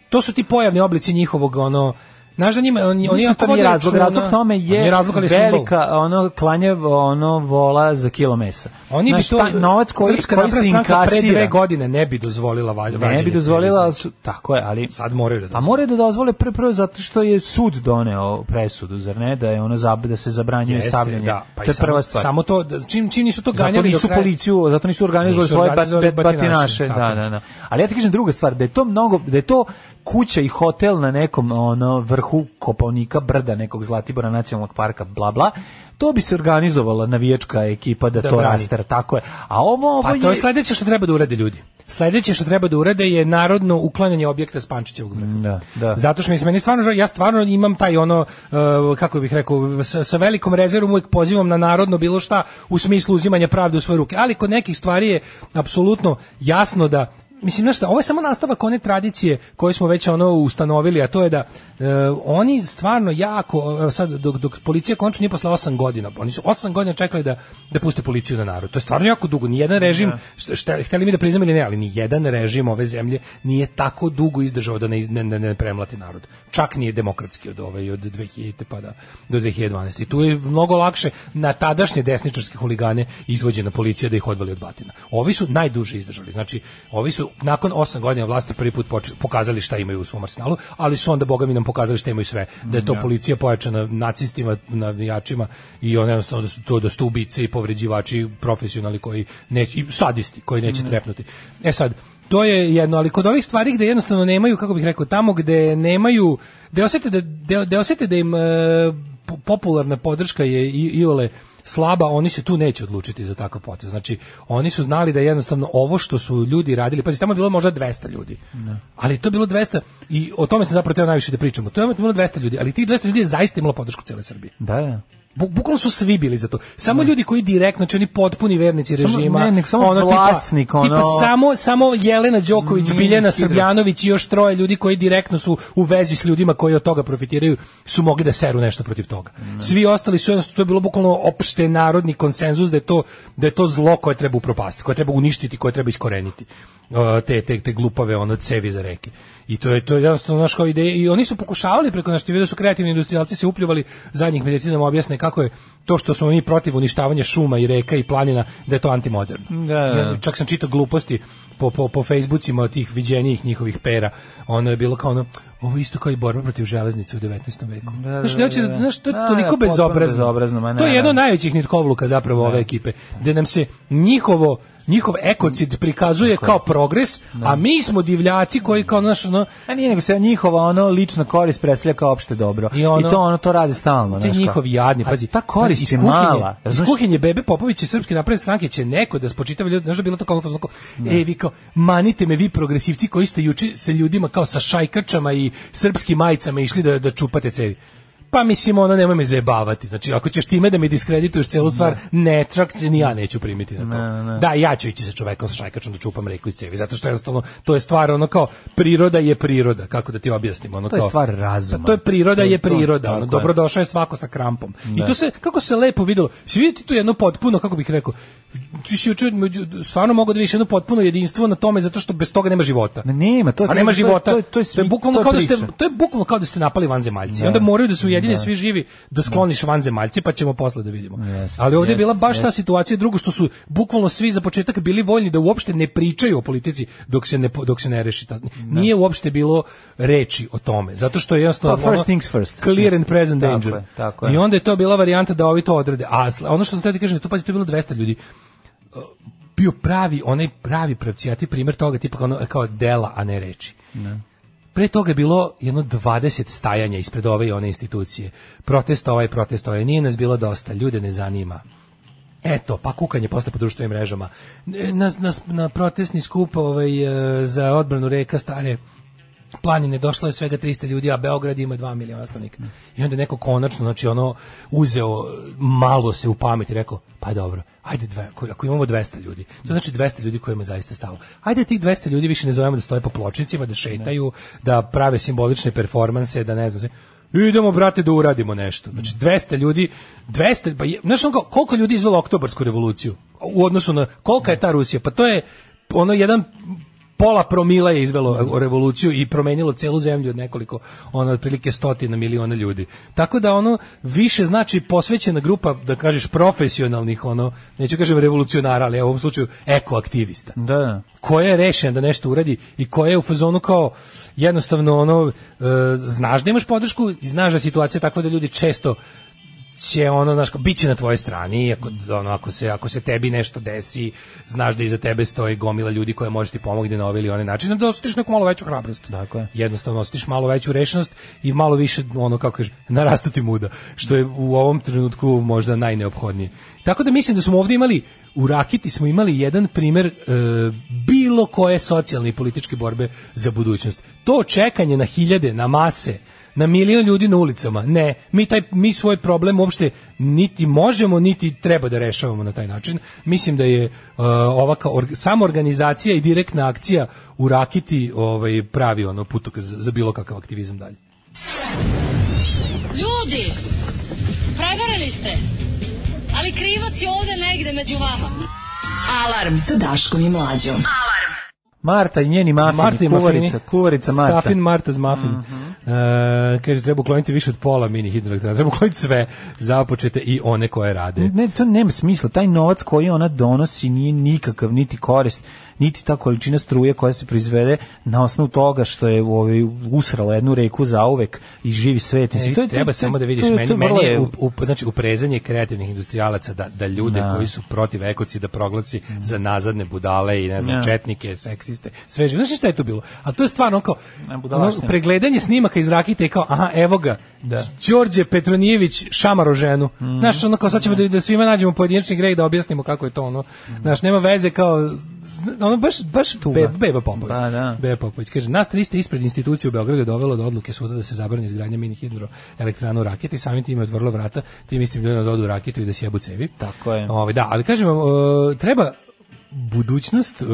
To su ti pojavni oblici njihovog ono Znaš da njima, oni, oni
Mislim, to
jako
nije
vode
razlog,
računa- Pa
razlog tome je,
Nije razlog, ali je ono, simbol.
velika ono klanje ono vola za kilo mesa.
Oni bi
Znaš,
to
taj novac koji,
Srpska
koji
napredna
se
stranka pre dve
inkasira.
godine ne bi dozvolila valj,
Ne
vađenje
bi dozvolila,
televizije.
ali su- tako je, ali
sad moraju da
A
dozvole.
moraju da dozvole pre prvo zato što je sud doneo presudu, zar ne, da je ono zab, da se zabranjuje
Jeste,
stavljanje.
da, pa i
to je
samo-
prva stvar.
Samo to da- čim čim nisu to
zato
ganjali
nisu
do kraja-
policiju, zato nisu organizovali
Nisu
svoje bat,
organizovali
bat-
batinaše,
batinaše,
tako
da,
je.
da, da. Ali ja ti kažem druga stvar, da je to mnogo, da je to kuća i hotel na nekom ono vrhu Kopaonika brda nekog Zlatibora nacionalnog parka bla bla to bi se organizovala navijačka ekipa da,
Da
to
brani.
rastara, tako je. A ovo, ovo
Pa to je sledeće što treba da urade ljudi. Sledeće što treba da urade je narodno uklanjanje objekta s Pančićevog vrha.
Da, da.
Zato što mislim, meni stvarno, žao- ja stvarno imam taj ono, uh, kako bih rekao, sa, sa velikom rezervom uvijek pozivam na narodno bilo šta u smislu uzimanja pravde u svoje ruke. Ali kod nekih stvari je apsolutno jasno da Mislim, znaš šta, ovo je samo nastavak one tradicije koju smo već ono ustanovili, a to je da e, oni stvarno jako, evo sad, dok, dok policija končno nije posle 8 godina, oni su 8 godina čekali da, da puste policiju na narod. To je stvarno jako dugo, nijedan režim, šta, šta, hteli mi da priznam ili ne, ali nijedan režim ove zemlje nije tako dugo izdržao da ne, iz- ne, ne, ne premlati narod. Čak nije demokratski od ove, od 2000 pa da, do 2012. I tu je mnogo lakše na tadašnje desničarske huligane izvođena policija da ih odvali od batina. Ovi su najduže izdržali. Znači, ovi su nakon 8 godina vlasti prvi put poč- pokazali šta imaju u svom arsenalu, ali su onda bogami nam pokazali šta imaju sve. Da je to policija pojačana nacistima, navijačima i on jednostavno da su to da su ubice i povređivači profesionalni koji neće i sadisti koji neće trepnuti. E sad to je jedno, ali kod ovih stvari gde jednostavno nemaju, kako bih rekao, tamo gde nemaju, gde osete da, gde, gde osete da im e, po- popularna podrška je i, iole slaba, oni se tu neće odlučiti za takav potez. Znači, oni su znali da jednostavno ovo što su ljudi radili, pazi, tamo je bilo možda 200 ljudi, ali to je bilo 200 i o tome sam zapravo teo najviše da pričamo. To je bilo 200 ljudi, ali tih 200 ljudi je zaista imalo podršku cele Srbije.
Da, da.
bu- bukvalno su svi bili za to. Samo ljudi koji direktno, znači oni potpuni vernici
Samo-
režima.
ne, nek samo vlasnik,
tipa,
ono-
tipa samo, samo Jelena Đoković,
Nije
Biljana
nikida.
Srbljanović i još troje ljudi koji direktno su u vezi s ljudima koji od toga profitiraju, su mogli da seru nešto protiv toga. Svi ostali su jednostavno, to je bilo bukvalno opšte narodni konsenzus da je to, da je to zlo koje treba upropastiti, koje treba uništiti, koje treba iskoreniti. E, Te, te, te glupave ono cevi za reke. I to je to je jednostavno naš kao ideja i oni su pokušavali preko naših video su kreativni industrijalci se upljuvali zadnjih meseci da nam objasne kako je to što smo mi protiv uništavanja šuma i reka i planina da je to antimoderno.
Da, da.
I čak sam čitao gluposti po, po, po Facebookima od tih viđenijih njihovih pera. Ono je bilo kao ono, ovo je isto kao i borba protiv železnice u 19. veku.
da,
znaš, neće
da,
da-
da.
znaš, to je
Da, da,
toliko
potpuno
bezobrazno.
bezobrazno, ma
to je jedno
naravno.
od najvećih nitkovluka zapravo ove ekipe. Gde nam se njihovo njihov ekocid prikazuje kao progres, a mi smo divljaci koji kao naš ono,
A nije nego se njihova ono lična korist predstavlja kao opšte dobro. I,
I ono-
to ono to radi stalno,
Te
znaš kao.
njihovi jadni,
A
pazi.
Ta
pazi,
korist
iz
je
kuhinje-
mala.
Iz
razumeš?
kuhinje Bebe Popović i Srpske napredne stranke će neko da spočitava ljudi, znaš da je bilo to kao ono fazon kao, e, vi kao, manite me vi progresivci koji ste juče sa ljudima kao sa šajkačama i srpskim majicama išli da, da čupate cevi. Pa mislim, ono, nemoj me zajebavati. Znači, ako ćeš time da mi diskredituješ celu stvar, ne, čak ni ja neću primiti na to. Da, ja ću ići sa čovekom sa šajkačom da čupam reku iz cevi, zato što jednostavno, to je stvar ono kao, priroda je priroda, kako da ti objasnim. Ono
To je
kao-
stvar razuma.
To je priroda
To je
je
to,
priroda, ono,
tako je.
dobro došao je svako sa krampom.
Da.
I to se kako se lepo videlo. Si vidite tu jedno potpuno kako bih rekao. Ti si juče među- stvarno mogu da vidiš jedno potpuno jedinstvo na tome zato što bez toga nema života.
Ma nema, to je
A nema
to je-
života.
To je to je, smi-
bukvalno
to je
kao da ste
priča.
to je bukvalno kao da ste napali vanzemaljci.
Da.
Onda moraju da se ujedine
Da.
svi živi da skloniš vanzemaljce pa ćemo posle da vidimo. Ali ovdje je bila baš ta situacija drugo što su bukvalno svi za početak bili voljni da uopšte ne pričaju o politici dok se ne po- dok se ne reši ta. Nije uopšte bilo reči o tome zato što je jednostavno
Pa, first
ono,
things first.
Clear and present
Tako
danger.
je, tako je.
I onda je to bila varijanta da ovi to odrede. A sl- ono što sam teo ti kažem, to pazi, to je bilo 200 ljudi bio pravi, onaj pravi pravcijati primjer toga, tipa kao, ono, kao dela, a ne reči. Pre toga je bilo jedno 20 stajanja ispred ove i one institucije. Protest ovaj, protest ovaj, nije nas bilo dosta, ljude ne zanima. Eto, pa kukanje posle po društvenim mrežama. E, Na, na, na protestni skup ovaj, e, za odbranu reka stare planine došlo je svega 300 ljudi, a Beograd ima 2 miliona stanovnika. I onda je neko konačno, znači ono, uzeo, malo se u pamet i rekao, pa dobro, ajde, dve, ako- ako imamo 200 ljudi, to znači 200 ljudi kojima je zaista stalo. Ajde tih 200 ljudi više ne zovemo da stoje po pločnicima, da šetaju, da prave simbolične performanse, da ne znam, sve. Idemo, brate, da uradimo nešto. Znači, 200 ljudi, 200, pa je, znaš ono kao, koliko ljudi je izvelo oktobarsku revoluciju u odnosu na, kolika je ta Rusija? Pa to je, ono, jedan pola promila je izvelo revoluciju i promenilo celu zemlju od nekoliko, ono, otprilike stotina miliona ljudi. Tako da, ono, više znači posvećena grupa, da kažeš, profesionalnih, ono, neću kažem revolucionara, ali evo u ovom slučaju ekoaktivista
Da, da.
ko je rešen da nešto uradi i ko je u fazonu kao jednostavno ono e, znaš da imaš podršku i znaš da je situacija takva da ljudi često će ono znaš kao, bit će na tvojoj strani i ako ono ako se ako se tebi nešto desi znaš da iza tebe stoji gomila ljudi koja može ti pomoći na ovaj ili onaj način da osjetiš neku malo veću hrabrost
Tako je.
jednostavno osjetiš malo veću rešenost i malo više ono kako kaže narastu ti muda što je u ovom trenutku možda najneophodnije tako da mislim da smo ovdje imali u Rakiti smo imali jedan primjer e, bilo koje socijalne i političke borbe za budućnost to čekanje na hiljade na mase na milion ljudi na ulicama. Ne, mi, taj, mi svoj problem uopšte niti možemo, niti treba da rešavamo na taj način. Mislim da je e, ovaka org, samo organizacija i direktna akcija u Rakiti ovaj, pravi ono putok za, za bilo kakav aktivizam dalje.
Ljudi, prevarili ste. Ali krivac je ovde negde među vama.
Alarm sa Daškom i Mlađom.
Marta i njeni mafini,
Marta i
kuvarica,
mafini.
kuvarica Marta. Mhm.
Stafin Marta z mafin. E, kaže, treba ukloniti više od pola mini hidroelektrana. Treba ukloniti sve započete i one koje rade.
Ne, to nema smisla. Taj novac koji ona donosi nije nikakav niti korist, niti ta količina struje koja se proizvede na osnovu toga što je ovaj, usrala jednu reku zauvek i živi svet. Mislim,
E,
to je-
treba
to je-
samo da vidiš
to je-
meni,
to je
meni
vrlo
je
je-
u, u, znači uprezanje kreativnih industrijalaca da da ljude
Da. Mm.
koji su protiv ekocida proglasi za nazadne budale i ne znam
Da.
četnike, seksiste, sve živo. Znaš šta je to bilo? Ali to je stvarno kao
Na
ono,
budalaštine.
pregledanje snimaka iz Rakite i kao aha, evo ga. Da. Đorđe Petronijević šamaro ženu.
Mm. Mm.
Znaš, ono kao sad ćemo da, da svima nađemo pojedinačni greh da objasnimo kako je to ono. Znaš, nema veze kao ono baš, baš be, Beba Popović.
Ba, Pa, da.
Beba Popović. Kaže, nas 300 ispred institucije u Beogradu je dovelo do odluke suda da se zabrani izgradnja mini hidroelektrana u raketi, samim tim je otvorilo vrata tim istim ljudima da odu u raketu i da sjebu cevi.
Tako je.
Ovaj, da, ali kažem vam, e, treba budućnost e,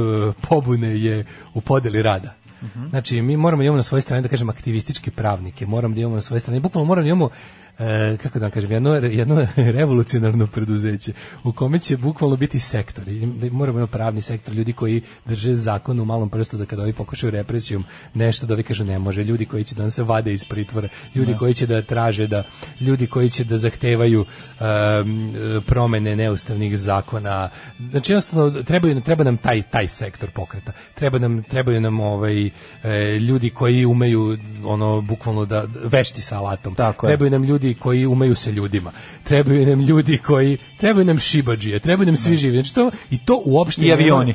pobune je u podeli rada.
Mhm.
Znači, mi moramo da imamo na svojoj strani, da kažem, aktivističke pravnike, moramo da imamo na svojoj strani, bukvalno moramo da imamo e, kako da vam kažem, jedno, jedno revolucionarno preduzeće u kome će bukvalno biti sektori. Da Moramo imati pravni sektor, ljudi koji drže zakon u malom prstu da kada ovi pokušaju represijom nešto da ovi kažu ne može, ljudi koji će da nam se vade iz pritvora, ljudi
Da.
koji će da traže da, ljudi koji će da zahtevaju em, e, promene neustavnih zakona. Znači jednostavno trebaju, treba nam taj, taj sektor pokreta. Treba nam, trebaju nam ovaj, e, ljudi koji umeju ono bukvalno da vešti sa alatom.
Tako je.
Trebaju nam ljudi koji umeju se ljudima. Trebaju nam ljudi koji trebaju nam šibadžije, trebaju nam svi živi. Znači to i to uopšte
I
nema-
avioni.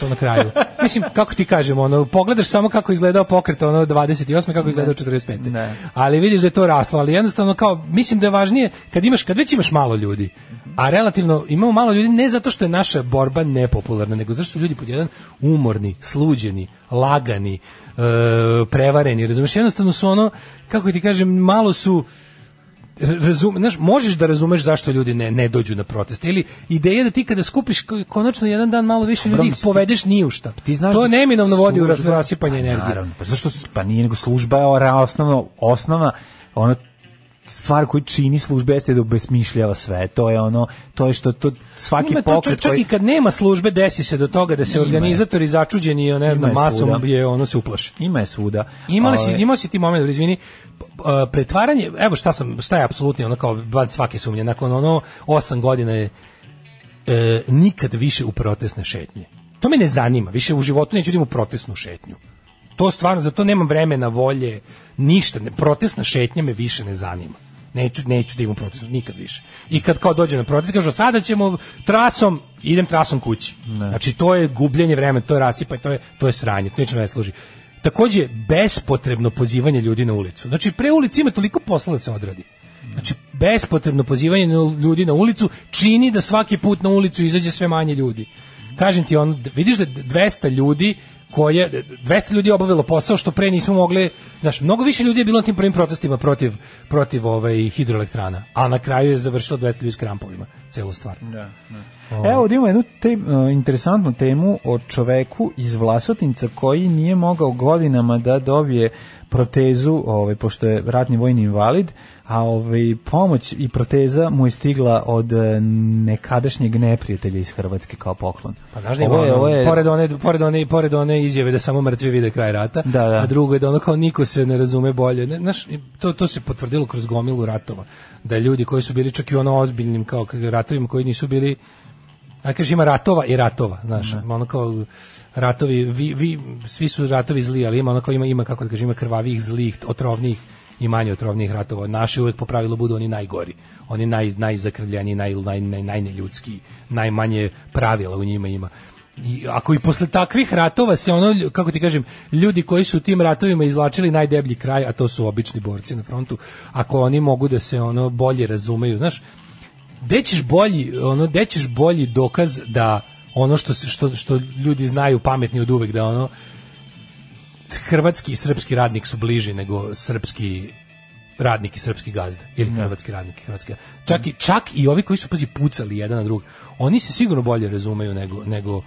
to na kraju. Mislim, kako ti kažem, ono, pogledaš samo kako je izgledao pokret ono 28, kako je izgledao 45. Ali vidiš da je to raslo, ali jednostavno kao, mislim da je važnije kad imaš, kad već imaš malo ljudi, a relativno imamo malo ljudi ne zato što je naša borba nepopularna, nego zato što su ljudi pod jedan umorni, sluđeni, lagani, e, prevareni, razumiješ, jednostavno su ono, kako ti kažem, malo su, razum, znaš, možeš da razumeš zašto ljudi ne, ne dođu na protest. Ili ideja da ti kada skupiš ko- konačno jedan dan malo više ljudi
Dobro,
ih
mislim,
povedeš ni u šta.
Ti znaš
to
da
neminovno vodi u ras-
služba-
rasipanje energije.
Pa naravno, pa zašto su- pa nije nego služba je ora- osnovno osnovna ono stvar koju čini službe jeste da obesmišljava sve. To je ono, to je što to svaki
Ima to čak-
pokret
čak,
koji
i kad nema službe desi se do toga da se
Ima je.
organizatori začuđeni ne znam
Ima je
masom
svuda. Ovaj.
je ono se uplaši.
Ima je svuda.
Imali si,
Ove-
imao si ti moment, dobro, izvini, p- p- pretvaranje, evo šta sam, šta je apsolutno ono kao van svake sumnje, nakon ono osam godina je e, nikad više u protestne šetnje. To me ne zanima, više u životu neću da idem u protestnu šetnju. To stvarno, za to nemam vremena, volje, ništa, ne, protestna šetnja me više ne zanima. Neću, neću da imam protest, nikad više. I kad kao dođem na protest, kažu, sada ćemo trasom, idem trasom kući. Znači, to je gubljenje vremena, to je rasipanje, to je, to je sranje, to ničemu ne služi. Takođe, bespotrebno pozivanje ljudi na ulicu. Znači, pre ulici ima toliko posla da se odradi. Znači, bespotrebno pozivanje na- ljudi na ulicu čini da svaki put na ulicu izađe sve manje ljudi. Kažem ti, on, vidiš da 200 ljudi koje, 200 ljudi je obavilo posao što pre nismo mogli, znaš, mnogo više ljudi je bilo na tim prvim protestima protiv, protiv ovaj, hidroelektrana, a na kraju je završilo 200 ljudi s krampovima, celu stvar.
Da, Evo, ovdje imamo jednu te, e, interesantnu temu o čoveku iz Vlasotinca koji nije mogao godinama da dobije protezu, ovaj, pošto je ratni vojni invalid, a ovaj, pomoć i proteza mu je stigla od e, nekadašnjeg neprijatelja iz Hrvatske kao poklon.
Pa znaš da ima ono, pored one pored one pored one izjave da samo mrtvi vide kraj rata,
da.
a drugo je da ono kao niko se ne razume bolje. Ne, znaš, i to to se potvrdilo kroz gomilu ratova da ljudi koji su bili čak i u ono ozbiljnim kao k- ratovima koji nisu bili a kaže ima ratova i ratova, znaš, ono kao ratovi, vi, vi, svi su ratovi zli, ali ima ono kao ima, ima kako da kažem, ima krvavih, zlih, otrovnih i manje otrovnih ratova. Naši uvek po pravilu budu oni najgori, oni naj, najzakrvljeniji, naj, naj, naj, najneljudski, najmanje pravila u njima ima. I ako i posle takvih ratova se ono, lju- kako ti kažem, ljudi koji su u tim ratovima izvlačili najdeblji kraj, a to su obični borci na frontu, ako oni mogu da se ono bolje razumeju, znaš, gde ćeš bolji ono gde ćeš bolji dokaz da ono što se- što što ljudi znaju pametni od uvek da ono hrvatski i srpski radnik su bliži nego srpski radnik i srpski gazda ili hrvatski radnik i hrvatski gazda. Čak i, čak i ovi koji su pazi pucali jedan na drugog, oni se sigurno bolje razumeju nego, nego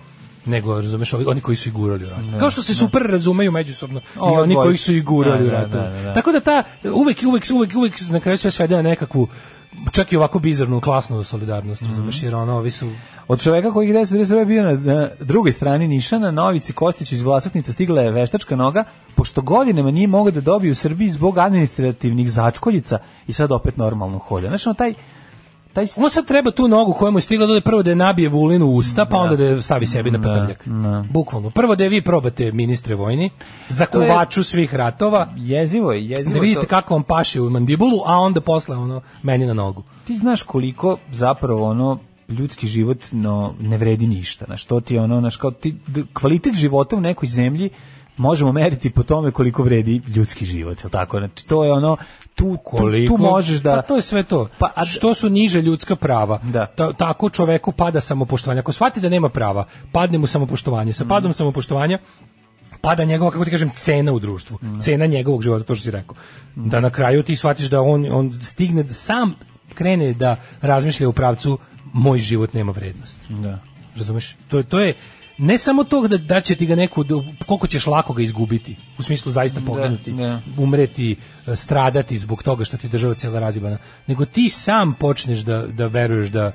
nego razumeš ovi oni koji su i gurali u rat. Kao što se super razumeju međusobno i
Ova
oni
dvojica.
koji su i gurali
Da,
u
da,
ratu.
da, da, da.
Tako da ta uvek uvek uvek uvek na kraju sve svede na nekakvu čak i ovako bizarnu klasnu solidarnost, razumeš, jer ono ovi su
Od čoveka koji je 10 je bio na, na drugoj strani Nišana, na Novici Kostiću iz Vlasatnice stigla je veštačka noga, pošto godinama nije mogao da dobije u Srbiji zbog administrativnih začkoljica i sad opet normalno hoda. Znači, ono taj, taj
On Ono sad treba tu nogu koja mu je stigla da ode prvo da je nabije vulinu u usta, pa onda da je stavi sebi na patrljak. Bukvalno. Prvo da je vi probate ministre vojni, za
To je-
kuvaču svih ratova,
jezivo je, jezivo
da
je
vidite
to.
kako vam paše u mandibulu, a onda posle ono meni na nogu.
ti znaš koliko zapravo ono ljudski život no, ne vredi ništa. Znaš, to ti je ono, znaš, kao ti, d- kvalitet života u nekoj zemlji možemo meriti po tome koliko vredi ljudski život, jel tako? Znači, to je ono, tu, tu,
koliko
tu možeš da...
pa to je sve to pa što su niže ljudska prava ta- tako čoveku pada samopoštovanje ako shvati da nema prava padne mu samopoštovanje sa padom samopoštovanja pada njegova kako ti kažem cena u društvu cena njegovog života to što si rekao da na kraju ti shvatiš da on on stigne da sam krene da razmišlja u pravcu moj život nema vrednost
da
razumeš to je to je ne samo to da, da će ti ga neku, koliko ćeš lako ga izgubiti, u smislu zaista poginuti, umreti, e, stradati zbog toga što ti država cijela razjebana, nego ti sam počneš da, da veruješ da,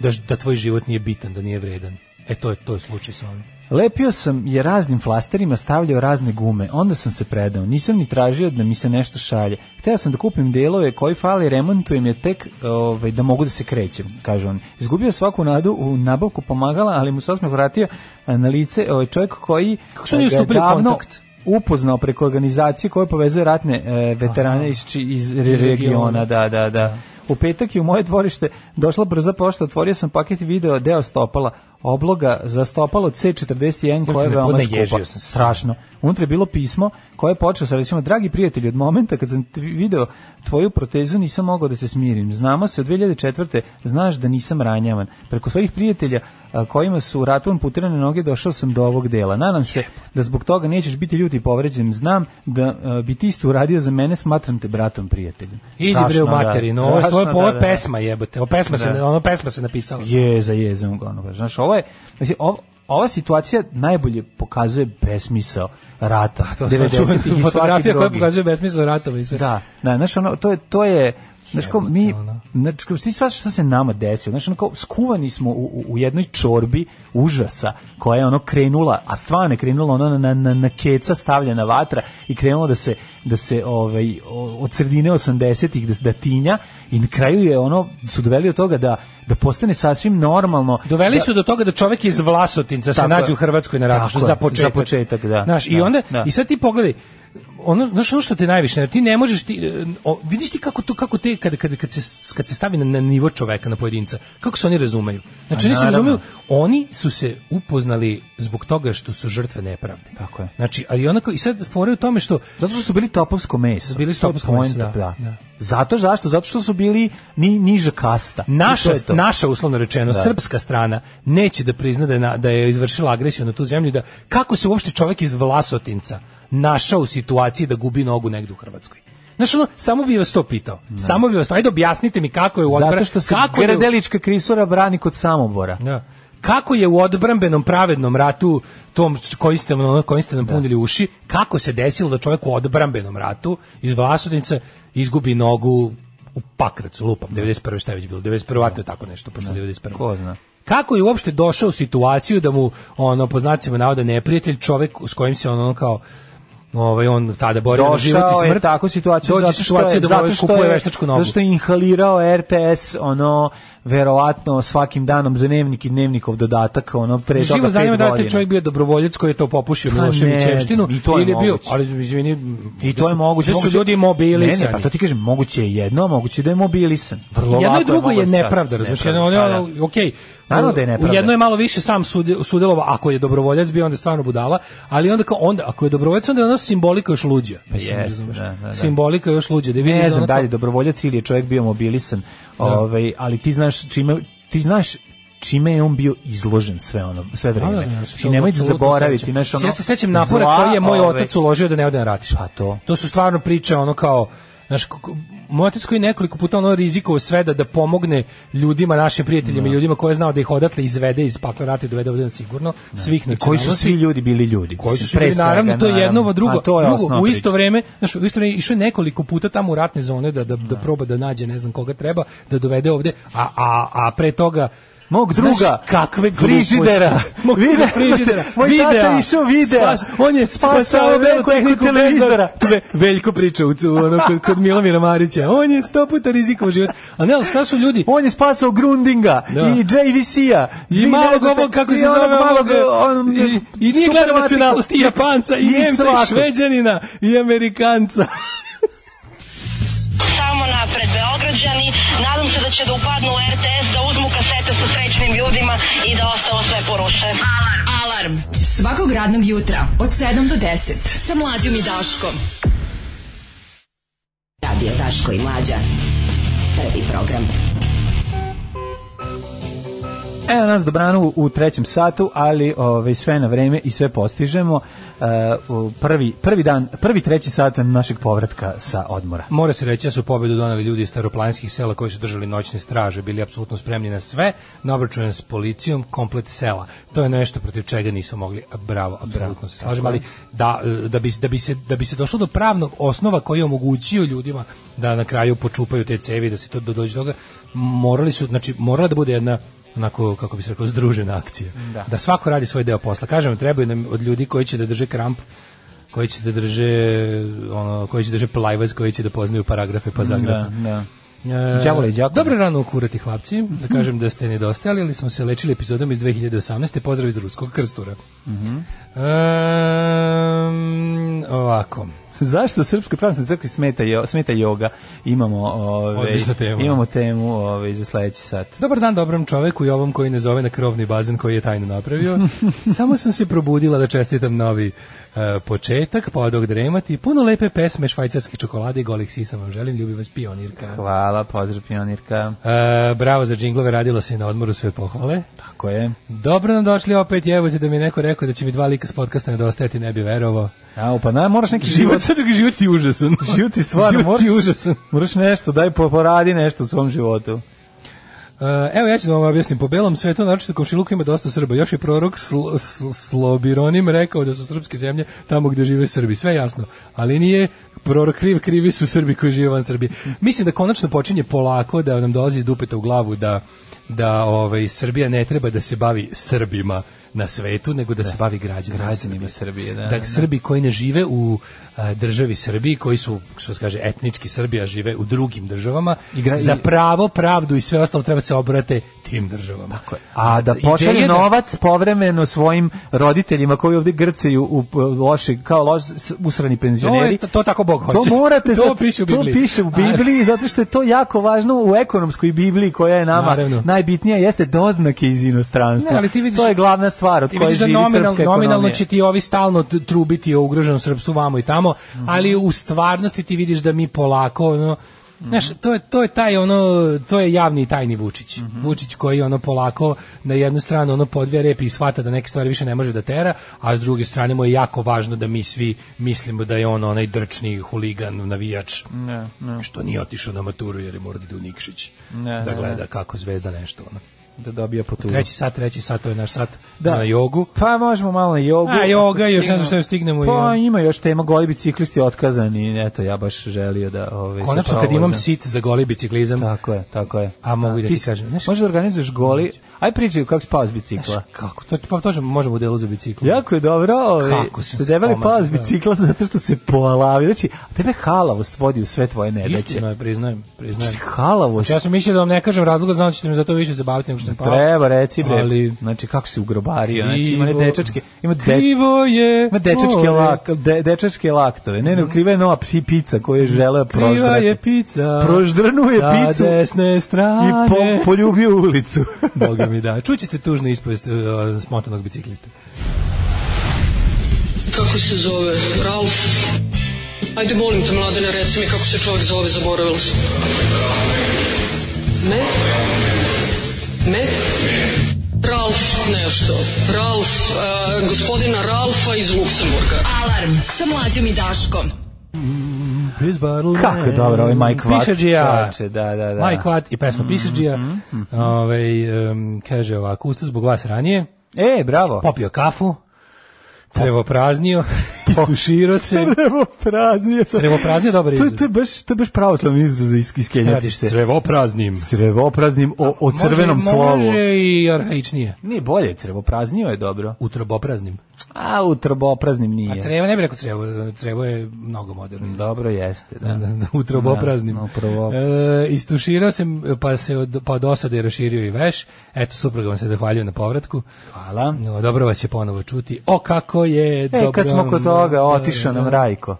da, ž- da tvoj život nije bitan, da nije vredan. E to je, to je slučaj sa ovim.
Lepio sam je raznim flasterima, stavljao razne gume, onda sam se predao. Nisam ni tražio da mi se nešto šalje. Hteo sam da kupim delove koji fali, remontujem je tek ovaj, da mogu da se krećem, kaže on. Izgubio svaku nadu u nabavku pomagala, ali mu se osmeh vratio eh, na lice ovaj čovjek koji
Kako su oni
eh, ga je
ustupili u
davno
kontakt?
upoznao preko organizacije koja povezuje ratne eh, veterane iz, či- iz re- regiona, da, da, da. U petak je u moje dvorište došla brza pošta, otvorio sam paket i video deo stopala, obloga za stopalo C41 koja je
ne
veoma
podnaježio
skupa.
sam se.
Strašno. Unutra je bilo pismo koje je počelo sa recimo, dragi prijatelji, od momenta kad sam ti video tvoju protezu nisam mogao da se smirim. Znamo se od 2004. znaš da nisam ranjavan. Preko svojih prijatelja a, kojima su ratom putirane noge došao sam do ovog dela. Nadam se da zbog toga nećeš biti ljuti i povređen. Znam da a, bi ti isto uradio za mene, smatram te bratom prijateljem.
Idi
Strašno,
bre u
da.
materinu, ovo je
Strašno,
tvoje- ovo
da,
je
da.
pesma jebote, ovo pesma se,
Da.
ono pesma se napisala. sama.
Je, za jezom uglavnom. kažem. Znaš, ovo je, mislim, ov- ova situacija najbolje pokazuje besmisao rata.
To su
90-ih i
čuvene
svaki
fotografije koje
drugi.
pokazuju besmisao ratova i sve.
Da, da, znaš, ono, to je, to je, znaš, kao mi,
ono.
znaš, kao, ti shvataš šta se nama desilo, znaš, ono, kao, skuvani smo u, u- u jednoj čorbi užasa koja je, ono, krenula, a stvarno je krenula, ono, na, na, na keca stavljena vatra i krenula da se, da se, ovaj, o- od sredine 80-ih, da, se- da tinja i na kraju je, ono, su doveli do toga da, da postane sasvim normalno.
Doveli
da-
su do toga da čovek iz Vlasotinca se
Tako
nađe
je.
u Hrvatskoj na ratištu
Tako je,
za početak.
za početak, da.
Znaš, i
Da,
onda
da.
i sad ti pogledaj ono znaš ono što te najviše nervira, ti ne možeš ti e, o, vidiš ti kako to kako te kad kad kad se kad se stavi na, na nivo čoveka na pojedinca kako se oni razumeju
A,
znači oni se
Pa naravno.
razumeju oni su se upoznali zbog toga što su žrtve nepravde
Tako je.
znači ali onako i sad fore u tome što
Zato što su bili topovsko meso.
Bili su
To je
topovsko meso,
poenta,
da, da.
Zato zašto? Zato što su bili ni, niža kasta. I
naša,
to je to.
naša uslovno rečeno,
Da.
srpska strana neće da prizna da je, na- da je izvršila agresiju na tu zemlju, i da kako se uopšte čovjek iz Vlasotinca našao u situaciji da gubi nogu negdje u Hrvatskoj. Znaš, ono, samo bi vas to pitao. Samo bi vas to, ajde objasnite mi kako je u odbra-
Zato što se
kako je u-
Gradelička krisura brani kod Samobora.
da. Kako je u odbrambenom pravednom ratu tom s- koji ste, ono, koji ste nam punili uši, kako se desilo da čovjek u odbrambenom ratu iz Vlasodnice izgubi nogu u Pakracu, lupam, 91. šta je već bilo, 91. vato je tako nešto, pošto je 91.
Ko zna.
Kako je uopšte došao u situaciju da mu, ono, po znacima navoda, neprijatelj, čovjek s kojim se on, ono, kao, ovaj, on tada borio na život
Došao
i
je
smrt,
tako situaciju
dođe
zato
u
što
situaciju
je,
da mu
zato
ovaj
što
kupuje
je,
veštačku nogu.
zato što je inhalirao RTS ono verovatno svakim danom dnevnik i dnevnikov dodatak ono pre toga
Živo zanima
pet
da li je taj
godina.
čovjek bio dobrovoljac koji je to popušio
Pa
Miloševićevštinu
ne, i to je
ili je bio,
moguće.
ali izvini,
I
gde
to je
su-
moguće.
gde su
moguće-
ljudi
Ne, ne,
mobilisani.
pa to ti kažem, moguće je jedno, a moguće da je mobilisan. Vrlo
jedno
lako
i drugo je
moguće.
nepravda, razumiješ, jedno je
Nepravda,
ono,
pa da.
okej,
Naravno da je
u-
nepravda.
U jedno je malo više sam sud, sudelovao, ako je dobrovoljac bio, onda je stvarno budala, ali onda, kao, onda ako je dobrovoljac, onda je ono simbolika još luđa. Mislim,
Pa Jeste,
razumeš?
da, da, da.
Simbolika još luđa. Da vidiš
Ne
ono
znam
kao-
dalje dobrovoljac ili je čovjek bio mobilisan, ovaj, ali ti znaš čime ti znaš čime je on bio izložen sve ono sve
Da,
vreme.
da, da, ja se
I nemojte
apsolutno
zaboraviti
sećam.
znaš ono.
Ja se sećam napora
zla,
koji je moj
ovaj,
otac uložio da ne ode na ratište. Pa to. To su stvarno priče ono kao znaš k- k- moj otac koji je nekoliko puta ono rizikovao sve da, da pomogne ljudima, našim prijateljima, i ljudima koje je znao da ih odatle izvede iz pakla rata i dovede ovdje na sigurno, svih
i koji su
nacionalnosti.
svi ljudi bili ljudi.
Znači, koji su
Mislim,
svi
pre
bili,
svega,
naravno to je jedno
naravno.
ovo drugo,
A to je
drugo
osnovna
u
priča.
isto vreme znaš u isto vreme išao je nekoliko puta tamo u ratne zone da da, da proba da nađe ne znam koga treba da dovede ovde a a a pre toga
Mog
znaš
druga,
kakve
frižidera.
gluposti. mog
Vi
druga
ne znate,
frižidera
moj
videa.
tata je išao videa.
Spas- on je
Spasao je
spasao belu
neku
tehniku
televizora.
bez- Ve- veljko priča u u ono kod, kod Milomira Marića on je sto puta rizikovao život a ne ali šta su ljudi
On je spasao Grundinga
Da.
i JVC-a.
I
Vi ono ne
malog
znate-
ovog, kako
i
se zove,
onog malog,
ovog,
on-
i, i nije gledao
supermatiku.
nacionalnost i Japanca, i
I
Njemca, i
svakog.
Šveđanina, i Amerikanca.
Samo napred Beograđani, nadam se da će da upadnu u RTS, da uzmu kasete sa srećnim ljudima i da ostalo sve poruše. Alarm! Alarm!
Svakog radnog jutra od 7 do 10. Sa mlađom i Daškom.
Radio Daško i Mlađa. Prvi program.
Evo nas dobrano u- u trećem satu, ali ove, sve na vreme i sve postižemo. E, u prvi, prvi dan, prvi treći sat našeg povratka sa odmora.
Mora se reći da su pobedu doneli ljudi iz staroplanskih sela koji su držali noćne straže, bili apsolutno spremni na sve, na obračun s policijom, komplet sela. To je nešto protiv čega nisu mogli. A Bravo, apsolutno se slažem, ali da, e, da, bi, da, bi se, da bi se došlo do pravnog osnova koji je omogućio ljudima da na kraju počupaju te cevi, da se to da dođe do toga, morali su, znači morala da bude jedna onako, kako bi se reklo, združena akcija.
Da.
da svako radi svoj deo posla. Kažem, vam, trebaju nam od ljudi koji će da drže kramp, koji će da drže ono, koji će da drže plajvaz, koji će da poznaju paragrafe pa zagrafe.
Da,
E,
Đavole i đakone.
Dobro rano ukurati hlapci, da kažem da ste nedostajali, ali smo se lečili epizodom iz 2018. Pozdrav iz Ruskog krstura.
Mhm.
Ehm, ovako.
Zašto Srpskoj pravoslavnoj crkvi smeta, jo, smeta joga? Imamo, ove,
Odlična tema.
imamo temu ove, za sledeći sat.
Dobar dan dobrom čoveku i ovom koji ne zove na krovni bazen koji je tajno napravio. Samo sam se probudila da čestitam novi e, početak, pa odog dremati. Puno lepe pesme, švajcarske čokolade i golih sisa vam želim. Ljubi vas pionirka.
Hvala, pozdrav pionirka.
E, bravo za džinglove, radilo se i na odmoru sve pohvale.
Tako je.
Dobro nam došli opet, jebote da mi je neko rekao da će mi dva lika s podcasta nedostajati, ne bi verovao.
A, pa na, moraš neki
Život-
život...
život ti užasan.
Život ti stvarno,
Život ti
moraš,
užasan.
moraš nešto, daj po- poradi nešto u svom životu.
E, evo ja ću da vam objasnim, po belom svetu, naročito komšiluku ima dosta Srba, još je prorok sl, Sl- Slobironim rekao da su srpske zemlje tamo gde žive Srbi, sve jasno, ali nije prorok kriv, krivi su Srbi koji žive van Srbije. Mislim da konačno počinje polako da nam dolazi iz dupeta u glavu da, da ovaj, Srbija ne treba da se bavi Srbima na svetu, nego da, se bavi građanima,
Građanima Srbije, da.
da, Srbi koji ne žive u a, državi Srbiji, koji su, što se kaže, etnički Srbi, a žive u drugim državama,
I gra-
za
i-
pravo, pravdu i sve ostalo treba se obrate tim državama. Tako je.
A da pošalje novac povremeno svojim roditeljima koji ovdje grcaju u p- loši, kao loš, s- usrani penzioneri.
To je- to tako Bog hoće.
To morate,
To
sad-
piše u Bibliji.
To piše u Bibliji, zato što je to jako važno u ekonomskoj Bibliji koja je nama
Naravno.
najbitnija, jeste doznake iz inostranstva.
Ne, ali ti vidiš-
to je glavna stvar od
Ti
koje
vidiš da
živi
nominal,
srpska ekonomija.
nominalno će ti ovi stalno t- trubiti o ugroženom srpstvu vamo i tamo, ali u stvarnosti ti vidiš da mi polako ono, Znaš, to je, to je taj ono, to je javni i tajni Vučić. Vučić koji ono polako na jednu stranu ono podvije repi i shvata da neke stvari više ne može da tera, a s druge strane mu je jako važno da mi svi mislimo da je on onaj drčni huligan, navijač,
Ne, ne.
što nije otišao na maturu jer je morao da ide u Nikšić,
Ne,
da
ne,
gleda
ne.
kako zvezda nešto. Ono.
Da dobija po
Treći sat, treći sat, to je naš sat
Da.
na jogu.
Pa možemo malo na jogu.
A, joga, još ne znam šta još stignemo i- ono.
Pa ima još tema goli biciklisti otkazani, eto ja baš želio da... Ove, se
Konačno kad
provozam.
imam sit za goli biciklizam.
Tako je, tako je.
A mogu i da
Ti
ti
si-
kažem, znaš,
Možeš da organizuješ goli. Aj pričaj kako si pao s bicikla.
znaš kako, to, pa to ćemo- možemo u delu za bicikl.
Jako je dobro, ovaj,
Kako sam
ste
se
debeli
pomazao,
pao s
da.
bicikla zato što se polavi. Znači, tebe halavost vodi u sve tvoje nedaće.
Istina je, priznajem, priznajem.
Halavost.
Znači, ja sam mislio da vam ne kažem razloga, znam da ćete me za to više zabaviti nego što pa- sam pao.
Treba reći, bre.
Ali-
Znači, kako si ugrobario. Znači, ima ne
Krivo-
dečačke, ima de,
Krivo je.
ima dečačke,
more,
lak, de, dečačke laktove. Ne, ne, kriva je nova psi- pica koju je želeo
Mhm. Kriva
proždrati.
je pa- pizza.
Proždrnuje
sa
picu.
desne strane.
I po, poljubio ulicu.
Boga mi da. Čućete tužnu ispovest e, smotanog bicikliste.
Kako se zove? Ralf? Ajde, molim te, mladene, reci mi kako se čovjek zove, zaboravila sam. Me? Me? Ralf nešto. Ralf, e, gospodina Ralfa iz Luksemburga.
Alarm sa Mlađom i Daškom.
Kako je dobro ovaj Mike Watt,
Pisađija.
čoveče, da, da, da. Mhm,
Mike Watt i pesma Pisađija. Ovaj, em, kaže ovako, usto zbog vas ranije.
E, bravo.
Popio kafu, crevo praznio, istuširao se.
Crevo praznio.
Crevo praznio, dobar
To,
izraz.
to je baš, to je baš pravoslavni izraz za isk- iskenjati
Radiš
se.
crevo praznim.
Crevo praznim o, o crvenom
može,
slovu.
Može i arhaičnije.
Nije bolje, crevo praznio je dobro.
U trobopraznim.
A u trbopraznim nije.
A crevo, ne bih rekao crevo, crevo je mnogo moderno. izraz.
Dobro jeste, da.
u trobopraznim.
Da, u trobo-
E, istuširao sam, pa se od, pa od osade je raširio i veš. Eto, supruga vam se zahvaljuje na povratku.
Hvala.
No, dobro vas je ponovo čuti. O, kako je
E,
dobro.
kad smo kod toga, otišao nam Rajko.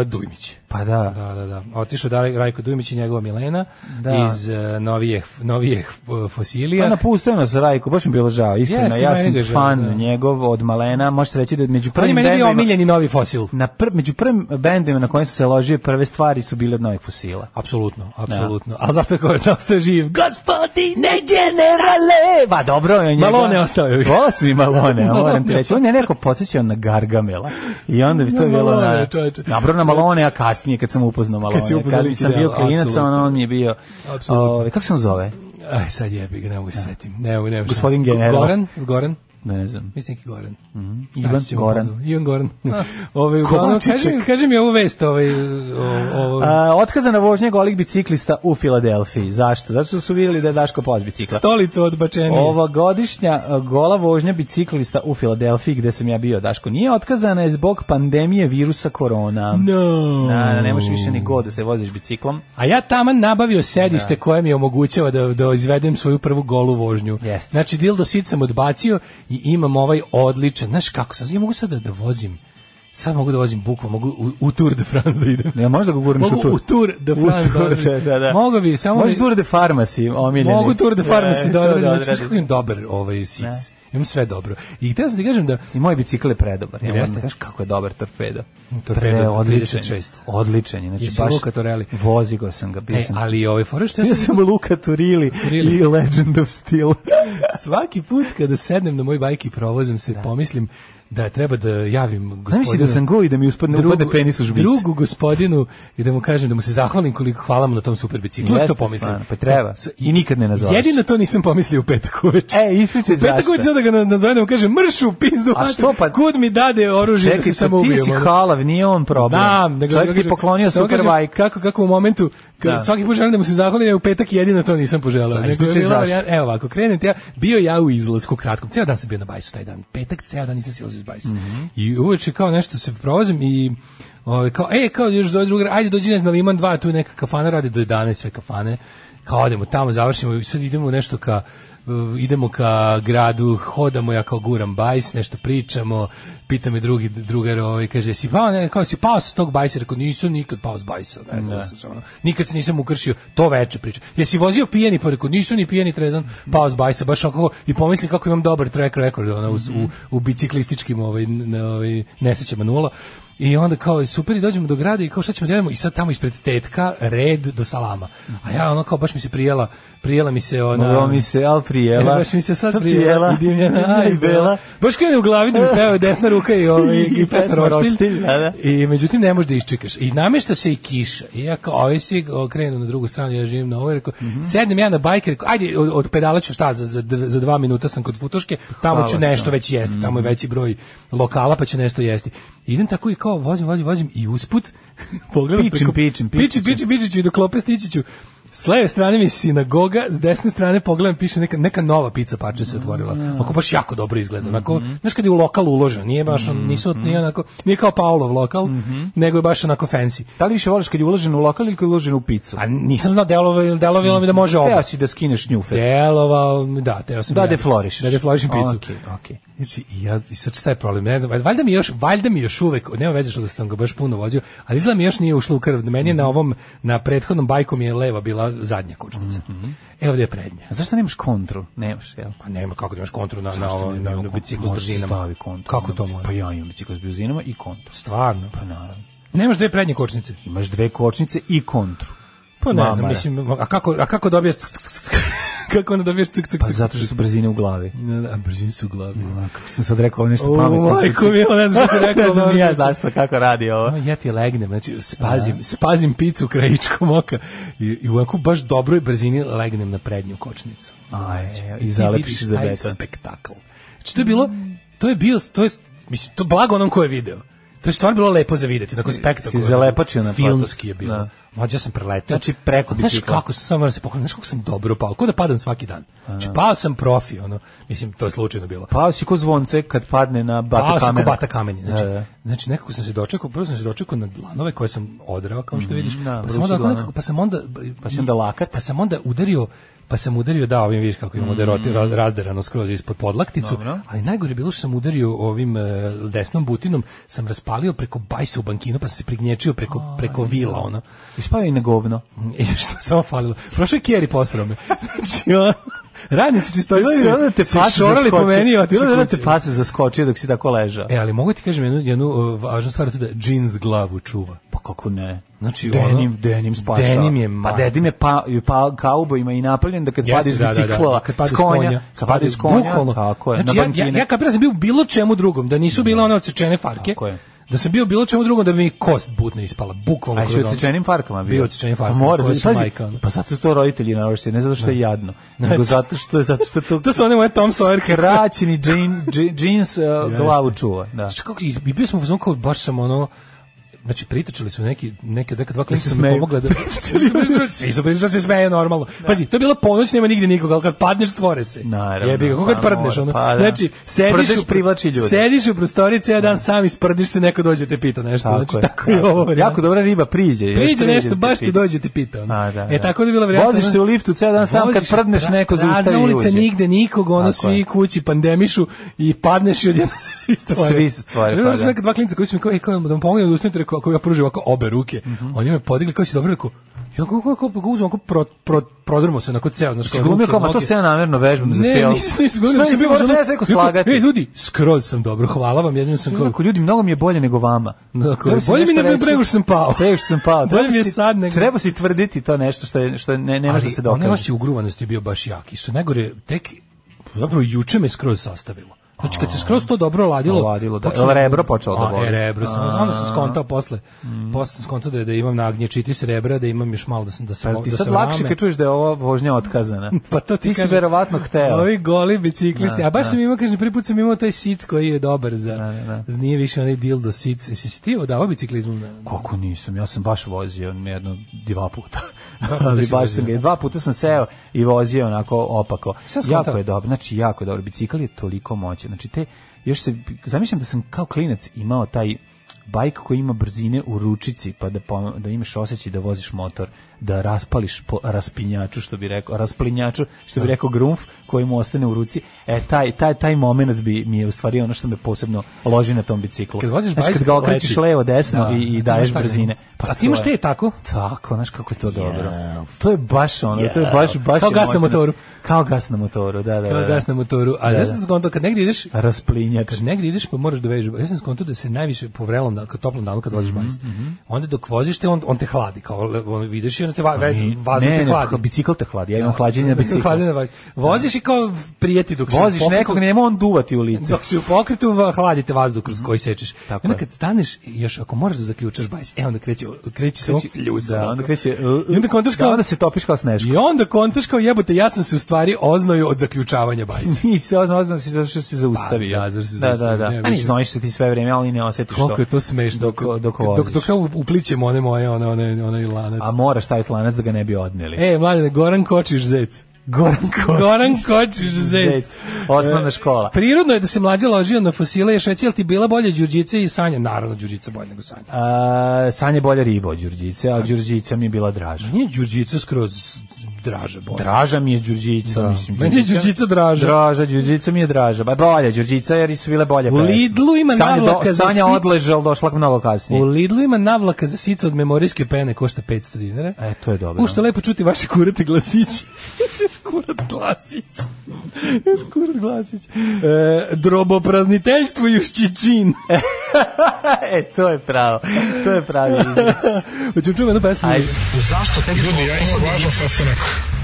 E, Dujmić.
Pa da.
Da, da, da. Otišao da Rajko Dujmić i njegova Milena
Da.
iz e, novijih novijih e, fosilija.
Pa napustio nas Rajko, baš mi je bilo žao, iskreno,
Jeste,
ja
meni
sam
ga žao,
fan
da.
njegov od malena, može se reći da među
On je
prvim
meni bio
bendovima-
omiljeni novi fosil.
na pr, među prvim bendima na kojim sam se ložio prve stvari su bile od novih fosila.
Apsolutno, apsolutno. A zato ko je ostao živ.
E, Gospodine generale! Ba, Pa dobro, on je njega...
Malone ostao je.
Volao sam i Malone, a moram ti
Malone.
reći. On je neko podsjećao na Gargamela. I onda bi to
Na
bilo na...
Malone, čovječe. Znači-
Dobro, na Malone, a kasnije kad sam upoznao Malone.
Kad si upoznao lik,
sam
da,
bio klinac,
apsolutno.
on, on mi je bio...
Apsolutno.
Ovaj, kako se on zove?
Aj, sad jebi ga, ne mogu se setim. Ne, mogu, ne mogu se
Gospodin
setim.
general.
Goran, Goran.
Ne znam.
Mislim neki Goran.
Mhm.
Naći
Ivan
ćemo
Goran.
ponovo. Ivan Goran. Ove, uglavnom,
Kovačiček.
kaži, mi- kaži mi ovu vest. Ovaj, o, o,
A, otkazana vožnja golih biciklista u Filadelfiji. Zašto? Zato što su vidjeli da je Daško poz bicikla.
stolicu od bačenije.
Ova godišnja e, gola vožnja biciklista u Filadelfiji gde sam ja bio, Daško, nije otkazana je zbog pandemije virusa korona.
No.
Na, na, ne možeš više
Mm.
ni god da se voziš biciklom.
A ja taman nabavio sedište koje mi omogućava da, da izvedem svoju prvu golu vožnju. Yes. Znači, dildo sit sam odbacio i imam ovaj odličan. Znaš kako sam? Ja mogu sad da, da vozim. Sad mogu da vozim bukva, mogu u, u Tour de France da idem.
Ne, možda ga gurneš
Mogu
u tur.
u Tour de France
U Tour,
da odredim.
da, da.
Mogao bi, samo
Možeš
bi-
Tour de Pharmacy, omiljeni.
Mogu Tour de Pharmacy
E,
da
to
odradim. Znači,
odradiš.
znaš kako imam dobar ovaj sic. Imam sve dobro. I htio sam ti kažem da...
I moj bicikl je predobar. Ja moram
Jeste.
da kažem kako je dobar torpedo.
Torpedo
Pre, odličan.
36.
Odličan je. Znači,
Jesi Luka Torelli?
Vozigo sam ga. Bio
Ne,
sam,
ali ovaj fora što ja
bio
sam
sam Luka Turili,
Turili.
i Legend of Steel.
Svaki put kada sednem na moj bajk i provozim se, pomislim da treba da javim gospodinu...
Zamisli da sam go i da mi uspadne, upadne penis u žbicu.
Drugu gospodinu i da mu kažem da mu se zahvalim koliko hvala mu na tom super biciklu.
Jeste
to pomislim.
stvarno, pa treba.
S-
I nikad ne nazoveš.
Jedino to nisam pomislio u petak uveče.
E, ispričaj
u petak
zašto.
uveče sad da ga na- nazovem da mu kažem mršu pizdu.
A
mater,
što pa-
Kud mi dade oružje da
Čekaj,
se
pa
samo
ti
ubijem.
si
ono?
halav, nije on problem.
Znam, nego
Čovjek
kažem-
ti poklonio
samo
super
kažem
bajk.
Kako kako u momentu kad
Da.
svaki put želim da mu se zahvalim, ja u petak jedino to nisam poželeo.
Sad
Nego je
isključaj
bila
zašto.
varijanta- evo ovako, krenem ti ja, bio ja u izlasku kratkom, ceo dan sam bio na bajsu taj dan. Petak ceo dan nisam silazio iz bajsa.
Mhm.
I uveče kao nešto se provozim i ovaj kao e kao još dođe drugar, ajde dođi ne znam, na Liman 2, tu je neka kafana radi do 11 sve kafane. Kao odemo tamo, završimo i sad idemo nešto ka uh, idemo ka gradu, hodamo, ja kao guram bajs, nešto pričamo, pita me drugi drugar, ovaj, kaže, si pao, ne, kao si pao sa tog bajsa, rekao, nisam nikad pao s bajsa, ne znam,
Ne.
sam se ono, nikad se nisam ukršio, to veče priča. Jesi vozio pijeni, pa rekao, nisam ni pijeni trezan, pao s bajsa, baš onako, i pomisli kako imam dobar track record, ono, u, u, u biciklističkim ovaj, n- ovaj, nesrećama nula, I onda kao super i dođemo do grada i kao šta ćemo da jedemo i sad tamo ispred tetka red do salama. A ja ono kao baš mi se prijela, prijela mi se ona
Ovo mi se, al prijela.
E, baš mi se sad
Ta
prijela, i dimljena, aj bela. Baš krene u glavi da mi peva desna ruka i, ovaj, i,
I
pesma
pesma
roštilj.
Roštilj, da, da.
I međutim ne možeš da iščekaš. I namešta se i kiša. I ja kao, ovi svi krenu na drugu stranu, ja živim na ovoj, rekao, sednem ja na bajk, rekao, ajde, od, od pedala ću šta, za, za, dv- za dva minuta sam kod futoške, tamo
Hvala
ću
ti.
nešto već jesti, tamo je veći broj lokala, pa ću nešto jesti. Idem tako i kao, vozim, vozim, vozim i usput, pogledam
Pičim,
preko-
pičim,
pičim, pičim, pičim, ću i do klope stići ću. S leve strane mi je sinagoga, s desne strane pogledam piše neka neka nova pizza parče se otvorila.
Mm.
Ako baš jako dobro izgleda. Onako,
Mm-hmm.
znaš kad je u lokal uloženo, nije baš on, nisu nije onako, nije kao Paulov lokal,
Mm-hmm.
nego je baš onako fancy.
Da li više voliš kad je uložen u lokal ili kad je uložen u picu?
A nisam znao delovalo delovilo mi da može oba.
Teo si da skineš njufe.
Delovao, mi, da, teo sam
Da
ja.
deflorišeš.
Da deflorišem picu.
Okej, okej.
Znači, i ja, i sad šta je problem, ne znam, valjda mi još, valjda mi još uvek, nema veze što da sam ga baš puno vozio, ali izgleda mi još nije ušlo u krv, meni je na ovom, na prethodnom bajku mi je leva bila zadnja kočnica.
Mhm.
Evo gde je prednja.
A zašto nemaš kontru? Nemaš, jel?
Pa nema kako da imaš kontru na, na,
Zašto
ovo-
ne
na,
imam
na
kontru?
biciklu s
Može se
brzinama.
stavi kontru
Kako
na
to
biciklu.
može?
Pa ja imam bicikl s brzinama i kontru.
Stvarno.
Pa naravno.
Nemaš dve prednje kočnice.
Imaš dve kočnice i kontru.
Pa ne znam,
Mamare.
mislim, a kako, a kako dobiješ ck, ck, ck, ck? kako onda dobiješ cik, cik,
Pa zato što su brzine u glavi.
Ne, ne, a brzine su u glavi.
A, Kako sam sad rekao ovo nešto
O,
pametno.
majko mila, ne znam što ti rekao,
ne znam
ono
ni ja
zvuči.
zašto kako radi ovo.
Ono, ja ti legnem, znači spazim, spazim picu krajičkom oka i, i u onako baš dobroj brzini legnem na prednju kočnicu.
Aj,
Znači,
i
ti
zalepiš
vidiš
se za
taj
beton.
spektakl. Znači, to je bilo, to je bio, to je, mislim, to blago onom ko je video. To je stvarno bilo lepo za videti, onako spektakularno.
zalepačio na
Filmski je
foto.
bilo.
Da.
Mlađe ja sam preletao.
Znači, preko
Znaš
bicikla.
kako sam, samo moram se pohvalim, znaš kako sam dobro pao, ko da padam svaki dan. Znači, pao sam profi, ono, mislim, to je slučajno bilo.
Pao si ko zvonce kad padne na bata
Pao sam ko
kamena.
Pa, bata kamenje. Znači,
Da, da.
Znači nekako sam se dočekao, prvo sam se dočekao na dlanove koje sam odrao, kao što
Mhm,
vidiš.
da,
pa
vrući
sam onda onako
dlanovi.
nekako, pa sam onda
Pa si onda
lakat, pa sam onda udario pa sam udario da ovim vidiš kako imamo
Mm.
mm. ra, razderano skroz ispod podlakticu,
Dobro.
ali najgore je bilo što sam udario ovim e, desnom butinom, sam raspalio preko bajsa u bankinu, pa sam se prignječio preko preko vila ono.
I spavio i na govno.
I što je samo falilo. Prošao je Kjeri posrao me. Znači, ono, radnici čistoći
Bilo je
su-
da onda ono te
su
pas
šorali po meni i
zaskočio.
otišli
Bilo je da onda
kući.
ono te pas zaskočio dok si tako ležao.
E, ali mogu ti kažem jednu, jednu uh, važnu stvar, to je da džins glavu čuva.
Pa kako ne?
Znači,
Denim,
ono-
denim spašava.
Denim je
Pa
ma-
denim je pa, pa kaubojima i napravljen da kad
Jeste,
pade iz bicikla,
kad pade
s konja,
s
kad pade iz konja,
bukvalno.
kako je,
znači,
na
ja, ja,
bankine.
ja kapiram da sam bio u bilo čemu drugom, da nisu bile one odsečene farke, da sam bio u bilo čemu drugom, da bi mi kost butna ispala, bukvalno.
A si
kroz
u
ono.
odsečenim farkama bio?
Bio u odsečenim farkama,
Pa mora,
koje
biti,
su
pazi,
majka, ono.
Pa zato su to roditelji navrši, ne zato što je
Ne.
jadno,
Znači-
nego zato što, zato što to...
To su one moje Tom Sawyer kakve.
Skraćeni džin, džin, džins uh, glavu čuva, da.
Znači, kako, i i bio sam u fazonu kao baš sam ono, Znači, pritačali su neki, neke, neka dva
se
klinca mi
smeju.
pomogla da... Svi su pričali da se smeju normalno. Pazi, to je bila ponoć, nema nigde nikoga, ali kad padneš, stvore se.
Naravno,
Jebi ga, kako
pa
kad prdneš,
mora,
ono.
pa da.
Znači, sediš,
Prdeš privlači ljude.
sediš u prostoriji ceo dan sam i sprdiš se, neko dođe te pita nešto.
Tako
znači,
je,
tako je ovo. varijanta.
Jako dobra riba priđe.
Priđe nešto,
te
baš ti
pita.
dođe te pita. ono.
A, da,
E,
da.
tako da je bila varijanta,
Voziš
ono,
se u liftu ceo dan sam, kad
voziš,
prdneš
pra-
neko zaustavi
Prazna
i
ulica,
uđe.
nigde nikog, ono,
Tako je.
svi kući pandemišu i padneš i odjedno se svi stvore.
Svi se stvore,
Ja,
pa
znaš,
da.
neka dva klinca koji su mi kao, ej, kao, da mu pomognem da ustanete, rekao, ako ja pružim ovako obe ruke,
Mhm.
oni me podigli, kao si dobro, rekao, ja kako, kako, kako uzmem, kako pro, pro, prodrmo se, onako ceo, znaš,
Si Znači, glumio
ruke,
kao, ma to
noge.
se ja namerno vežbam za
Ne,
film.
nisam ništa
Šta
glumio,
nisi
sam bio
možda
ono-
ja sam rekao
rekao,
slagati?
Ej, ljudi, skroz sam dobro, hvala vam, jedino sam kao,
Ako ljudi, mnogo mi je bolje nego vama.
Dakle,
Treba si
bolje mi
nešto
nego
reći.
pre nego što sam pao.
Pre nego što sam pao.
Bolje
Treba
mi je
si-
sad nego-
Treba si tvrditi to nešto što, je, što ne, ne može da se
Ali ono onaj
dokaže.
osjećaj ugruvanosti je bio baš jak. I su najgore tek, zapravo juče me skroz sastavilo. Znači kad se skroz to dobro ladilo,
Oladilo, da.
počelo-
Jel rebro počelo da
A,
boli?
E, rebro sam,
A. Mm.
onda sam skontao posle. Posle sam skontao da, je- da imam nagnječitis rebra, da imam još malo da sam da sam
Pa ti
da
sad
sam
lakše
rame.
kad čuješ da je ova vožnja otkazana.
Pa to ti,
ti si
kažem.
verovatno hteo.
Ovi goli biciklisti.
Da,
A baš
da.
sam imao, kažem, prvi put sam imao taj sic koji je dobar za... Nije više onaj dildo sic. Jesi si ti odavao biciklizmu? na-
Kako nisam, ja sam baš vozio jedno, dva puta.
puta
Ali
si
baš sam
vozio.
ga, dva puta sam seo i vozio onako opako.
Sad skontao.
Jako je dobro, znači jako je dobro. Bicikl je toliko moćan. Znači te, još se, zamišljam da sam kao klinac imao taj bajk koji ima brzine u ručici, pa da, pom- da imaš osjećaj da voziš motor, da raspališ po raspinjaču, što bi rekao, rasplinjaču, što bi
Da.
rekao grunf, koji mu ostane u ruci. E, taj, taj, taj moment bi, mi je u stvari ono što me posebno loži na tom biciklu.
Kad voziš
znači, kad
bajs,
ga okrećeš
leti.
levo, desno
Da.
i, i
Imaš
daješ
tako.
brzine. Pa
A Pa ti imaš
to je-
te tako?
Tako, znaš kako je to dobro. To je baš ono, to je baš,
Jao.
baš...
Kao
je
gas na
moćno.
motoru.
Kao gas na motoru, da, da.
Kao
da.
gas na motoru. A
E, Da,
znaš
da.
šta sam skontao? Kad negdje ideš...
Rasplinjač.
Kad negdje ideš pa moraš da vežeš. Ja sam skontao da se najviše po vrelom, da, kad toplom danu kad voziš
Mhm,
bajs. Onda dok voziš te, on, on te hladi. Kao, le- on vidiš i onda te va, ve, vazduh
Pa ne, ne,
te hladi.
ne, bicikl te hladi, ja imam hlađenje na biciklu.
Hladi Znači, na bajs. Voziš i kao prijeti dok si u
Voziš
pokretu-
nekog, nema on duvati u lice.
Dok si u pokretu, va- hladite vazduh kroz koji sečeš. I onda
Mhm. je.
kad staneš, još ako moraš da zaključaš bajs, e onda kreće, kreće samo fljus.
Da,
ovako.
onda kreće... uh,
I onda kontaš
Da,
kao- Pa,
onda se topiš kao sneško.
I onda kontaš kao jebote, ja sam se u stvari oznoju od zaključavanja bajsa.
Nisi ozno, ozno si zato što si zaustavio.
Pa, da, zato što si
da, da,
zaustavio,
da.
ne,
A ni
više.
znojiš se ti sve vreme, ali ne osjetiš to.
Koliko je to smešno.
Dok, dok, dok voziš.
Dok, dok ja uplićem one moje, one, one, one lanac.
A moraš staviti lanac da ga ne bi odneli.
E, mladine, Goran Kočiš zec.
Goran Kočiš.
Goran Kočiš zec.
Zec. Osnovna škola.
E, Prirodno je da se mlađe ložio na fosile, još reći, jel ti bila bolje Đurđica i Sanja? Naravno, Đurđica bolje nego Sanja.
A, Sanje bolja riba od Đurđice, a Đurđica mi je bila draža.
Nije Đurđica skroz draže bolje.
Draža mi je Đurđica,
Da.
mislim.
Meni je Đurđica draža.
Draža, Đurđica mi je draža. Ba, bolja Đurđica jer su bile bolje
U
pesme.
Lidlu ima
Sanja,
navlaka za
Sanja
sic.
odleža, ali došla mnogo kasnije.
U Lidlu ima navlaka za sica od memorijske pene, košta 500 dinara.
E, to je dobro.
U što je lepo čuti vaše kurate glasići. Kurat glasić. Kurat glasić. E, droboprazniteljstvo i ušćičin.
e, to je pravo. To je pravi izraz.
Hoćemo čujemo jednu pesmu.
Ajde.
Zašto tek Ljudi, ja imam važan sastanak.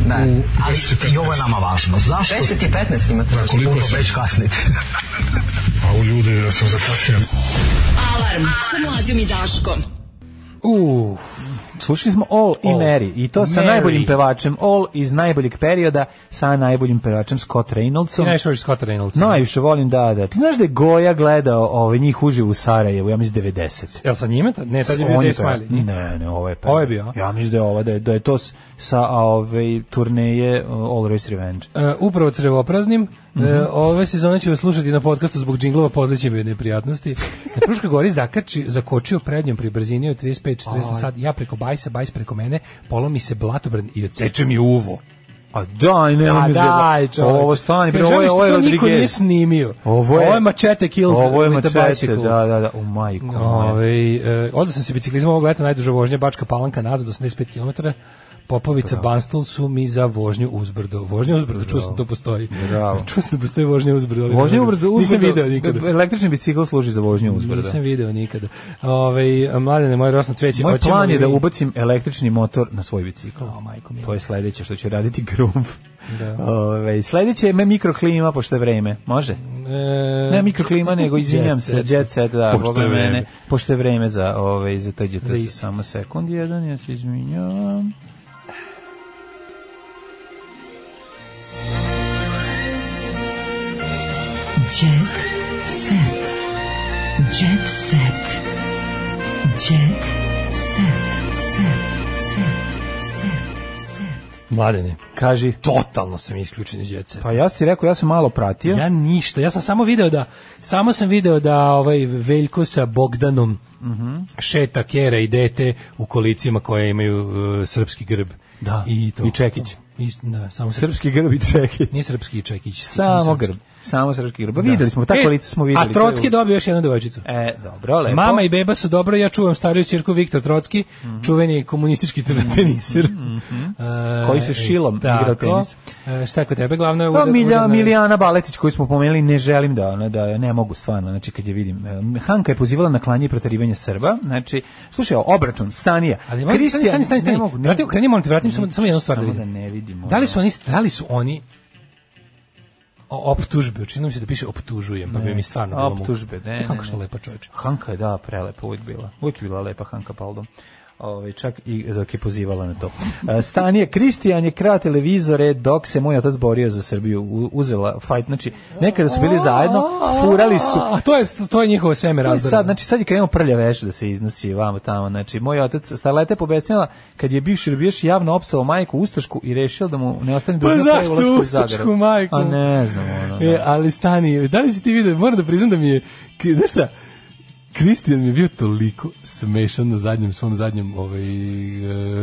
Ne, ali i ovo je nama važno. Zašto? 10 i 15 imate. Da, koliko sam? Već kasnite. A u ljudi, ja sam zakasnio.
Alarm sa mlađom i Daškom.
Uf.
Slušali smo All, i
All.
Mary i to sa
Mary.
najboljim pevačem All iz najboljeg perioda sa najboljim pevačem Scott
Ti
Reynoldsom.
najviše voliš Scott Reynolds.
Najviše volim da, da. Ti znaš da je Goja gledao ove njih uživo u Sarajevu, ja mislim 90.
Jel sa njime? tad? Ne, E, tad je bio
On
Dave
peva-
Smiley.
Ne, ne, ovo je
Ovo je bio, a?
Ja mislim da je ova, da je, da je to s- sa a, ove, ovaj, turneje uh, All Race Revenge.
E, upravo crevopraznim E, ove sezone ću vas slušati na podcastu zbog džinglova, pozliće mi od neprijatnosti. Na Fruškoj gori zakači, zakočio prednjom pri brzini od 35-40
Aj.
sat. Ja preko bajsa, bajs preko mene, polomi se blatobran i odseče mi uvo.
A daj, ne,
A
mi
daj,
za... Ovo stani, bre, ovo je, ovo je
Rodriguez. Niko nije
Rodriguez.
snimio.
Ovo je,
ovo je Machete Kills.
Ovo je
with the
mačete,
bicycle.
da, da, da, u majku.
Ove, e, odao sam se biciklizmom ovog leta najduža vožnja Bačka Palanka nazad 85 km. Popovica Banstol su mi za vožnju uzbrdo. Vožnja uzbrdo, čuo sam to postoji.
Bravo.
Čuo sam da postoji vožnja uzbrdo. ali
Vožnja
ne-
uzbrdo,
Nisam
uzbrdo-
video nikada.
Električni bicikl služi za vožnju uzbrdo.
Nisam video nikada. Ove, mladene, moje rosno cveće.
Moj
hoćemo
plan
li
je da
mi-
ubacim električni motor na svoj bicikl. To je sledeće što ću raditi grumf.
Da.
Ove, sledeće je me mikroklima, pošto je vreme. Može?
E,
Ne mikroklima, nego izvinjam
jet
se,
set.
jet set, da,
Pošto
pošto je
je
vreme.
vreme.
Pošto je vreme za, ove, za taj jet
Za
set.
isti.
Samo sekund, jedan, ja se izminjavam.
Jet set. Jet set. Jet set. Set. Set.
Mladene.
Kaži.
Totalno sam isključen iz djece.
Pa ja sam ti rekao, ja sam malo pratio.
Ja ništa, ja sam samo video da samo sam video da ovaj Veljko sa Bogdanom
Mhm.
šeta kera i dete u kolicima koje imaju e, srpski grb.
Da.
I, to.
I čekić.
I, da, samo
Srpski grb i čekić.
Nije srpski i čekić.
Samo
srpski.
grb. Samo srpski grb. Pa
Da.
Videli smo, ta
E,
kolica smo videli.
A
to je
Trocki
u-
dobio još jednu devojčicu.
E, dobro, lepo.
Mama i beba su dobro, ja čuvam stariju cirku Viktor Trocki,
Mhm.
čuveni komunistički teniser. E,
Koji se šilom
tako.
igrao tenis.
E, šta je kod tebe glavno? je
Pa
uda-
Milja,
udana-
Milijana Baletić koju smo pomenuli, ne želim da ona da ne mogu stvarno, znači kad je vidim. E, Hanka je pozivala na klanje i proterivanje Srba, znači slušaj, obračun Stanija.
Ali molim, stani, stani, stani, stani.
ne mogu, ne
Vrati, okreni, molim te, vratim samo-
Ne,
samo jednu stvar da
samo
vidim.
ne vidimo.
Da li su oni, da li su oni o- optužbe, učinilo mi se da piše optužujem, pa bi mi stvarno bilo mu-
optužbe, ne,
E,
ne,
Kako
ne.
što lepa čoveče.
Hanka je da prelepa uvijek bila. Uvijek je bila lepa Hanka Paldom. Ovaj čak i dok je pozivala na to. E, Stanije Kristijan je krao televizore dok se moj otac borio za Srbiju, U- uzela fight, znači nekada su bili zajedno, furali su
A to je to je njihovo seme
To je
razbrano.
sad, znači sad je krenuo prlja veš da se iznosi vamo tamo, znači moj otac starleta je pobesnila kad je bivši rubijaš javno opsao majku Ustašku i rešio da mu ne ostane
Pa
dužna
zašto
u
ustačku majku?
A ne znam, ono,
E,
da.
ali stani, da li si ti vidio, moram da priznam da mi je, k- znaš šta, Kristijan mi je bio toliko smešan na zadnjem, svom zadnjem ovaj,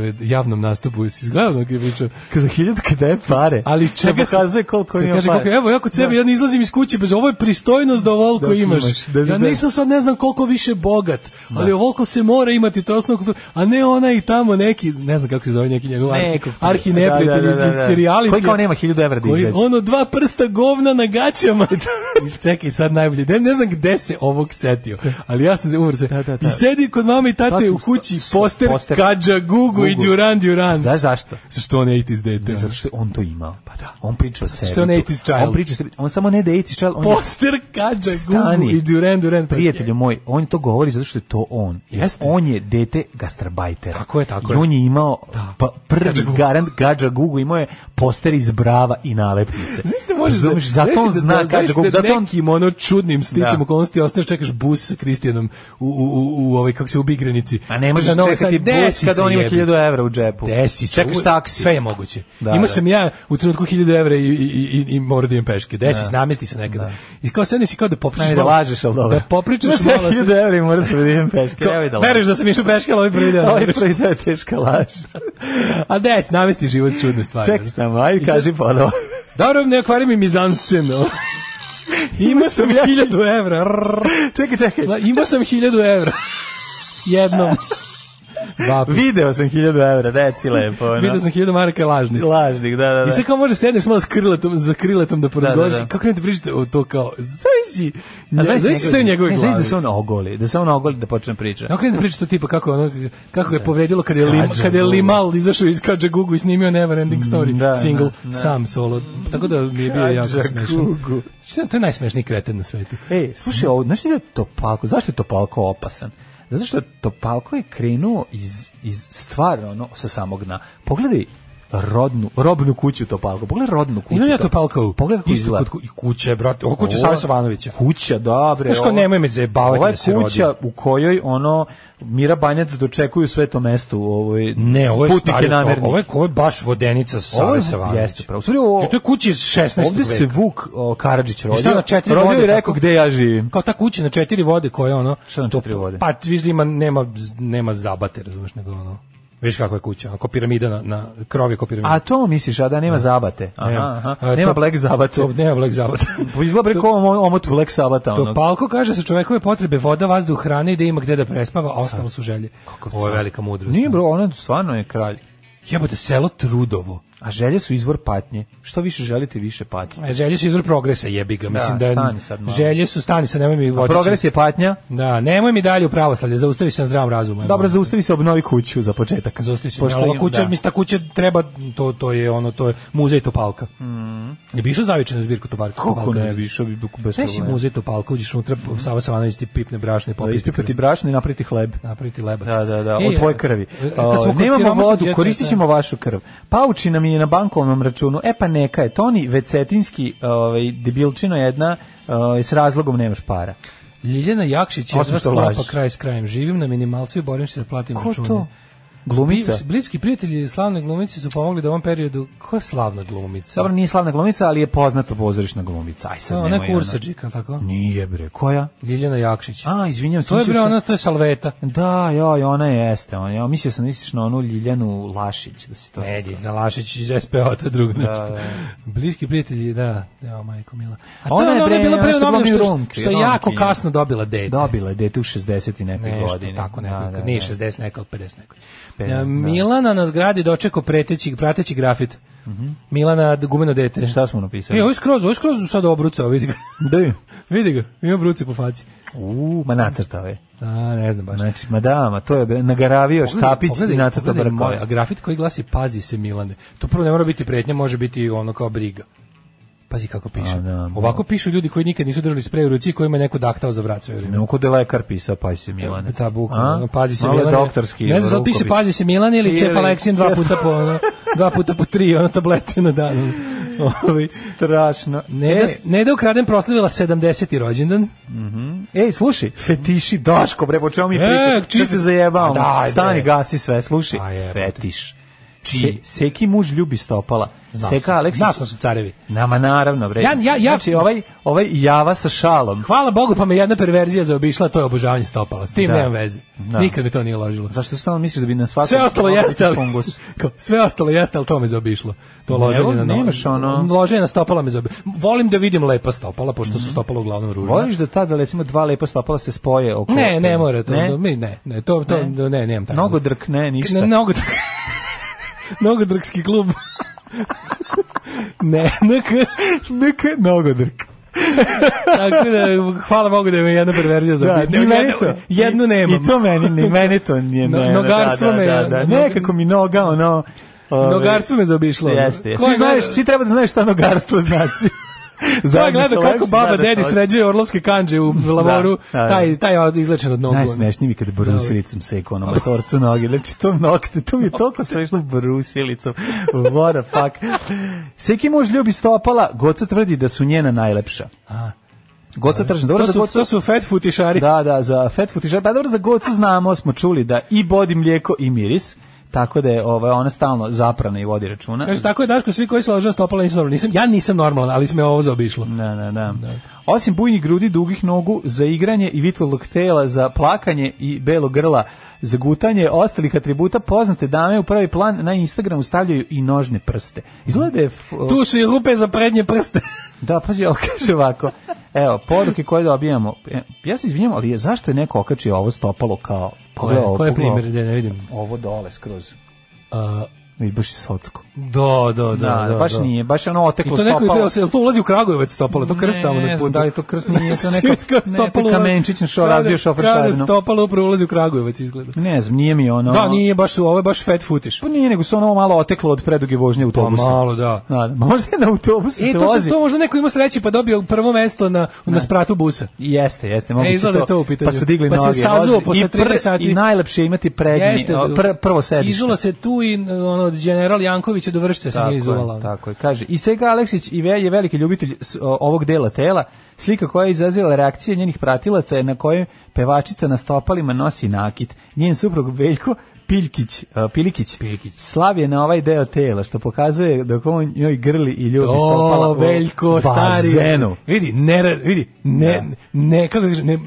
e, javnom nastupu. Jesi izgledao dok je pričao?
Za hiljadu kada je pare.
Ali čega
Da pokazuje
sam-
koliko
Kad
ima
kaže
para.
koliko- Evo, ja kod sebe,
Da.
ja ne izlazim iz kuće bez ovo je pristojnost da ovoliko
Da,
imaš.
imaš, da, da,
ja
da.
nisam sad ne znam koliko više bogat, ali ovoliko se mora imati to osnovno kulturu, a ne ona i tamo neki, ne znam kako se zove neki njegov
Neko-
arhi
Da,
neprijatelj
da,
iz,
da, da.
iz reality.
Koji kao nema 1000 evra da
Koji-
izađe.
Ono dva prsta govna na gaćama. I Čekaj, sad najbolje. Ne, ne znam gde se ovog setio, ali ja sam se umrze. I sedi kod mame i tate u kući poster,
poster.
Kađa Gugu i
Gugu.
Duran Duran.
Znaš zašto?
Što on 80s dete.
Zato što je on to imao. Pa da. On priča o sebi.
što je on
tu.
80s child.
On priča o sebi. On samo ne da je 80s child. On je-
Poster Kađa Gugu
Ono- Stani.
i Duran Duran. Pa
Prijatelju moj, on to govori zato što je to on. Jer
Jeste.
On je dete gastarbajtera.
Tako je, tako
I
je.
on je imao
Da.
pa, prvi
Gadža Gugu.
garant Gađa Gugu, imao je poster iz brava i nalepnice.
Znaš da možeš
Razumeš? zato on zna Gađa Gugu, zato on
nekim ono čudnim sticam
Da.
okolnosti ostaneš čekaš bus sa Kristijanom u, u, u, u ovaj, kako se u Bigrenici.
A ne možeš
Na Novi
čekati
Sad. Desi
bus kad
se,
on ima
jebi.
1000 evra u džepu.
Desi se.
Čekaš
Uvek-
taksi.
Sve je moguće.
Da,
Imao
da.
sam ja u trenutku 1000 evra i, i, i, i morao da imam peške. Desi,
Da.
se, namesti se nekada. I kao sedneš i kao da popričaš
Ajde, da lažeš, ali dobro.
Da popričaš
Ima
malo.
1000 evra i mora se da idem peške. Evo i da lažeš.
Veruješ da sam išao peške, ali ovaj prvi deo.
Ovaj prvi deo je teška laž.
A des, namesti život čudne stvari.
Čekaj samo, ajde, kaži ponovo.
Dobro, ne okvari mi mizanscenu. Imao sam hiljadu evra.
Čekaj, čekaj.
Imao sam hiljadu evra. Jednom. Dva puta.
Video sam 1000 evra, deci lepo. ono.
Vidio sam hiljadu maraka lažnih.
Lažnih, da, da, da.
I sad kao može sedneš malo s kriletom, za kriletom da porazgovaraš
da.
i kako ne te pričate o to kao, zavisi,
A
ne,
znaš
zavisi što je u njegovoj
ne,
glavi.
Znaš da se on ogoli, da se on ogoli da počne priča.
Kako ne da pričate tipa kako ono kako ga je povredilo kad je Lim,
Kađa
kad je
Gugu. Mm,
Limal izašao iz Kađa Gugu i snimio Never Ending Story
da,
single
da, da.
sam solo. Tako da mi je bio jako
Kađa
smešan.
Gugu.
Šta, To je najsmešniji kreten na svetu.
Ej, e, slušaj, ovo, znaš ti da je Topalko, zašto je Topalko opasan? Zato što Topalko je krenuo iz, iz stvarno ono, sa samog dna. Pogledaj, rodnu, robnu kuću Topalka. Pogledaj rodnu kuću.
Imam ja Topalkovu.
Pogledaj kako
Isto
izgleda.
kod ku- i kuće, brate. Ovo kuća Save Savanovića.
Kuća, dobre.
Znaš ko, nemoj me zajebavati
Ova je
da se
kuća
rodim.
u kojoj ono Mira Banjac dočekuju sve to mesto u ovoj
Ne, ovo je
putnike
stari,
namernike.
ovo je, ovo je baš vodenica Save Savanovića.
jeste pravo. U stvari ovo-
Jer to je kuća iz 16. veka.
Ovde se Vuk o, Karadžić rodio.
I šta na četiri
rodio
vode?
i rekao
kako-
gde ja živim.
Kao ta kuća na četiri vode koja je ono...
Šta na četiri vode?
Pa ti vidiš da ima, nema, nema zabate, razumeš, nego ono... Viš kakva je kuća, ono, kao piramida na, na krov je kao piramida.
A to misliš, a da nema zabate?
Nema.
Aha, aha. E,
A,
Nema
to-
Black Zabate.
to nema Black Zabate.
Izgleda preko omot Black ono. Sabata.
To
onog.
Palko kaže sa čovekove potrebe voda, vazduh, hrane i da ima gde da prespava, a ostalo su želje. Ovo je
car.
velika mudrost.
Nije bro, ona stvarno je kralj.
Jebote, selo Trudovo.
A želje su izvor patnje. Što više želite, više patnje.
E, Želje su izvor progresa, jebi ga. Mislim da,
Da, stani sad malo.
Želje su, stani sad, nemoj mi
A
voditi.
progres je patnja.
Da, nemoj mi dalje u pravoslavlje, zaustavi se na zdravom razumu.
Dobro, zaustavi se, obnovi kuću za početak.
Zaustavi se.
Pošto
Pošto ova
im-
kuća,
da.
mislim, ta kuća treba, to, to je ono, to je muzej Topalka.
Mm.
Ne bi išao zavičan u zbirku Topalka?
Kako
Topalka?
ne, bi išao bi bez problema.
Znaš si muzej Topalka, uđeš unutra, Sava Savanović ti pipne brašne,
Da
popi
ispipati brašno i napraviti hleb.
Napraviti lebac.
Da, da, da,
E,
od tvoje krvi.
e, kad smo
O,
kod
Nemamo
siromašnih
vodu,
djece,
koristit ćemo vašu krv. Pauči nam je na bankovnom računu. E pa neka je, Toni Vecetinski, ovaj, debilčino jedna, ovaj, s razlogom nemaš para.
Ljiljana Jakšić je
Osim
dva
što
sklapa
lažeš.
kraj s krajem. Živim na minimalcu i borim se da platim
Ko
račune.
to? Glumica?
Bi- Blitski prijatelji slavne glumice su pomogli da u ovom periodu... Ko je slavna glumica?
Dobro, nije slavna glumica, ali je poznata pozorišna glumica. Aj sad
Ona
nemoj.
je Kursadžik, jel tako?
Nije bre, koja?
Ljiljana Jakšić.
A, izvinjam se.
To je
mislio
bre
sam-
ona, to je Salveta.
Da, joj, ona jeste. On, ja mislio sam da misliš na onu Ljiljanu Lašić. Da si to...
Ne, na Lašić iz SPO, to je drugo
Da,
nešto.
da.
Bliski prijatelji, da, evo majko mila. A to
Ona
je
je
ono, ona
bre,
je bila
ona
pre
što
novina
glumi
što,
Romke,
što je
Romkinja.
jako kasno dobila dete.
Dobila je dete u 60 i neke
Nešto
godine.
tako nekako,
Da, da,
nije
da.
60 neka od 50 neka.
Pe-
E,
da.
Milana na zgradi dočekao preteći, prateći grafit. Milana d- gumeno dete.
Mhm. Šta smo napisali?
E, ovo je skroz, ovo je skroz sad obrucao, vidi ga.
Da.
vidi ga, ima bruce po faci.
U, ma nacrtao je.
A, ne znam baš.
Znači, ma da, ma to je bre, nagaravio štapić i nacrtao
pogledaj moj-
brkove.
A grafit koji glasi pazi se Milane. To prvo ne mora biti pretnja, može biti ono kao briga. Pazi kako piše.
A, da.
Ovako pišu ljudi koji nikad nisu držali sprej u ruci i kojima je neko daktao za vrat sve vrijeme.
Ne mogu da je lekar pisao, pa se Milane.
E, Ta buka,
A?
ono, pazi se
Malo je
Milane.
doktorski.
Ne znam, da li
rukopis.
piše pazi se Milane ili
Ili
cefaleksin dva
cef-
puta po, ono, dva puta po tri, ono tablete na dan. Ovaj,
Strašno. E,
Ne, da, ne da ukradem proslavila 70. rođendan.
Mhm. Ej, slušaj, fetiši, Daško, bre, po čemu mi
E,
pričaš? Šta
čiji-
se zajebao?
A daj,
Stani,
bre.
gasi sve, slušaj.
A jebote.
Fetiš.
Čiji?
Se, seki muž ljubi stopala.
Znao
Seka
sam.
Aleksić.
Znao sam su carevi.
Nama naravno, bre.
Ja- ja- ja-
Znači, ovaj, ovaj java sa šalom.
Hvala Bogu pa me jedna perverzija zaobišla, to je obožavanje stopala. S tim
Da.
nemam veze.
Da.
Nikad mi to nije ložilo.
Zašto stalno misliš da bi na svakom...
Sve ostalo
stalno
jeste, ali,
fungus?
kao, sve ostalo jeste, ali to me zaobišlo. To
Ne,
loženje na
nemaš ono-
Loženje na stopala me zaobišlo. Volim da vidim lepa stopala, pošto su stopala uglavnom ružna.
Mhm. Voliš da tada, recimo, dva lepa stopala se spoje oko...
Ne, ne mora to.
Ne?
Ne, mi, ne, ne, to, to, ne, ne, nemam tako.
Mnogo drk, ne, ništa.
Ne, mnogo Nogodrkski klub. ne, NK.
NK Nogodrk.
Tako da, hvala Bogu da me jedna
Da,
perverzija zaobišla.
ni meni
jednu,
to.
jednu nemam.
I to meni, ni meni to nije.
No-
ne, da,
nogarstvo
da,
me-
Da, da, nekako mi noga, ono... ove,
Nogarstvo me zaobišlo. ono.
Jeste, jeste.
Ko
Svi,
je
znaš,
gleda-
svi treba da znaš šta nogarstvo znači.
Ko je
Zajedno sa
gledao kako
Leksić
baba
zna da
dedi
to-
sređuje orlovske kanđe u lavoru,
Da, da, da.
taj, taj je izlečen od nogu.
Najsmešniji mi je kad brusilicom seku onom motorcu noge. Znači, to nokte, to mi je toliko smešno brusilicom. What the fuck. Seki muž ljubi stopala, Goca tvrdi da su njena najlepša.
A.
Goca tržna. Dobro, za
ono. To su,
Gocu...
to su fat futišari.
Da, da, za fat footiža. Pa dobro, za gocu znamo, smo čuli da i bodi mlijeko i miris, tako da je ovaj, ona stalno zaprana i vodi računa.
Kaže, tako je Daško, svi koji se lože stopala nisu normalni. Nisam, ja nisam normalan, ali smo ovo zaobišlo.
Da, da, da. Osim bujnih grudi, dugih nogu za igranje i vitlog tela za plakanje i belog grla za gutanje, ostalih atributa poznate dame u prvi plan na Instagramu stavljaju i nožne prste. Izgleda da je... f-
Tu su i rupe za prednje prste.
Da, pazi, ovo kaže ovako. Evo, poruke koje dobijamo. E, Ja se izvinjam, ali je- zašto je neko okačio ovo stopalo kao...
Ko je,
pogledaj ovo,
ko je
pogledaj ovo.
primjer, da ne vidim.
Ovo dole, skroz.
A,
I baš je socko.
Da, da,
Da,
da, da, da.
baš nije, baš je ono oteklo
I to neko,
stopalo.
je to- jel to ulazi u Kragujevac stopalo, to krstamo
Ne,
na
ne znam,
putu. Znači,
da li to krst nije, to neko-
Kao
ne, to kamenčić na šo-
Kao da-
razbio šofer
kao da
šarenu.
stopalo upravo ulazi u Kragujevac izgleda.
Ne znam, nije mi ono...
Da, nije baš, ovo je baš fat futiš.
Pa nije, nego se ono malo oteklo od preduge vožnje
Pa
autobusa.
malo, da.
Da, da, možda je na autobusu
E,
se
to,
vozi.
se, to možda neko ima sreće pa dobio prvo mesto na, na spratu busa.
Jeste, jeste, moguće
izgleda je to u pitanju.
Pa su digli
Pa se
noge.
sazuo
vozili.
posle
I
13 sati.
I najlepše je imati prednji, o, pr, prvo sedište.
Izula se tu i n- ono ono od general Jankovića do vršca se
Tako
nije
je,
izuvala. ono.
Tako je, kaže. I Sega Aleksić i Ve- je veliki ljubitelj s- o- ovog dela tela. Slika koja je izazivala reakcije njenih pratilaca je na kojoj pevačica na stopalima nosi nakit. Njen suprug Veljko Piljkić, a, Pilikić, slav je na ovaj deo tela, što pokazuje dok on njoj grli i ljubi stopala
O,
u
Veljko, stari.
bazenu.
Vidi, ne, ra- vidi, ne, ne, kako da kažem, ne,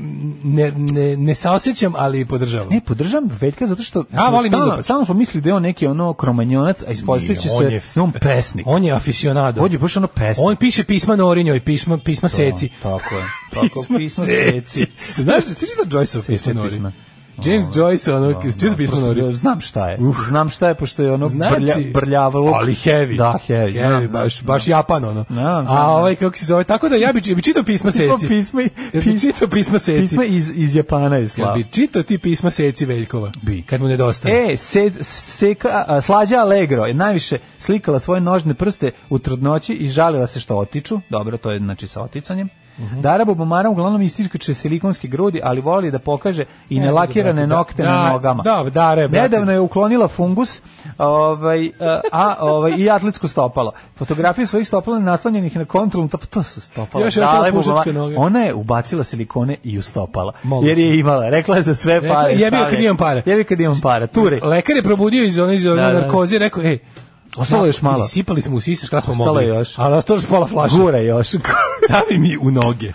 ne, ne, ne saosećam, ali podržavam.
Ne, podržavam Veljka zato što
Ja volim
stalno-
izopač.
Stalno smo mislili da je on neki ono kromanjonac, a ispostavit će
Nije, on
se
je
da je on pesnik.
On je aficionado.
On je baš ono pesnik.
On piše pisma Norinjoj, pisma, pisma
To,
seci.
Tako je. Tako, pismo seci.
Znaš, stiži da Joyce-ov pisma Nori? James Joyce, ono, stiži da pisma Nori?
Znam šta je. Znam šta je, pošto je ono
Znači-
brlja, brljavalo.
Ali heavy.
Da, heavy.
Heavy, baš, baš Japan, ono. A
znam.
ovaj, kako se zove, tako da ja bi, bi čitao pisma
Pismo,
seci.
pismo, i-
Jel bi čitao pisma seci.
pismo iz, iz Japana je
Jel
slava.
bi čitao ti pisma seci Veljkova? Bi. Kad mu nedostaje.
E, se, seka, a, slađa Allegro je najviše slikala svoje nožne prste u trudnoći i žalila se što otiču. Dobro, to je znači sa oticanjem.
Mhm.
Dara Bobomara uglavnom ističe silikonske grudi, ali voli da pokaže i
Ne,
nelakirane
brate, E, da-
nokte
da-
na nogama.
da, Dare, E, brate.
Nedavno je uklonila fungus ovaj, a, a, ovaj, i atletsko stopalo. Fotografije svojih stopala naslanjenih na kontrolom, to, to su stopala.
Još je ostala
Dale
pušačka
Bobomara.
noga.
Ona je ubacila silikone i u stopala.
Moguće.
Jer je imala. Rekla je za sve
Rekla je,
pare.
jebi ga
stavi.
kad imam pare.
Jebi kad imam para. Ture.
Lekar je probudio iz one, iz one
Da, da, da.
narkoze i rekao, ej,
Ostalo je još malo.
Sipali smo u sise, šta smo
Ostalo
mogli?
je još.
Ali ostalo je još pola flaša.
Gura još.
Stavi mi u noge.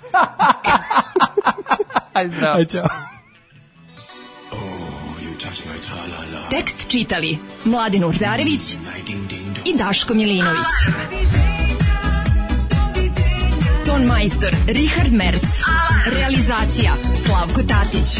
Aj, zdravo.
Aj, čao.
Tekst čitali Mladin Urdarević i Daško Milinović. Ton majstor Richard Merc. Realizacija Slavko Tatić.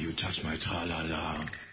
You touch my tra-la-la.